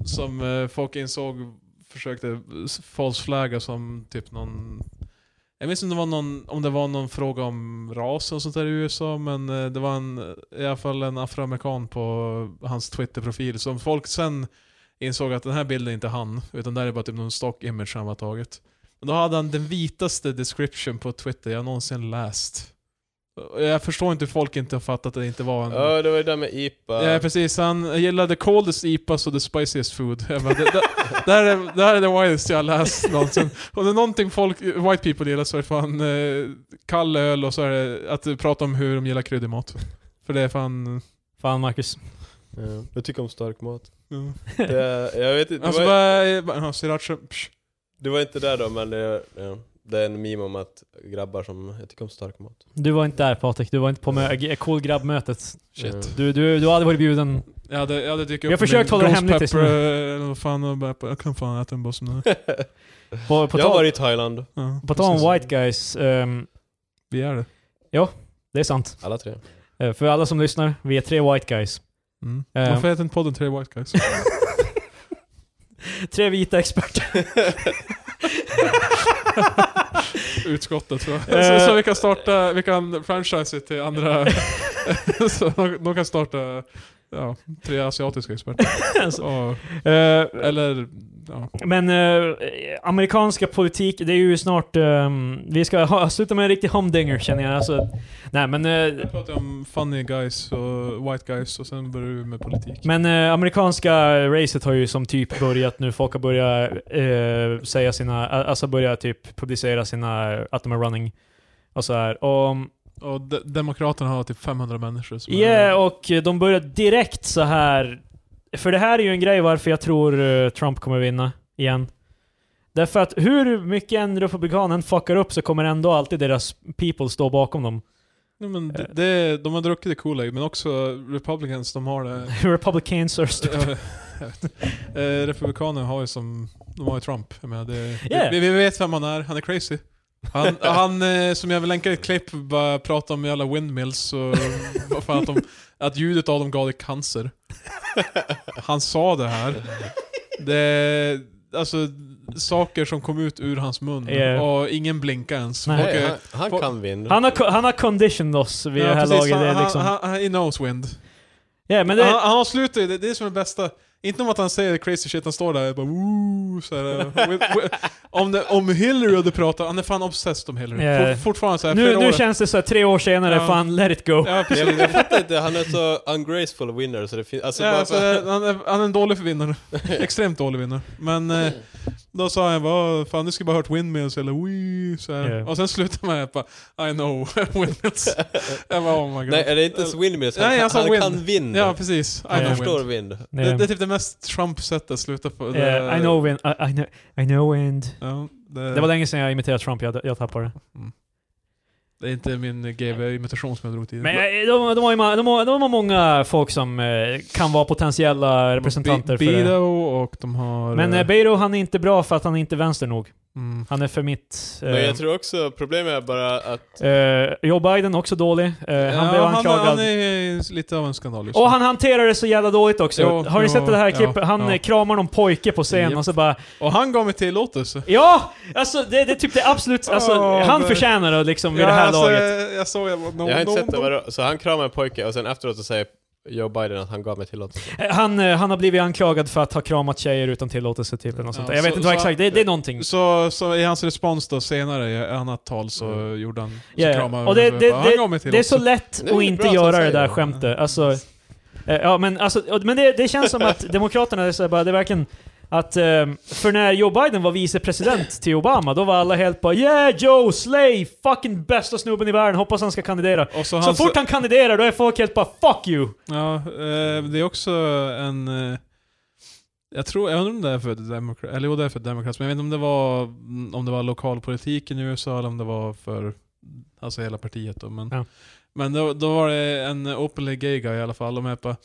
[SPEAKER 1] som eh, folk insåg försökte s- false flagga som typ någon jag minns inte om det, var någon, om det var någon fråga om ras och sånt där i USA, men eh, det var en, i alla fall en afroamerikan på hans Twitter-profil som folk sen insåg att den här bilden är inte han, utan det här är bara typ någon stock image han har tagit. Och då hade han den vitaste description på Twitter jag någonsin läst. Jag förstår inte hur folk inte har fattat att det inte var en...
[SPEAKER 3] Ja, det var ju det där med IPA.
[SPEAKER 1] Ja, precis. Han gillade the coldest IPAs och the spiciest food. Jag bara, det, det, det, här är, det här är the wildest jag har läst någonsin. Om det är någonting folk, white people gillar så är det fan eh, kall öl och så är det att prata om hur de gillar kryddig mat. För det är fan...
[SPEAKER 2] Fan Marcus.
[SPEAKER 3] Ja, jag tycker om stark mat.
[SPEAKER 1] Ja.
[SPEAKER 3] Det, jag vet inte, det,
[SPEAKER 1] Alltså,
[SPEAKER 3] var,
[SPEAKER 1] bara, bara, ja, sriracha, psh.
[SPEAKER 3] det var inte där då, men det, ja, det är en meme om att grabbar som, jag tycker om stark mat.
[SPEAKER 2] Du var inte där Patrik, du var inte på mö- cool grabb-mötet.
[SPEAKER 1] Shit.
[SPEAKER 3] Ja.
[SPEAKER 2] Du, du, du hade varit bjuden.
[SPEAKER 1] Jag hade, jag hade dykt
[SPEAKER 2] Jag
[SPEAKER 1] upp med
[SPEAKER 2] försökt hålla det
[SPEAKER 1] ghost
[SPEAKER 2] hemligt tills
[SPEAKER 1] pepper,
[SPEAKER 2] nu.
[SPEAKER 1] eh, eller vad fan, och bara, jag kan fan äta en boss nu.
[SPEAKER 2] På, på,
[SPEAKER 3] jag var
[SPEAKER 2] tal,
[SPEAKER 3] i Thailand.
[SPEAKER 1] Ja,
[SPEAKER 2] på tal
[SPEAKER 1] precis.
[SPEAKER 2] om white guys, ehm,
[SPEAKER 1] Vi är det.
[SPEAKER 2] det är sant.
[SPEAKER 3] Alla tre.
[SPEAKER 2] Eh, för alla som lyssnar, vi är tre white guys.
[SPEAKER 1] Mm.
[SPEAKER 2] Eh.
[SPEAKER 1] Varför heter inte podden Tre White Guys?
[SPEAKER 2] tre vita experter.
[SPEAKER 1] Utskottet tror jag.
[SPEAKER 2] Eh.
[SPEAKER 1] Så, så vi kan starta, vi kan franchise till andra... så de, de kan starta ja, tre asiatiska experter.
[SPEAKER 2] Alltså.
[SPEAKER 1] Och,
[SPEAKER 2] Eh,
[SPEAKER 1] eller, ja.
[SPEAKER 2] Men eh, amerikanska politik, det är ju snart... ehm, vi ska ha, sluta med en riktig humdinger känner jag. Alltså, nej men... eh,
[SPEAKER 1] Jag pratar om funny guys och white guys och sen börjar du med politik.
[SPEAKER 2] men eh, amerikanska racet har ju som typ börjat nu. Folk har börjat eh, säga sina... Alltså börjat typ publicera sina... Att de är running. Och så här. Och,
[SPEAKER 1] Och de, Demokraterna har typ 500 människor som är,
[SPEAKER 2] yeah, och de börjar direkt så här. För det här är ju en grej varför jag tror eh, Trump kommer vinna igen. Därför att hur mycket en republikan än fuckar upp så kommer ändå alltid deras people stå bakom dem.
[SPEAKER 1] Nej, men det, det, de har druckit det Kool-Aid, men också Republicans, de har det...
[SPEAKER 2] Republicans are stupid.
[SPEAKER 1] Eh, jag vet. Eh, Republikaner har ju som, de har ju Trump. Jag menar, det,
[SPEAKER 2] Yeah.
[SPEAKER 1] vi, vi vet vem han är, han är crazy. Han, han eh, som jag vill länka i ett klipp, bara pratar om alla windmills och vad fan att, de, att ljudet av dem gav dig cancer. Han sa det här. Det, alltså, saker som kom ut ur hans mun
[SPEAKER 2] Yeah.
[SPEAKER 1] och ingen blinkade ens.
[SPEAKER 2] Nej.
[SPEAKER 1] Folk,
[SPEAKER 3] Hey,
[SPEAKER 1] eh,
[SPEAKER 3] han, han
[SPEAKER 1] Folk-
[SPEAKER 3] kan vinna.
[SPEAKER 2] Han har, co- han har conditioned oss vid det här
[SPEAKER 1] precis,
[SPEAKER 2] laget.
[SPEAKER 1] han,
[SPEAKER 2] det är liksom.
[SPEAKER 1] han, han, he knows wind.
[SPEAKER 2] Ja, men det,
[SPEAKER 1] Han, han avslutar ju, det, det är som det bästa. Inte om att han säger crazy shit, han står där och bara woo, så här, eh, with, with, om, det, om Hillary hade pratat, han är fan obsessed om Hillary.
[SPEAKER 2] Ja.
[SPEAKER 1] Fort, fortfarande såhär,
[SPEAKER 2] nu,
[SPEAKER 1] flera
[SPEAKER 2] nu
[SPEAKER 1] Eh, år.
[SPEAKER 2] känns det så här, tre år senare,
[SPEAKER 1] Ja.
[SPEAKER 2] fan let it go.
[SPEAKER 1] Ja,
[SPEAKER 3] Nej, men
[SPEAKER 1] precis.
[SPEAKER 3] jag fattar inte, han är så ungraceful winner så det finns... Alltså,
[SPEAKER 1] Ja,
[SPEAKER 3] bara,
[SPEAKER 1] alltså, han, är, han är en dålig vinnare. Extremt dålig vinnare. Men eh, då sa han bara fan du skulle bara hört windmills eller wee så här.
[SPEAKER 2] Ja.
[SPEAKER 1] Och sen slutade man bara I know windmills. jag bara oh my god.
[SPEAKER 3] nej, är det inte ens windmills? Han,
[SPEAKER 1] Nej, jag sa
[SPEAKER 3] han
[SPEAKER 1] win.
[SPEAKER 3] kan vinna.
[SPEAKER 1] ja precis, I
[SPEAKER 2] Jag
[SPEAKER 1] know
[SPEAKER 3] han
[SPEAKER 1] wind.
[SPEAKER 3] förstår vind.
[SPEAKER 2] Ja.
[SPEAKER 1] Det, det är typ det mest Trump-sättet att sluta på.
[SPEAKER 2] Ja, Eh, I know when, I, I, know, I know when.
[SPEAKER 1] Ja, det,
[SPEAKER 2] Det var länge sedan jag imiterade Trump, jag, jag tappade det.
[SPEAKER 1] Det är inte min GV-imitation som jag drog tidigare.
[SPEAKER 2] Men eh, de, de, har ju, ma- de, har, de har många folk som eh, kan vara potentiella representanter för det.
[SPEAKER 1] Bido och de har...
[SPEAKER 2] Men eh, Beiro han är inte bra för att han är inte vänster nog.
[SPEAKER 1] mm,
[SPEAKER 2] Han är för mitt. eh,
[SPEAKER 3] Men jag tror också, problemet är bara att...
[SPEAKER 2] eh, Joe Biden också dålig. Eh, han
[SPEAKER 1] Ja,
[SPEAKER 2] blev
[SPEAKER 1] han,
[SPEAKER 2] anklagad.
[SPEAKER 1] han är lite av en skandal just nu.
[SPEAKER 2] Och han hanterar det så jävla dåligt också.
[SPEAKER 1] Jo,
[SPEAKER 2] har ni
[SPEAKER 1] jo,
[SPEAKER 2] sett det här
[SPEAKER 1] ja,
[SPEAKER 2] klippet? han
[SPEAKER 1] ja.
[SPEAKER 2] eh, kramar någon pojke på scen
[SPEAKER 1] Japp.
[SPEAKER 2] och så bara
[SPEAKER 1] och han gav mig tillåtelse.
[SPEAKER 2] Ja! Alltså det, det är typ det absolut... Alltså,
[SPEAKER 1] Åh,
[SPEAKER 2] han
[SPEAKER 1] det-
[SPEAKER 2] förtjänar det liksom vid det här
[SPEAKER 1] alltså,
[SPEAKER 2] laget.
[SPEAKER 1] Jag, jag såg... Jag, bara, no,
[SPEAKER 3] jag har inte
[SPEAKER 1] no,
[SPEAKER 3] sett det,
[SPEAKER 1] no.
[SPEAKER 3] vadå? så han kramar en pojke och sen efteråt så säger Joe Biden att han gav mig tillåtelse.
[SPEAKER 2] Eh, Han, eh, han har blivit anklagad för att ha kramat tjejer utan tillåtelse typ eller något sånt.
[SPEAKER 1] Ja,
[SPEAKER 2] Jag vet
[SPEAKER 1] så-
[SPEAKER 2] inte vad
[SPEAKER 1] så-
[SPEAKER 2] exakt, det, det är någonting.
[SPEAKER 1] Så, så i hans respons då senare i ett annat tal så
[SPEAKER 3] Mm.
[SPEAKER 1] gjorde han... Så
[SPEAKER 2] Ja, ja.
[SPEAKER 1] kramade han
[SPEAKER 2] Och det-
[SPEAKER 1] mig.
[SPEAKER 2] det-
[SPEAKER 1] Bara, han gav mig
[SPEAKER 2] Det är så
[SPEAKER 1] tillåtelse.
[SPEAKER 2] lätt
[SPEAKER 3] Det är
[SPEAKER 2] att
[SPEAKER 3] ju
[SPEAKER 2] inte
[SPEAKER 3] bra att
[SPEAKER 2] göra
[SPEAKER 3] han
[SPEAKER 2] det där
[SPEAKER 3] säger det.
[SPEAKER 2] skämtet. Alltså, eh, ja, men alltså, och- men det, det känns som att Demokraterna, är så här bara, det är verkligen att, eh, för när Joe Biden var vicepresident till Obama, då var alla helt bara Yeah Joe Slay, fucking bästa snubben i världen, hoppas han ska kandidera.
[SPEAKER 1] Och
[SPEAKER 2] Så
[SPEAKER 1] han-
[SPEAKER 2] fort han kandiderar då är folk helt bara fuck you!
[SPEAKER 1] Ja, eh, det är också en... Eh, jag tror, jag undrar om det är för demokrat, eller jo det är för demokrat, men jag vet inte om det var, mm, om det var lokalpolitiken i USA eller om det var för, alltså hela partiet då. Men,
[SPEAKER 2] Ja.
[SPEAKER 1] men då, då var det en openly gay guy i alla fall, de är bara,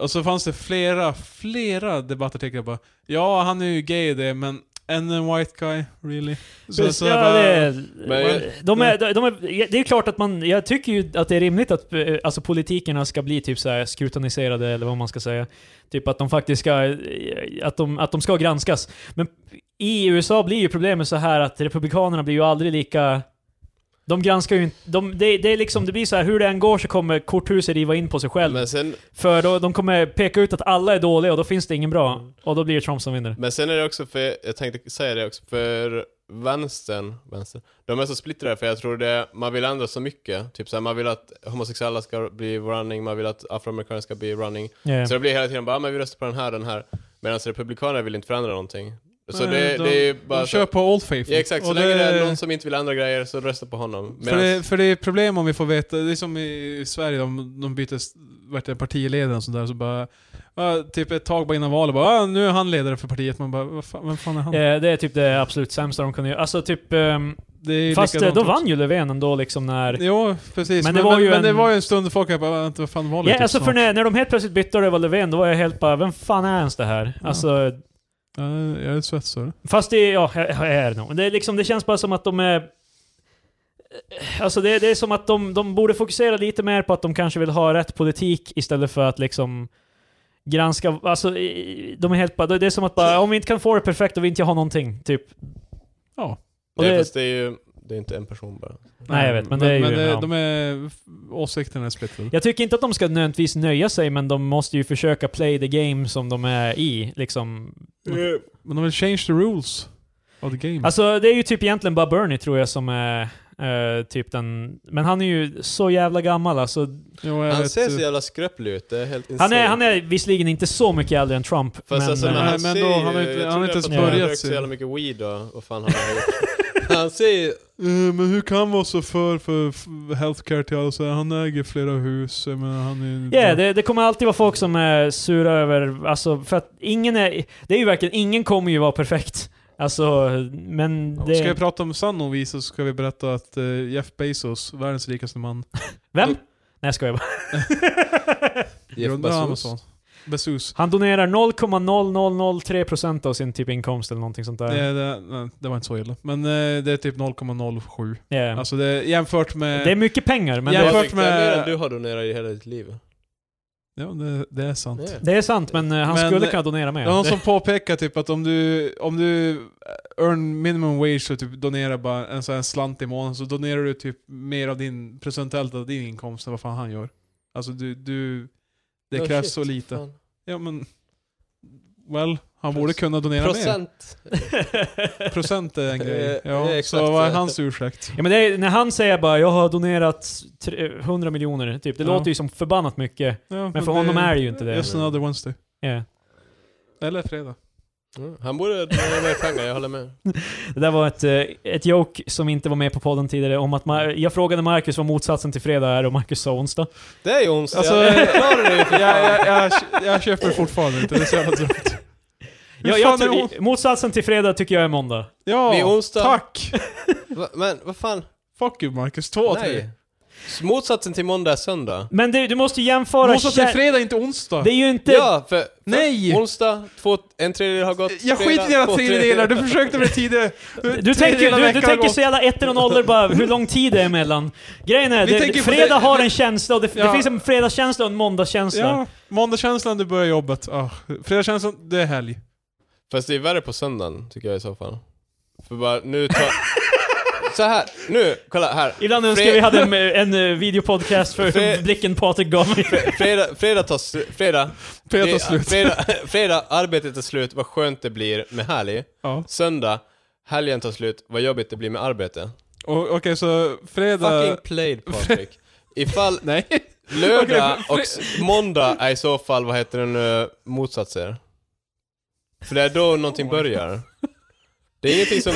[SPEAKER 1] och så fanns det flera, flera debattartiklar bara, ja han är ju gay det, men en white guy, really? Så, så jag
[SPEAKER 2] ja,
[SPEAKER 1] bara,
[SPEAKER 2] det,
[SPEAKER 3] Men-
[SPEAKER 2] de är, de, de är, det är ju klart att man, jag tycker ju att det är rimligt att eh, alltså, politikerna ska bli typ så här skrutiniserade eller vad man ska säga. Typ att de faktiskt ska, eh, att de, att de ska granskas. Men i USA blir ju problemet så här att republikanerna blir ju aldrig lika de granskar ju inte, de, det, det är liksom, det blir så här hur det än går så kommer korthuset riva in på sig själv.
[SPEAKER 3] Men sen,
[SPEAKER 2] För då, de kommer peka ut att alla är dåliga och då finns det ingen bra. Och då blir det Trump som vinner.
[SPEAKER 3] men sen är det också för, jag tänkte säga det också, för vänstern, vänster, de är så splittrade för jag tror det, man vill ändra så mycket. Typ såhär, man vill att homosexuella ska bli running, man vill att afroamerikaner ska bli running.
[SPEAKER 2] Yeah.
[SPEAKER 3] Så det blir hela tiden bara, ah, men vi röstar på den här, den här. Medan republikaner vill inte förändra någonting. Så
[SPEAKER 1] Nej,
[SPEAKER 3] det,
[SPEAKER 1] de-
[SPEAKER 3] det är ju
[SPEAKER 1] De
[SPEAKER 3] bara... så-
[SPEAKER 1] kör på Old Faithful.
[SPEAKER 3] ja, exakt, så
[SPEAKER 1] Och
[SPEAKER 3] länge det är någon som inte vill ändra grejer så rösta på honom.
[SPEAKER 1] För
[SPEAKER 3] Medan,
[SPEAKER 1] det, för det är problem om vi får veta, det är som i Sverige, de, de byter s- vart det är partiledare och sådär, så bara... ja, typ ett tag bara innan valet bara ah, nu är han ledare för partiet, man bara vad fan, vem fan är han?
[SPEAKER 2] Eh, Det är typ det absolut sämsta de kunde göra. Alltså typ... ehm,
[SPEAKER 1] Det är
[SPEAKER 2] Fast eh,
[SPEAKER 1] likadant
[SPEAKER 2] då
[SPEAKER 1] också.
[SPEAKER 2] vann ju Löfven ändå liksom när...
[SPEAKER 1] Jo, precis. Men
[SPEAKER 2] Men det
[SPEAKER 1] det,
[SPEAKER 2] var
[SPEAKER 1] men,
[SPEAKER 2] ju
[SPEAKER 1] men
[SPEAKER 2] en-
[SPEAKER 1] det var ju en stund folk jag bara vänta, vad fan var det?
[SPEAKER 2] Ja,
[SPEAKER 1] typ
[SPEAKER 2] alltså för
[SPEAKER 1] snart?"
[SPEAKER 2] när, när de helt plötsligt bytte och det var Löfven, då var jag helt bara Vem fan är ens det här?
[SPEAKER 1] Ja.
[SPEAKER 2] Alltså,
[SPEAKER 1] Ja, jag är svetsare.
[SPEAKER 2] fast det... Ja, jag jag är det nog. Det, är liksom, det känns bara som att de är... Alltså det, det är som att de, de borde fokusera lite mer på att de kanske vill ha rätt politik istället för att liksom granska... Alltså, i- de är helt bara... Det är som att bara, om vi inte kan få det perfekt och vi inte har någonting, typ.
[SPEAKER 1] Ja.
[SPEAKER 2] och
[SPEAKER 3] nej,
[SPEAKER 2] det-
[SPEAKER 3] fast det är ju det är inte en person bara.
[SPEAKER 2] Nej, jag vet, men det är ju- ja.
[SPEAKER 1] de är, åsikterna är splittrade.
[SPEAKER 2] Jag tycker inte att de ska nödvändigtvis nöja sig, men de måste ju försöka play the game som de är i. Liksom.
[SPEAKER 3] Mm.
[SPEAKER 1] Men de vill change the rules of the game.
[SPEAKER 2] Alltså, det är ju typ egentligen bara Bernie tror jag som är eh, typ den... Men han är ju så jävla gammal alltså.
[SPEAKER 1] jo, jag
[SPEAKER 3] Han
[SPEAKER 1] vet,
[SPEAKER 3] ser så
[SPEAKER 1] eh,
[SPEAKER 3] jävla skröplig ut, det är helt insane.
[SPEAKER 2] Han är, han är visserligen inte så mycket äldre än Trump,
[SPEAKER 3] Fast
[SPEAKER 2] men...
[SPEAKER 3] alltså, när
[SPEAKER 2] eh,
[SPEAKER 1] Nej,
[SPEAKER 3] han
[SPEAKER 1] men
[SPEAKER 3] ser
[SPEAKER 1] då,
[SPEAKER 3] ju-
[SPEAKER 1] han har inte-
[SPEAKER 3] jag tror
[SPEAKER 1] han har
[SPEAKER 3] det
[SPEAKER 1] inte
[SPEAKER 3] är
[SPEAKER 1] ens
[SPEAKER 3] för att han har
[SPEAKER 1] börjat
[SPEAKER 3] rökt så
[SPEAKER 1] se.
[SPEAKER 3] jävla mycket weed och vad fan han har gjort. han ser ju...
[SPEAKER 1] eh, men hur kan han vara så för, för f- healthcare till alla? Så här, han äger flera hus, jag menar, han är
[SPEAKER 2] Ja, det, det kommer alltid vara folk som är sura över, alltså för att ingen är, det är ju verkligen, ingen kommer ju vara perfekt. Alltså, men det...
[SPEAKER 1] Ska vi prata om sann och vis så ska vi berätta att eh, Jeff Bezos, världens rikaste man,
[SPEAKER 2] Vem? Nej jag skojar bara.
[SPEAKER 3] Jeff
[SPEAKER 1] grundade
[SPEAKER 3] Bezos.
[SPEAKER 1] Amazon. Bezos.
[SPEAKER 2] Han donerar 0,0003% av sin typ inkomst eller någonting sånt där.
[SPEAKER 1] Det, det, nej, det var inte så illa. Men eh, det är typ 0,07.
[SPEAKER 2] Ja.
[SPEAKER 1] Alltså det, jämfört med...
[SPEAKER 2] det är mycket pengar, men det,
[SPEAKER 1] Jämfört
[SPEAKER 3] Jämfört med... Det är
[SPEAKER 1] med-
[SPEAKER 3] mer än du har donerat i hela ditt liv.
[SPEAKER 1] ja, det, det är sant.
[SPEAKER 3] Ja.
[SPEAKER 2] det är sant, men eh, han
[SPEAKER 1] Men-
[SPEAKER 2] skulle kunna donera mer.
[SPEAKER 1] Det var någon som påpekade typ att om du, om du earn minimum wage och typ donerar bara en sån här slant i månaden så donerar du typ mer av din, procentuellt av din inkomst än vad fan han gör. Alltså du, du det
[SPEAKER 3] Oh,
[SPEAKER 1] krävs
[SPEAKER 3] shit,
[SPEAKER 1] så lite.
[SPEAKER 3] fan.
[SPEAKER 1] Ja men, well, han borde
[SPEAKER 3] Proc-
[SPEAKER 1] kunna donera mer.
[SPEAKER 3] Procent.
[SPEAKER 1] Procent är en grej.
[SPEAKER 3] Eh, eh,
[SPEAKER 1] Ja, så
[SPEAKER 3] exakt.
[SPEAKER 1] vad är hans ursäkt?
[SPEAKER 2] Ja, men det är, när han säger bara jag har donerat tre- 100 miljoner, typ. det
[SPEAKER 1] Ja.
[SPEAKER 2] låter ju som förbannat mycket.
[SPEAKER 1] Ja,
[SPEAKER 2] Men för honom är det ju inte det.
[SPEAKER 1] Just another Wednesday.
[SPEAKER 2] Ja.
[SPEAKER 1] Eller fredag.
[SPEAKER 3] Mm, Han borde donera mer pengar, jag håller med.
[SPEAKER 2] Det där var ett, eh, ett joke som inte var med på podden tidigare om att ma- jag frågade Marcus vad motsatsen till fredag är och Marcus sa onsdag.
[SPEAKER 3] Det är ju onsdag.
[SPEAKER 1] Alltså,
[SPEAKER 3] jag klarar det ju för
[SPEAKER 1] jag,
[SPEAKER 3] fan.
[SPEAKER 1] jag, jag, jag köper fortfarande inte, det är så jävla dumt. Hur
[SPEAKER 2] Jag, jag
[SPEAKER 1] fan är
[SPEAKER 2] tror-
[SPEAKER 1] hon-
[SPEAKER 2] motsatsen till fredag tycker jag är måndag.
[SPEAKER 3] Det är
[SPEAKER 1] Ja,
[SPEAKER 3] onsdag.
[SPEAKER 1] tack!
[SPEAKER 3] Va- Men vad fan?
[SPEAKER 1] Fuck you Marcus, två av tre.
[SPEAKER 3] Nej. Motsatsen till måndag är söndag.
[SPEAKER 2] Men du, du måste ju jämföra...
[SPEAKER 1] Måste till
[SPEAKER 2] kär-
[SPEAKER 1] fredag, inte onsdag.
[SPEAKER 2] det är ju inte...
[SPEAKER 3] Ja, för... för
[SPEAKER 1] Nej!
[SPEAKER 3] Onsdag, två, en tredjedel har gått.
[SPEAKER 1] Jag
[SPEAKER 3] fredag,
[SPEAKER 1] skiter i dina
[SPEAKER 3] två
[SPEAKER 1] tredjedelar, du försökte med det tidigare.
[SPEAKER 2] Du tänker, du, du tänker så jävla ettor och nollor bara, hur lång tid det är emellan. Grejen är,
[SPEAKER 1] Vi
[SPEAKER 2] det,
[SPEAKER 1] tänker på
[SPEAKER 2] fredag
[SPEAKER 1] det-
[SPEAKER 2] har en känsla och det, det
[SPEAKER 1] Ja.
[SPEAKER 2] finns en fredagskänsla och en måndagskänsla.
[SPEAKER 1] Ja, måndagskänslan, du börjar jobbet. Ah, fredagskänslan, det är helg.
[SPEAKER 3] Fast det är värre på söndagen, tycker jag i så fall. För bara, nu tar... så här, nu, kolla här.
[SPEAKER 2] Ibland önskar
[SPEAKER 3] Fre-
[SPEAKER 2] vi hade en, en eh, videopodcast för
[SPEAKER 3] Fre-
[SPEAKER 2] blicken Patrik gav mig.
[SPEAKER 3] Fredag, fredag tar slu- fredag,
[SPEAKER 1] Fredag tar
[SPEAKER 3] det-
[SPEAKER 1] slut.
[SPEAKER 3] fredag, fredag, arbetet är slut, vad skönt det blir med helg.
[SPEAKER 1] Ja.
[SPEAKER 3] Söndag, helgen tar slut, vad jobbigt det blir med arbete.
[SPEAKER 1] Och- Okej, så fredag...
[SPEAKER 3] Fucking played Patrik. Ifall
[SPEAKER 1] Nej.
[SPEAKER 3] lördag
[SPEAKER 1] Okej, fre-
[SPEAKER 3] och s- måndag är i så fall, vad heter den, eh, motsatser? För det är då någonting börjar. Det är ingenting som...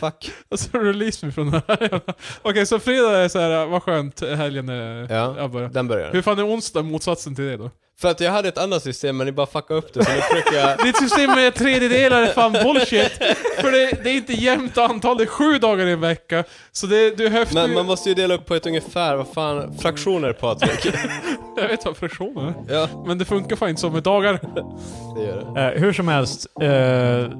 [SPEAKER 3] Fuck.
[SPEAKER 1] Alltså release mig från det här. Okej, så fredag är så här, ah, vad skönt, helgen är...
[SPEAKER 3] Ja.
[SPEAKER 1] Jag börjar.
[SPEAKER 3] Den börjar.
[SPEAKER 1] Hur fan är onsdag motsatsen till det då?
[SPEAKER 3] För att jag hade ett annat system men ni bara fuckade upp det så nu försöker jag...
[SPEAKER 1] Ditt system med tredjedelar är fan bullshit. För det, det är inte jämnt antal, det är sju dagar i en vecka. Så det, du höftar
[SPEAKER 3] Men
[SPEAKER 1] ju-
[SPEAKER 3] man måste ju dela upp på ett ungefär, vad fan, fraktioner Patrik.
[SPEAKER 1] Jag vet vad fraktion är.
[SPEAKER 3] Ja,
[SPEAKER 1] Men det funkar fan inte så med dagar.
[SPEAKER 3] det gör det.
[SPEAKER 2] Eh, hur som helst. eh,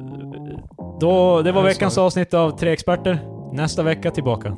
[SPEAKER 2] då, det var veckans avsnitt av Tre Experter. Nästa vecka tillbaka.